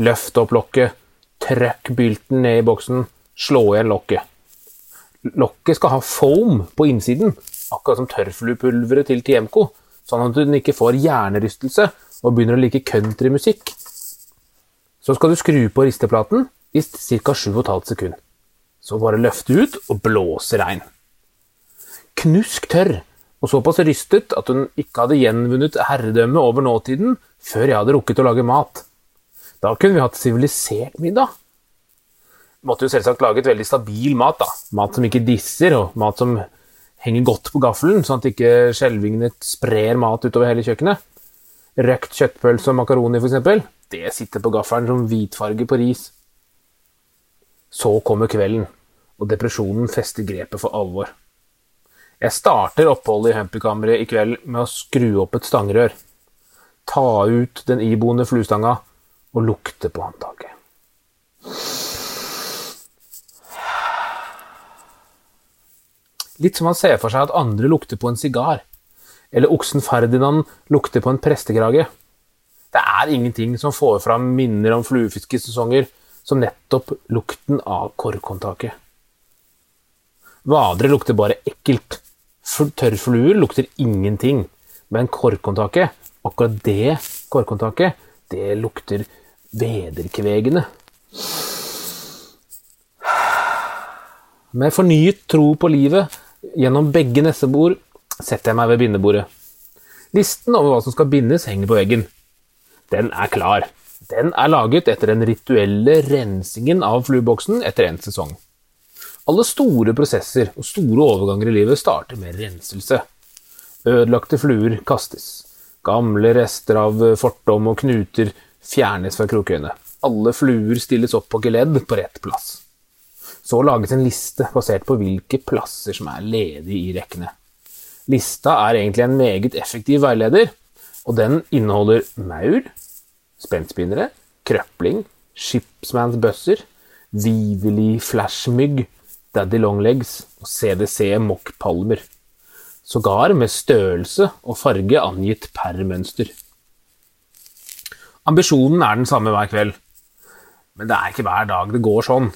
[SPEAKER 10] Løft opp lokket, trøkk bylten ned i boksen, slå igjen lokket. Lokket skal ha foam på innsiden, akkurat som tørrfluepulveret til TMK, sånn at hun ikke får hjernerystelse og begynner å like countrymusikk. Så skal du skru på risteplaten i ca. 7,5 sekunder. Så bare løfte ut og blåse regn. Knusk tørr, og såpass rystet at hun ikke hadde gjenvunnet herredømme over nåtiden før jeg hadde rukket å lage mat. Da kunne vi hatt sivilisert middag. Måtte jo selvsagt lage et veldig stabil mat, da. Mat som ikke disser, og mat som henger godt på gaffelen, sånn at ikke skjelvingene sprer mat utover hele kjøkkenet. Røkt kjøttpølse og makaroni, f.eks. Det sitter på gaffelen som hvitfarge på ris. Så kommer kvelden, og depresjonen fester grepet for alvor. Jeg starter oppholdet i Humpykammeret i kveld med å skru opp et stangrør, ta ut den iboende fluestanga og lukte på håndtaket. Litt som man ser for seg at andre lukter på en sigar, eller oksen Ferdinand lukter på en prestekrage. Det er ingenting som får fram minner om fluefiskesesonger som nettopp lukten av korkhåndtaket. Vadere lukter bare ekkelt. Fl- Tørrfluer lukter ingenting. Men korkhåndtaket, akkurat det korkhåndtaket, det lukter vederkvegende. Med fornyet tro på livet gjennom begge nessebord setter jeg meg ved bindebordet. Listen over hva som skal bindes, henger på veggen. Den er klar. Den er laget etter den rituelle rensingen av flueboksen etter en sesong. Alle store prosesser og store overganger i livet starter med renselse. Ødelagte fluer kastes. Gamle rester av fortom og knuter fjernes fra krokøyene. Alle fluer stilles opp på geledd på rett plass. Så lages en liste basert på hvilke plasser som er ledige i rekkene. Lista er egentlig en meget effektiv veileder, og den inneholder maur, spentspinnere, krøpling, Shipsmans bøsser, Viveli flashmygg, Daddy Longlegs og CDC mokkpalmer. Sågar med størrelse og farge angitt per mønster. Ambisjonen er den samme hver kveld, men det er ikke hver dag det går sånn.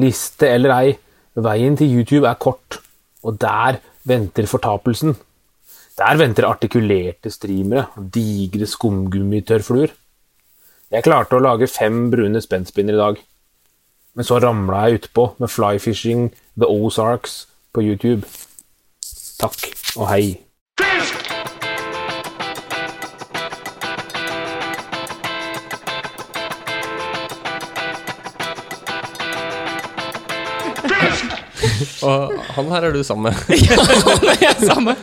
[SPEAKER 10] Liste eller ei, veien til YouTube er kort, og der venter fortapelsen. Der venter artikulerte streamere og digre skumgummitørrfluer. Jeg klarte å lage fem brune spentspinner i dag. Men så ramla jeg utpå med Flyfishing The Ozarks på YouTube. Takk og hei.
[SPEAKER 6] Og han her er du sammen med.
[SPEAKER 9] Samme.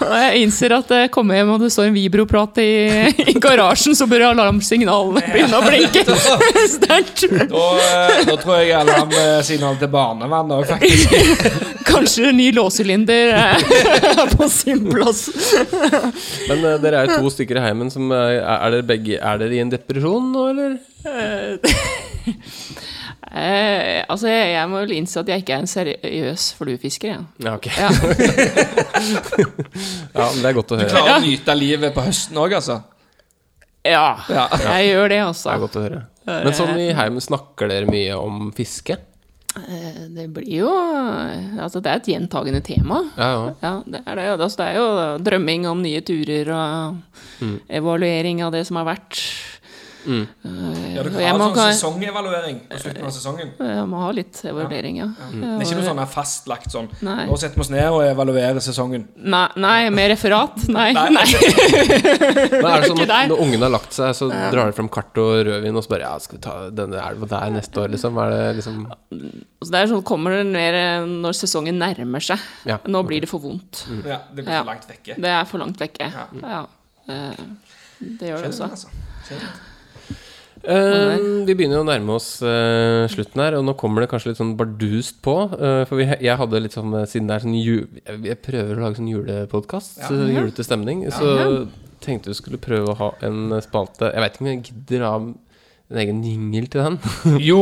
[SPEAKER 9] Og Jeg innser at jeg kommer hjem og det står en vibroplate i, i garasjen, så bør alarmsignalene begynne å blinke sterkt.
[SPEAKER 5] Da, eh, da tror jeg eh, alarmsignal til barnevernet òg, faktisk.
[SPEAKER 9] Kanskje ny låssylinder eh, er på sin plass.
[SPEAKER 6] Men eh, dere er jo to stykker i heimen som eh, Er er dere begge Er dere i en depresjon nå, eller?
[SPEAKER 9] Eh, altså, jeg, jeg må vel innse at jeg ikke er en seriøs fluefisker, jeg.
[SPEAKER 6] Ja, ok.
[SPEAKER 9] Ja.
[SPEAKER 6] Ja, men det er godt å høre.
[SPEAKER 5] Klarer å nyte livet på høsten òg, altså.
[SPEAKER 9] Ja,
[SPEAKER 5] Ja.
[SPEAKER 9] jeg gjør det,
[SPEAKER 6] Det
[SPEAKER 9] altså.
[SPEAKER 6] er godt å høre. Men sånn i heimen snakker dere mye om fiske?
[SPEAKER 9] Eh, Det blir jo Altså, det er et gjentagende tema.
[SPEAKER 6] Ja, ja.
[SPEAKER 9] Ja, det er det. Altså, det er jo drømming om nye turer og
[SPEAKER 6] Mm.
[SPEAKER 9] evaluering av det som har vært.
[SPEAKER 5] Ja,
[SPEAKER 9] dere har Jeg må sånn ikke-
[SPEAKER 5] sesongevaluering på slutten av sesongen.
[SPEAKER 9] Jeg må ha litt evaluering, ja.
[SPEAKER 6] Mm.
[SPEAKER 9] Eh,
[SPEAKER 5] Det er ikke noe sånn her fastlagt sånn
[SPEAKER 9] Nei.
[SPEAKER 5] Nå setter vi oss ned og evaluerer sesongen.
[SPEAKER 9] Nei, nei med referat? Nei.
[SPEAKER 5] Nei.
[SPEAKER 9] nei.
[SPEAKER 6] Men er det sånn
[SPEAKER 9] Ikke
[SPEAKER 6] at
[SPEAKER 9] deg.
[SPEAKER 6] når ungene har lagt seg, så drar dere frem kart og rødvin og så bare Ja, skal vi ta denne elva der neste år, liksom? Er det liksom
[SPEAKER 9] Så det er sånn, kommer det mer eh, når sesongen nærmer seg.
[SPEAKER 6] Ja,
[SPEAKER 9] Nå blir det for vondt.
[SPEAKER 6] Mm.
[SPEAKER 5] Ja, det blir
[SPEAKER 9] Ja.
[SPEAKER 5] for langt vekke.
[SPEAKER 9] Det er for langt vekke. Ja. Eh, Det gjør det også.
[SPEAKER 5] Altså.
[SPEAKER 6] Eh, vi begynner jo å nærme oss eh, slutten her, og nå kommer det kanskje litt sånn bardust på. eh, for vi, jeg hadde litt sånn eh, Siden det er sånn ju- Jeg prøver å lage sånn julepodkast, så julete stemning. Så tenkte vi skulle prøve å ha en eh, spalte Jeg veit ikke om jeg gidder ha en egen jingle til den.
[SPEAKER 5] Jo!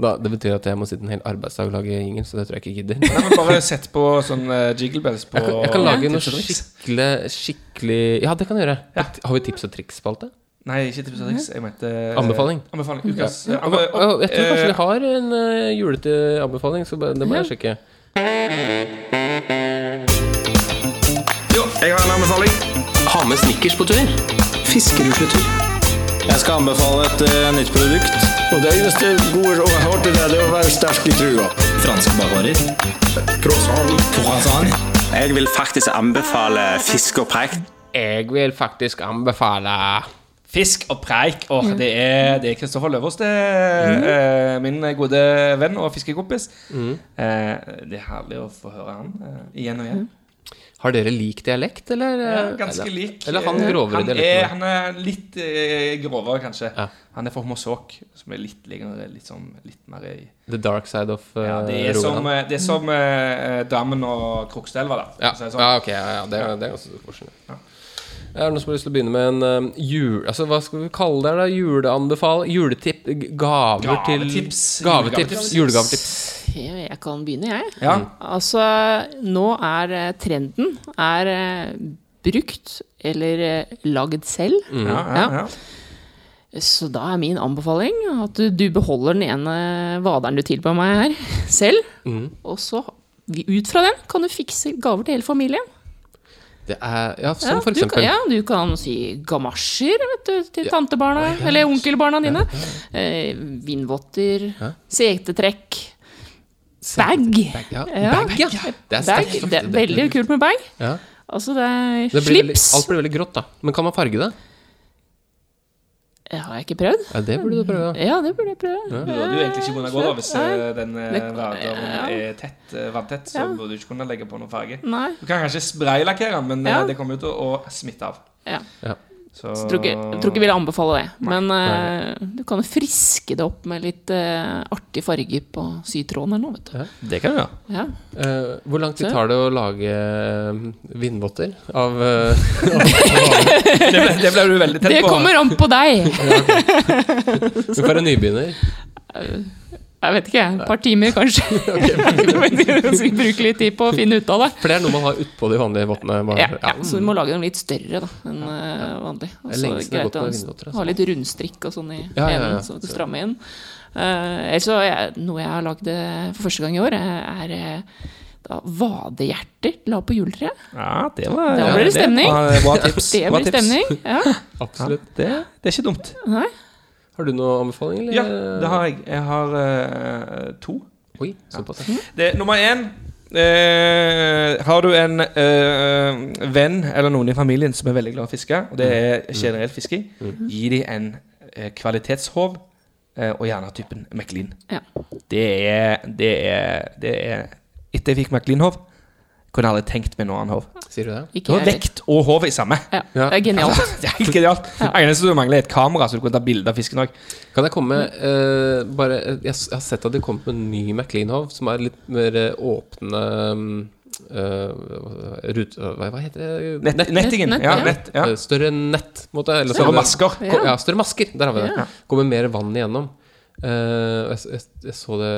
[SPEAKER 6] da, det betyr at jeg må sitte en hel arbeidsdag og lage jingle, så det tror jeg ikke jeg gidder.
[SPEAKER 5] Nei, men bare sett på sånn eh, jiggle bells på
[SPEAKER 6] Jeg kan, jeg kan lage noe
[SPEAKER 5] Tips og triks.
[SPEAKER 6] skikkelig, skikkelig Ja, det kan jeg gjøre. Har vi tips og triks-spalte?
[SPEAKER 5] Nei, ikke tips og
[SPEAKER 9] Mhm.
[SPEAKER 5] triks. Jeg mente eh,
[SPEAKER 6] Anbefaling.
[SPEAKER 5] anbefaling. Ukas, eh,
[SPEAKER 6] Og-
[SPEAKER 5] anbe-
[SPEAKER 6] og- Jeg tror kanskje
[SPEAKER 5] eh,
[SPEAKER 6] vi har en eh, julete anbefaling, så bare- det må jeg sjekke.
[SPEAKER 5] Jo, jeg har en anbefaling.
[SPEAKER 1] Ha med snickers på tur. Fiskerusletur.
[SPEAKER 2] Jeg skal anbefale et eh, nytt produkt. Og det eneste gode rådet jeg har til det, det er å være sterk i trua. Franske bakvarer. Croissant. Jeg vil faktisk anbefale fisk og preik.
[SPEAKER 6] Jeg vil faktisk anbefale
[SPEAKER 5] Fisk og preik. Åh,
[SPEAKER 6] Mm.
[SPEAKER 5] det er det er Kristoffer Løvaas, det. eh, min gode venn og fiskekompis.
[SPEAKER 6] Mm.
[SPEAKER 5] Eh, det er herlig å få høre han eh, igjen og igjen.
[SPEAKER 6] Mm. Har dere lik dialekt, eller?
[SPEAKER 5] Ja, ganske lik.
[SPEAKER 6] Eller han
[SPEAKER 5] Eh,
[SPEAKER 6] grovere
[SPEAKER 5] han
[SPEAKER 6] dialekten.
[SPEAKER 5] er, han er litt eh, grovere, kanskje.
[SPEAKER 6] Ja.
[SPEAKER 5] Han er fra Hommersåk, som er litt, lenger- litt, sånn, litt mer i
[SPEAKER 6] The dark side of eh,
[SPEAKER 5] ja, Det er som,
[SPEAKER 6] Rogaland. Mm.
[SPEAKER 5] eh, det er som eh, Dammen og Krokstadelva, da.
[SPEAKER 6] Ja,
[SPEAKER 5] for å si det sånn.
[SPEAKER 6] ja, ok. Ja, ja, det, er- det er ganske stor forskjell. Er det noen som har lyst til å begynne med en eh, jul... Altså, hva skal vi kalle det? her da? Juleanbefal... Juletipp... g- Gaver til
[SPEAKER 5] Gavetips.
[SPEAKER 6] Gavetips.
[SPEAKER 5] Julegavetips.
[SPEAKER 6] Julegavetips.
[SPEAKER 9] Jeg jeg kan begynne, jeg.
[SPEAKER 5] Ja.
[SPEAKER 6] Mm.
[SPEAKER 9] Altså, nå er eh, trenden er eh, brukt eller eh, lagd selv.
[SPEAKER 5] Mm. Ja, ja, ja.
[SPEAKER 9] Så da er min anbefaling at du, du beholder den ene vaderen du tilba meg her, selv. Og så, vi- ut fra den, kan du fikse gaver til hele familien.
[SPEAKER 6] Det er Ja,
[SPEAKER 9] Ja,
[SPEAKER 6] som for
[SPEAKER 9] du, kan,
[SPEAKER 6] eksempel.
[SPEAKER 9] ja, du kan si gamasjer vet du, til tantebarna, eller onkelbarna dine. Eh, Vindvotter, setetrekk. Bag.
[SPEAKER 6] Bag, ja.
[SPEAKER 9] Ja,
[SPEAKER 6] Bag,
[SPEAKER 9] ja.
[SPEAKER 6] Det er
[SPEAKER 9] Bag,
[SPEAKER 6] sterkt.
[SPEAKER 9] det er veldig kult med bag.
[SPEAKER 6] Ja.
[SPEAKER 9] Altså, det er
[SPEAKER 6] Det blir veldig,
[SPEAKER 9] slips.
[SPEAKER 6] alt blir veldig grått, da. Men kan man farge det?
[SPEAKER 9] Det har jeg ikke prøvd.
[SPEAKER 6] Ja, det burde du prøve. da.
[SPEAKER 9] Ja, det burde jeg prøve.
[SPEAKER 5] Du burde jo egentlig ikke kunne gå da hvis eh, den eh,
[SPEAKER 9] Det-
[SPEAKER 5] radaren
[SPEAKER 9] ja.
[SPEAKER 5] er tett, eh, vanntett, så
[SPEAKER 9] Ja.
[SPEAKER 5] burde du ikke kunne legge på noen farge.
[SPEAKER 9] Nei.
[SPEAKER 5] Du kan kanskje spraylakkere den, men eh,
[SPEAKER 9] Ja.
[SPEAKER 5] det kommer jo til å smitte av.
[SPEAKER 9] Ja.
[SPEAKER 6] Ja.
[SPEAKER 5] Så,
[SPEAKER 9] Jeg tror ikke, jeg tror ikke jeg ville anbefale det. Men eh, du kan jo friske det opp med litt eh, artig farge på sytråden eller noe, vet du.
[SPEAKER 5] Det kan du gjøre.
[SPEAKER 9] Ja.
[SPEAKER 6] Eh, hvor lang tid
[SPEAKER 9] Se.
[SPEAKER 6] tar det å lage eh, vindvotter av eh,
[SPEAKER 5] Det ble, det ble du veldig tett
[SPEAKER 9] Det
[SPEAKER 5] på.
[SPEAKER 9] kommer an på deg!
[SPEAKER 6] For en nybegynner?
[SPEAKER 9] Jeg vet ikke, et par timer kanskje. Så vi bruker litt tid på å finne ut av det.
[SPEAKER 6] For det er noe man har utpå de vanlige vottene. bare-
[SPEAKER 9] Ja, ja.
[SPEAKER 6] ja. mm,
[SPEAKER 9] Så du må lage dem litt større da, enn eh, vanlig. Og
[SPEAKER 6] Det er
[SPEAKER 9] så
[SPEAKER 6] lenge siden jeg har
[SPEAKER 9] greit
[SPEAKER 6] gått
[SPEAKER 9] å
[SPEAKER 6] med vindvotter, altså.
[SPEAKER 9] Ha litt rundstrikk og sånn i
[SPEAKER 6] Ja, ja, ja.
[SPEAKER 9] enden, så du strammer inn. Eh, ellers så er jeg, noe jeg har lagd eh, for første gang i år, eh, er eh, da vadehjerter la på juletreet.
[SPEAKER 5] Ja, det var
[SPEAKER 9] Da blir det stemning.
[SPEAKER 5] Ja, det var bra tips.
[SPEAKER 9] Det
[SPEAKER 5] Bra
[SPEAKER 9] blir
[SPEAKER 5] tips.
[SPEAKER 9] stemning. Ja.
[SPEAKER 6] Absolutt.
[SPEAKER 5] Det, det er ikke dumt.
[SPEAKER 9] Nei.
[SPEAKER 6] Har du noen anbefaling, eller?
[SPEAKER 5] Ja, det har jeg. Jeg har eh, to.
[SPEAKER 6] Oi, såpass.
[SPEAKER 5] Det, nummer én eh, Har du en eh, venn eller noen i familien som er veldig glad i å fiske, og det er generelt fisking, gi dem en eh, kvalitetshov, eh, og gjerne typen McLean.
[SPEAKER 9] Ja.
[SPEAKER 5] Det er, det er, det er Etter jeg fikk McLean-hov, kunne jeg aldri tenkt meg noe annet hov.
[SPEAKER 6] Sier du det?
[SPEAKER 5] Det
[SPEAKER 9] Ikke
[SPEAKER 5] var
[SPEAKER 9] jeg heller.
[SPEAKER 5] vekt og hov i samme.
[SPEAKER 9] Ja. Det er genialt.
[SPEAKER 5] Det er helt genialt. Det eneste du mangler, er et kamera, så du kan ta bilde av fisken òg.
[SPEAKER 6] Kan jeg komme med eh, bare, jeg, s- jeg har sett at det kommet med en ny McLeanhov som er litt mer eh, åpne um, eh, rut, hva, hva heter det?
[SPEAKER 5] Nett, nettingen.
[SPEAKER 9] nett,
[SPEAKER 5] ja,
[SPEAKER 9] ja.
[SPEAKER 5] nett, ja.
[SPEAKER 6] Eh, Større nett, på en måte. Eller sånn-
[SPEAKER 5] Større
[SPEAKER 6] sånne-
[SPEAKER 5] masker.
[SPEAKER 6] Ko- Ja, større masker. Der har vi det.
[SPEAKER 5] Ja.
[SPEAKER 6] Kommer mer vann igjennom. Eh, og jeg, s- jeg, s- jeg så det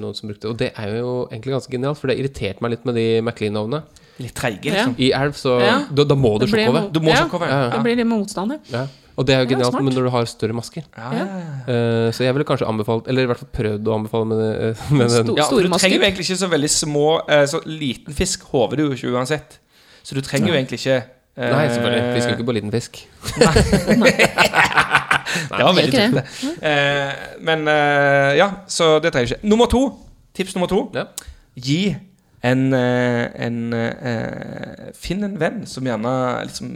[SPEAKER 6] noen som brukte det. Og det er jo egentlig ganske genialt, for det irriterte meg litt med de McLean-ovnene.
[SPEAKER 5] Litt treige, liksom.
[SPEAKER 6] I elv, så
[SPEAKER 9] Ja.
[SPEAKER 6] da, da må du
[SPEAKER 9] Det blir
[SPEAKER 6] sjokke over.
[SPEAKER 9] jo-
[SPEAKER 5] Du må
[SPEAKER 9] Ja.
[SPEAKER 5] sjokke over.
[SPEAKER 6] Ja,
[SPEAKER 9] Det blir litt motstander.
[SPEAKER 6] ja. Og det er jo
[SPEAKER 9] Ja,
[SPEAKER 6] genialt,
[SPEAKER 9] smart.
[SPEAKER 6] men når du har større masker
[SPEAKER 5] Ja, ja, ja.
[SPEAKER 6] Eh, så jeg ville kanskje anbefalt, eller i hvert fall prøvd å anbefale med, det- med den.
[SPEAKER 9] Stor-
[SPEAKER 5] Ja, for du
[SPEAKER 9] Stormasker.
[SPEAKER 5] trenger jo egentlig ikke så veldig små eh, Så liten fisk håver du jo ikke uansett. Så du trenger jo egentlig ikke eh,
[SPEAKER 6] Nei, selvfølgelig. Fisker ikke på liten fisk.
[SPEAKER 5] Det var veldig
[SPEAKER 9] Gjør ikke
[SPEAKER 5] dumt, det. Eh, men eh, ja, så det trenger jeg ikke. Nummer to. Tips nummer to.
[SPEAKER 6] Ja.
[SPEAKER 5] Gi en, eh, en eh, Finn en venn som gjerne liksom,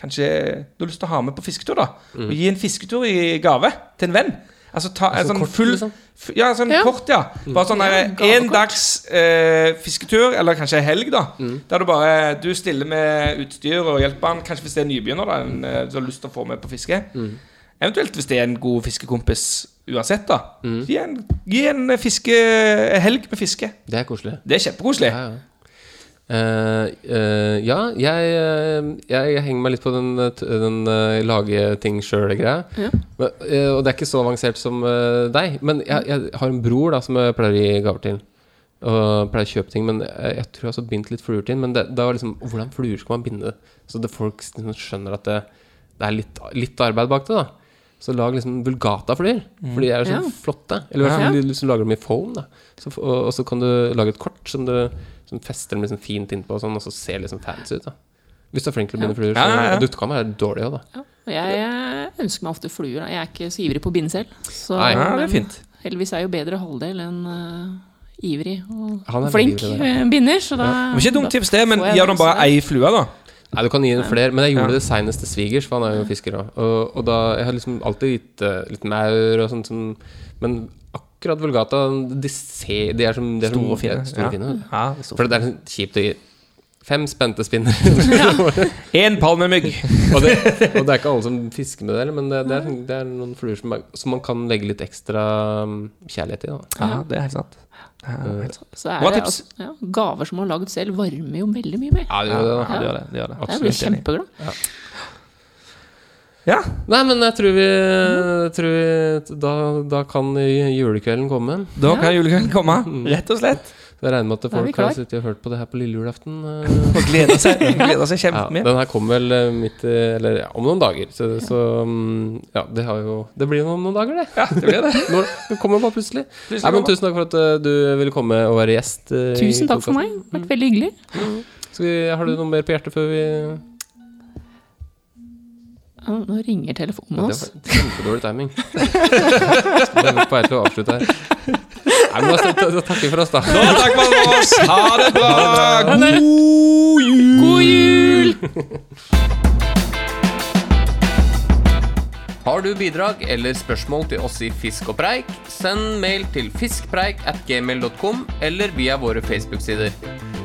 [SPEAKER 5] Kanskje du har lyst til å ha med på fisketur, da.
[SPEAKER 6] Mm.
[SPEAKER 5] Og gi en fisketur i gave til en venn. Altså ta en sånn
[SPEAKER 6] kort,
[SPEAKER 5] full
[SPEAKER 6] liksom?
[SPEAKER 5] f- Ja, sånn
[SPEAKER 9] Ja.
[SPEAKER 5] kort, ja. Bare sånn der, en dags eh, fisketur, eller kanskje en helg, da.
[SPEAKER 6] Mm.
[SPEAKER 5] Der du bare Du stiller med utstyr og hjelper han. Kanskje hvis det er nybegynner, da, en, eh, du har lyst til å få med på fiske.
[SPEAKER 6] Mm.
[SPEAKER 5] Eventuelt hvis det er en god fiskekompis uansett, da.
[SPEAKER 6] Mm.
[SPEAKER 5] Gi en, gi en fiske, helg med fiske.
[SPEAKER 6] Det er koselig.
[SPEAKER 5] Det er kjempekoselig.
[SPEAKER 6] Ja, ja. Eh, eh, ja jeg, eh, jeg, jeg henger meg litt på den, eh, t- den eh, lage ting sjøl-greia. eh, Og det er ikke så avansert som eh, deg. Men jeg, jeg har en bror da som jeg pleier å gi gaver til. Og pleier å kjøpe ting, men jeg, jeg tror jeg har også bindt litt fluer til. Men det, det var liksom, hvordan fluer skal man binde? Så det folk liksom skjønner at det, det er litt, litt arbeid bak det. da Så lag liksom vulgata-fluer,
[SPEAKER 5] Mm.
[SPEAKER 6] for de er jo sånn
[SPEAKER 9] Ja.
[SPEAKER 6] flotte. Eller i hvert fall de liksom lager dem i foam. da så, f- og, og så kan du lage et kort som du som fester dem liksom fint innpå, og sånn, og så ser liksom fancy ut. da Hvis du er flink til å binde fluer, så
[SPEAKER 5] Ja, ja, ja.
[SPEAKER 6] duttkammer er dårlig òg, da.
[SPEAKER 9] Ja. Og Jeg eh, ønsker meg ofte fluer. da. Jeg er ikke så ivrig på å binde selv. Så,
[SPEAKER 6] Nei.
[SPEAKER 5] Ja, det
[SPEAKER 9] men
[SPEAKER 5] er fint.
[SPEAKER 9] heldigvis er jo bedre halvdel enn eh, ivrig og
[SPEAKER 6] Han er veldig
[SPEAKER 9] flink
[SPEAKER 6] ivrig,
[SPEAKER 9] eh, binder, så da
[SPEAKER 5] Det var ikke et dumt tips, det, men
[SPEAKER 9] får jeg
[SPEAKER 5] gir dem
[SPEAKER 9] den også
[SPEAKER 5] bare
[SPEAKER 9] der.
[SPEAKER 5] ei flue, da.
[SPEAKER 6] Nei, du kan gi den flere, men jeg gjorde
[SPEAKER 5] Ja.
[SPEAKER 6] det senest til svigers, for han er jo fisker òg. Og, og da Jeg har liksom alltid gitt eh, litt maur og sånt, som, men akkurat vulgata, de, ser, de er som de er som-
[SPEAKER 5] Store og fine,
[SPEAKER 6] ja, Store
[SPEAKER 5] ja.
[SPEAKER 6] og fine vet du.
[SPEAKER 5] Ja,
[SPEAKER 6] For det er sånn kjipt å gi fem spente spinner.
[SPEAKER 5] en palmemygg.
[SPEAKER 6] og, det, og det er ikke alle som fisker med det, heller, men det, det, er, sånn- det er noen fluer som, er, som man kan legge litt ekstra um, kjærlighet i. Da.
[SPEAKER 5] Ja, det er helt sant. Ja, helt sant.
[SPEAKER 9] Så
[SPEAKER 5] Bra
[SPEAKER 9] er det
[SPEAKER 5] tips.
[SPEAKER 9] altså, ja, gaver som man har lagd selv, varmer jo veldig mye mer.
[SPEAKER 6] Ja, det
[SPEAKER 5] Ja,
[SPEAKER 6] gjør det, da.
[SPEAKER 5] det gjør det. det, gjør det.
[SPEAKER 9] Jeg blir
[SPEAKER 5] Absolutt enig.
[SPEAKER 9] kjempeglad.
[SPEAKER 5] Ja,
[SPEAKER 6] Nei, men jeg tror vi, tror vi da, da kan julekvelden komme.
[SPEAKER 5] da kan julekvelden komme,
[SPEAKER 6] Mm.
[SPEAKER 5] rett og slett.
[SPEAKER 6] Så jeg regner med at
[SPEAKER 9] Da er vi
[SPEAKER 6] folk har
[SPEAKER 9] klar.
[SPEAKER 6] sittet og hørt på det her på lille julaften. eh.
[SPEAKER 5] Og gleder seg, gleder seg
[SPEAKER 6] Ja,
[SPEAKER 5] kjempemye.
[SPEAKER 6] den her kommer vel eh, midt i Eller ja, om noen dager. Så, så mm, ja, det har jo Det blir jo om noen dager, det.
[SPEAKER 5] Ja, det blir det.
[SPEAKER 6] Når, det kommer bare plutselig.
[SPEAKER 5] Plutselig
[SPEAKER 6] Nei, men
[SPEAKER 5] kommer.
[SPEAKER 6] tusen takk for at eh, du ville komme og være gjest. eh, i
[SPEAKER 9] Tusen takk for
[SPEAKER 6] podcasten.
[SPEAKER 9] meg. Det har vært veldig hyggelig.
[SPEAKER 6] Skal vi, har du noe mer på hjertet før vi
[SPEAKER 9] Ja, Nå ringer telefonen
[SPEAKER 6] Det
[SPEAKER 9] hans.
[SPEAKER 6] var kjempedårlig timing. Det er på vei til å avslutte her. Nei, men da, da, da takker vi for oss, da.
[SPEAKER 5] Og takk for oss. Ha det bra.
[SPEAKER 6] Har du bidrag eller spørsmål til oss i Fisk og preik, send mail til fiskpreik at gmail.com eller via våre Facebook-sider.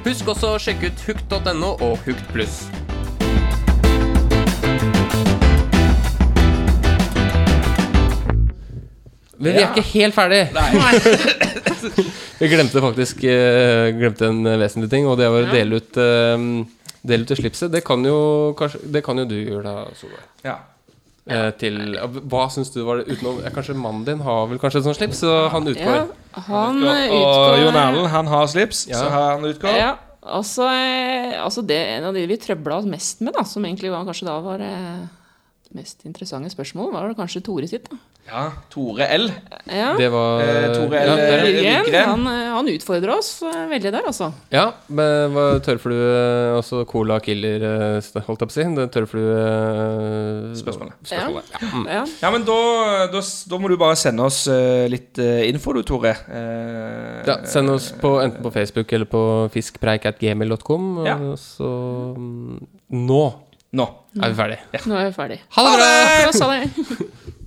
[SPEAKER 6] Husk også å sjekke ut hukt.no og Hukt pluss. Men vi er ikke helt ferdig. vi glemte faktisk eh, glemte en vesentlig ting, og det var å dele ut, eh, dele ut det slipset. Det kan jo, kanskje, det kan jo du gjøre da, Solveig.
[SPEAKER 5] Ja.
[SPEAKER 6] Eh, til, hva syns du var det utenom ja, Kanskje mannen din har vel kanskje et sånt slips, så han utgår.
[SPEAKER 9] Ja, han eh,
[SPEAKER 5] Og Jon
[SPEAKER 9] utgår
[SPEAKER 5] Erlend, han har slips, så han utgår.
[SPEAKER 9] Ja, altså, eh, altså det er en av de vi trøbla oss mest med, da, som egentlig var, kanskje da var eh, det mest interessante spørsmålet, var det kanskje Tore sitt. da.
[SPEAKER 5] Ja, Tore L.
[SPEAKER 9] Ja.
[SPEAKER 6] Det var
[SPEAKER 5] Eh, Tore L.
[SPEAKER 6] ja, der, ja.
[SPEAKER 9] Jørgen,
[SPEAKER 5] Rygren.
[SPEAKER 9] han, eh, han utfordrer oss eh, veldig der, altså.
[SPEAKER 6] ja, men var tørrflue eh, Også cola killer, eh, st- holdt jeg på å si. Det er Tørrflue eh,
[SPEAKER 5] Spørsmålet.
[SPEAKER 6] Mm.
[SPEAKER 9] Ja.
[SPEAKER 5] Ja, men da, da, da må du bare sende oss eh, litt eh, info, du, Tore. Eh,
[SPEAKER 6] Ja, send oss på, enten på Facebook eller på fiskpreik.gmail.com. og
[SPEAKER 5] Ja.
[SPEAKER 6] Så mm, nå
[SPEAKER 5] Nå.
[SPEAKER 6] er vi ferdige.
[SPEAKER 9] Nå er vi ferdig.
[SPEAKER 6] Ha det bra!
[SPEAKER 9] Ja, sa det.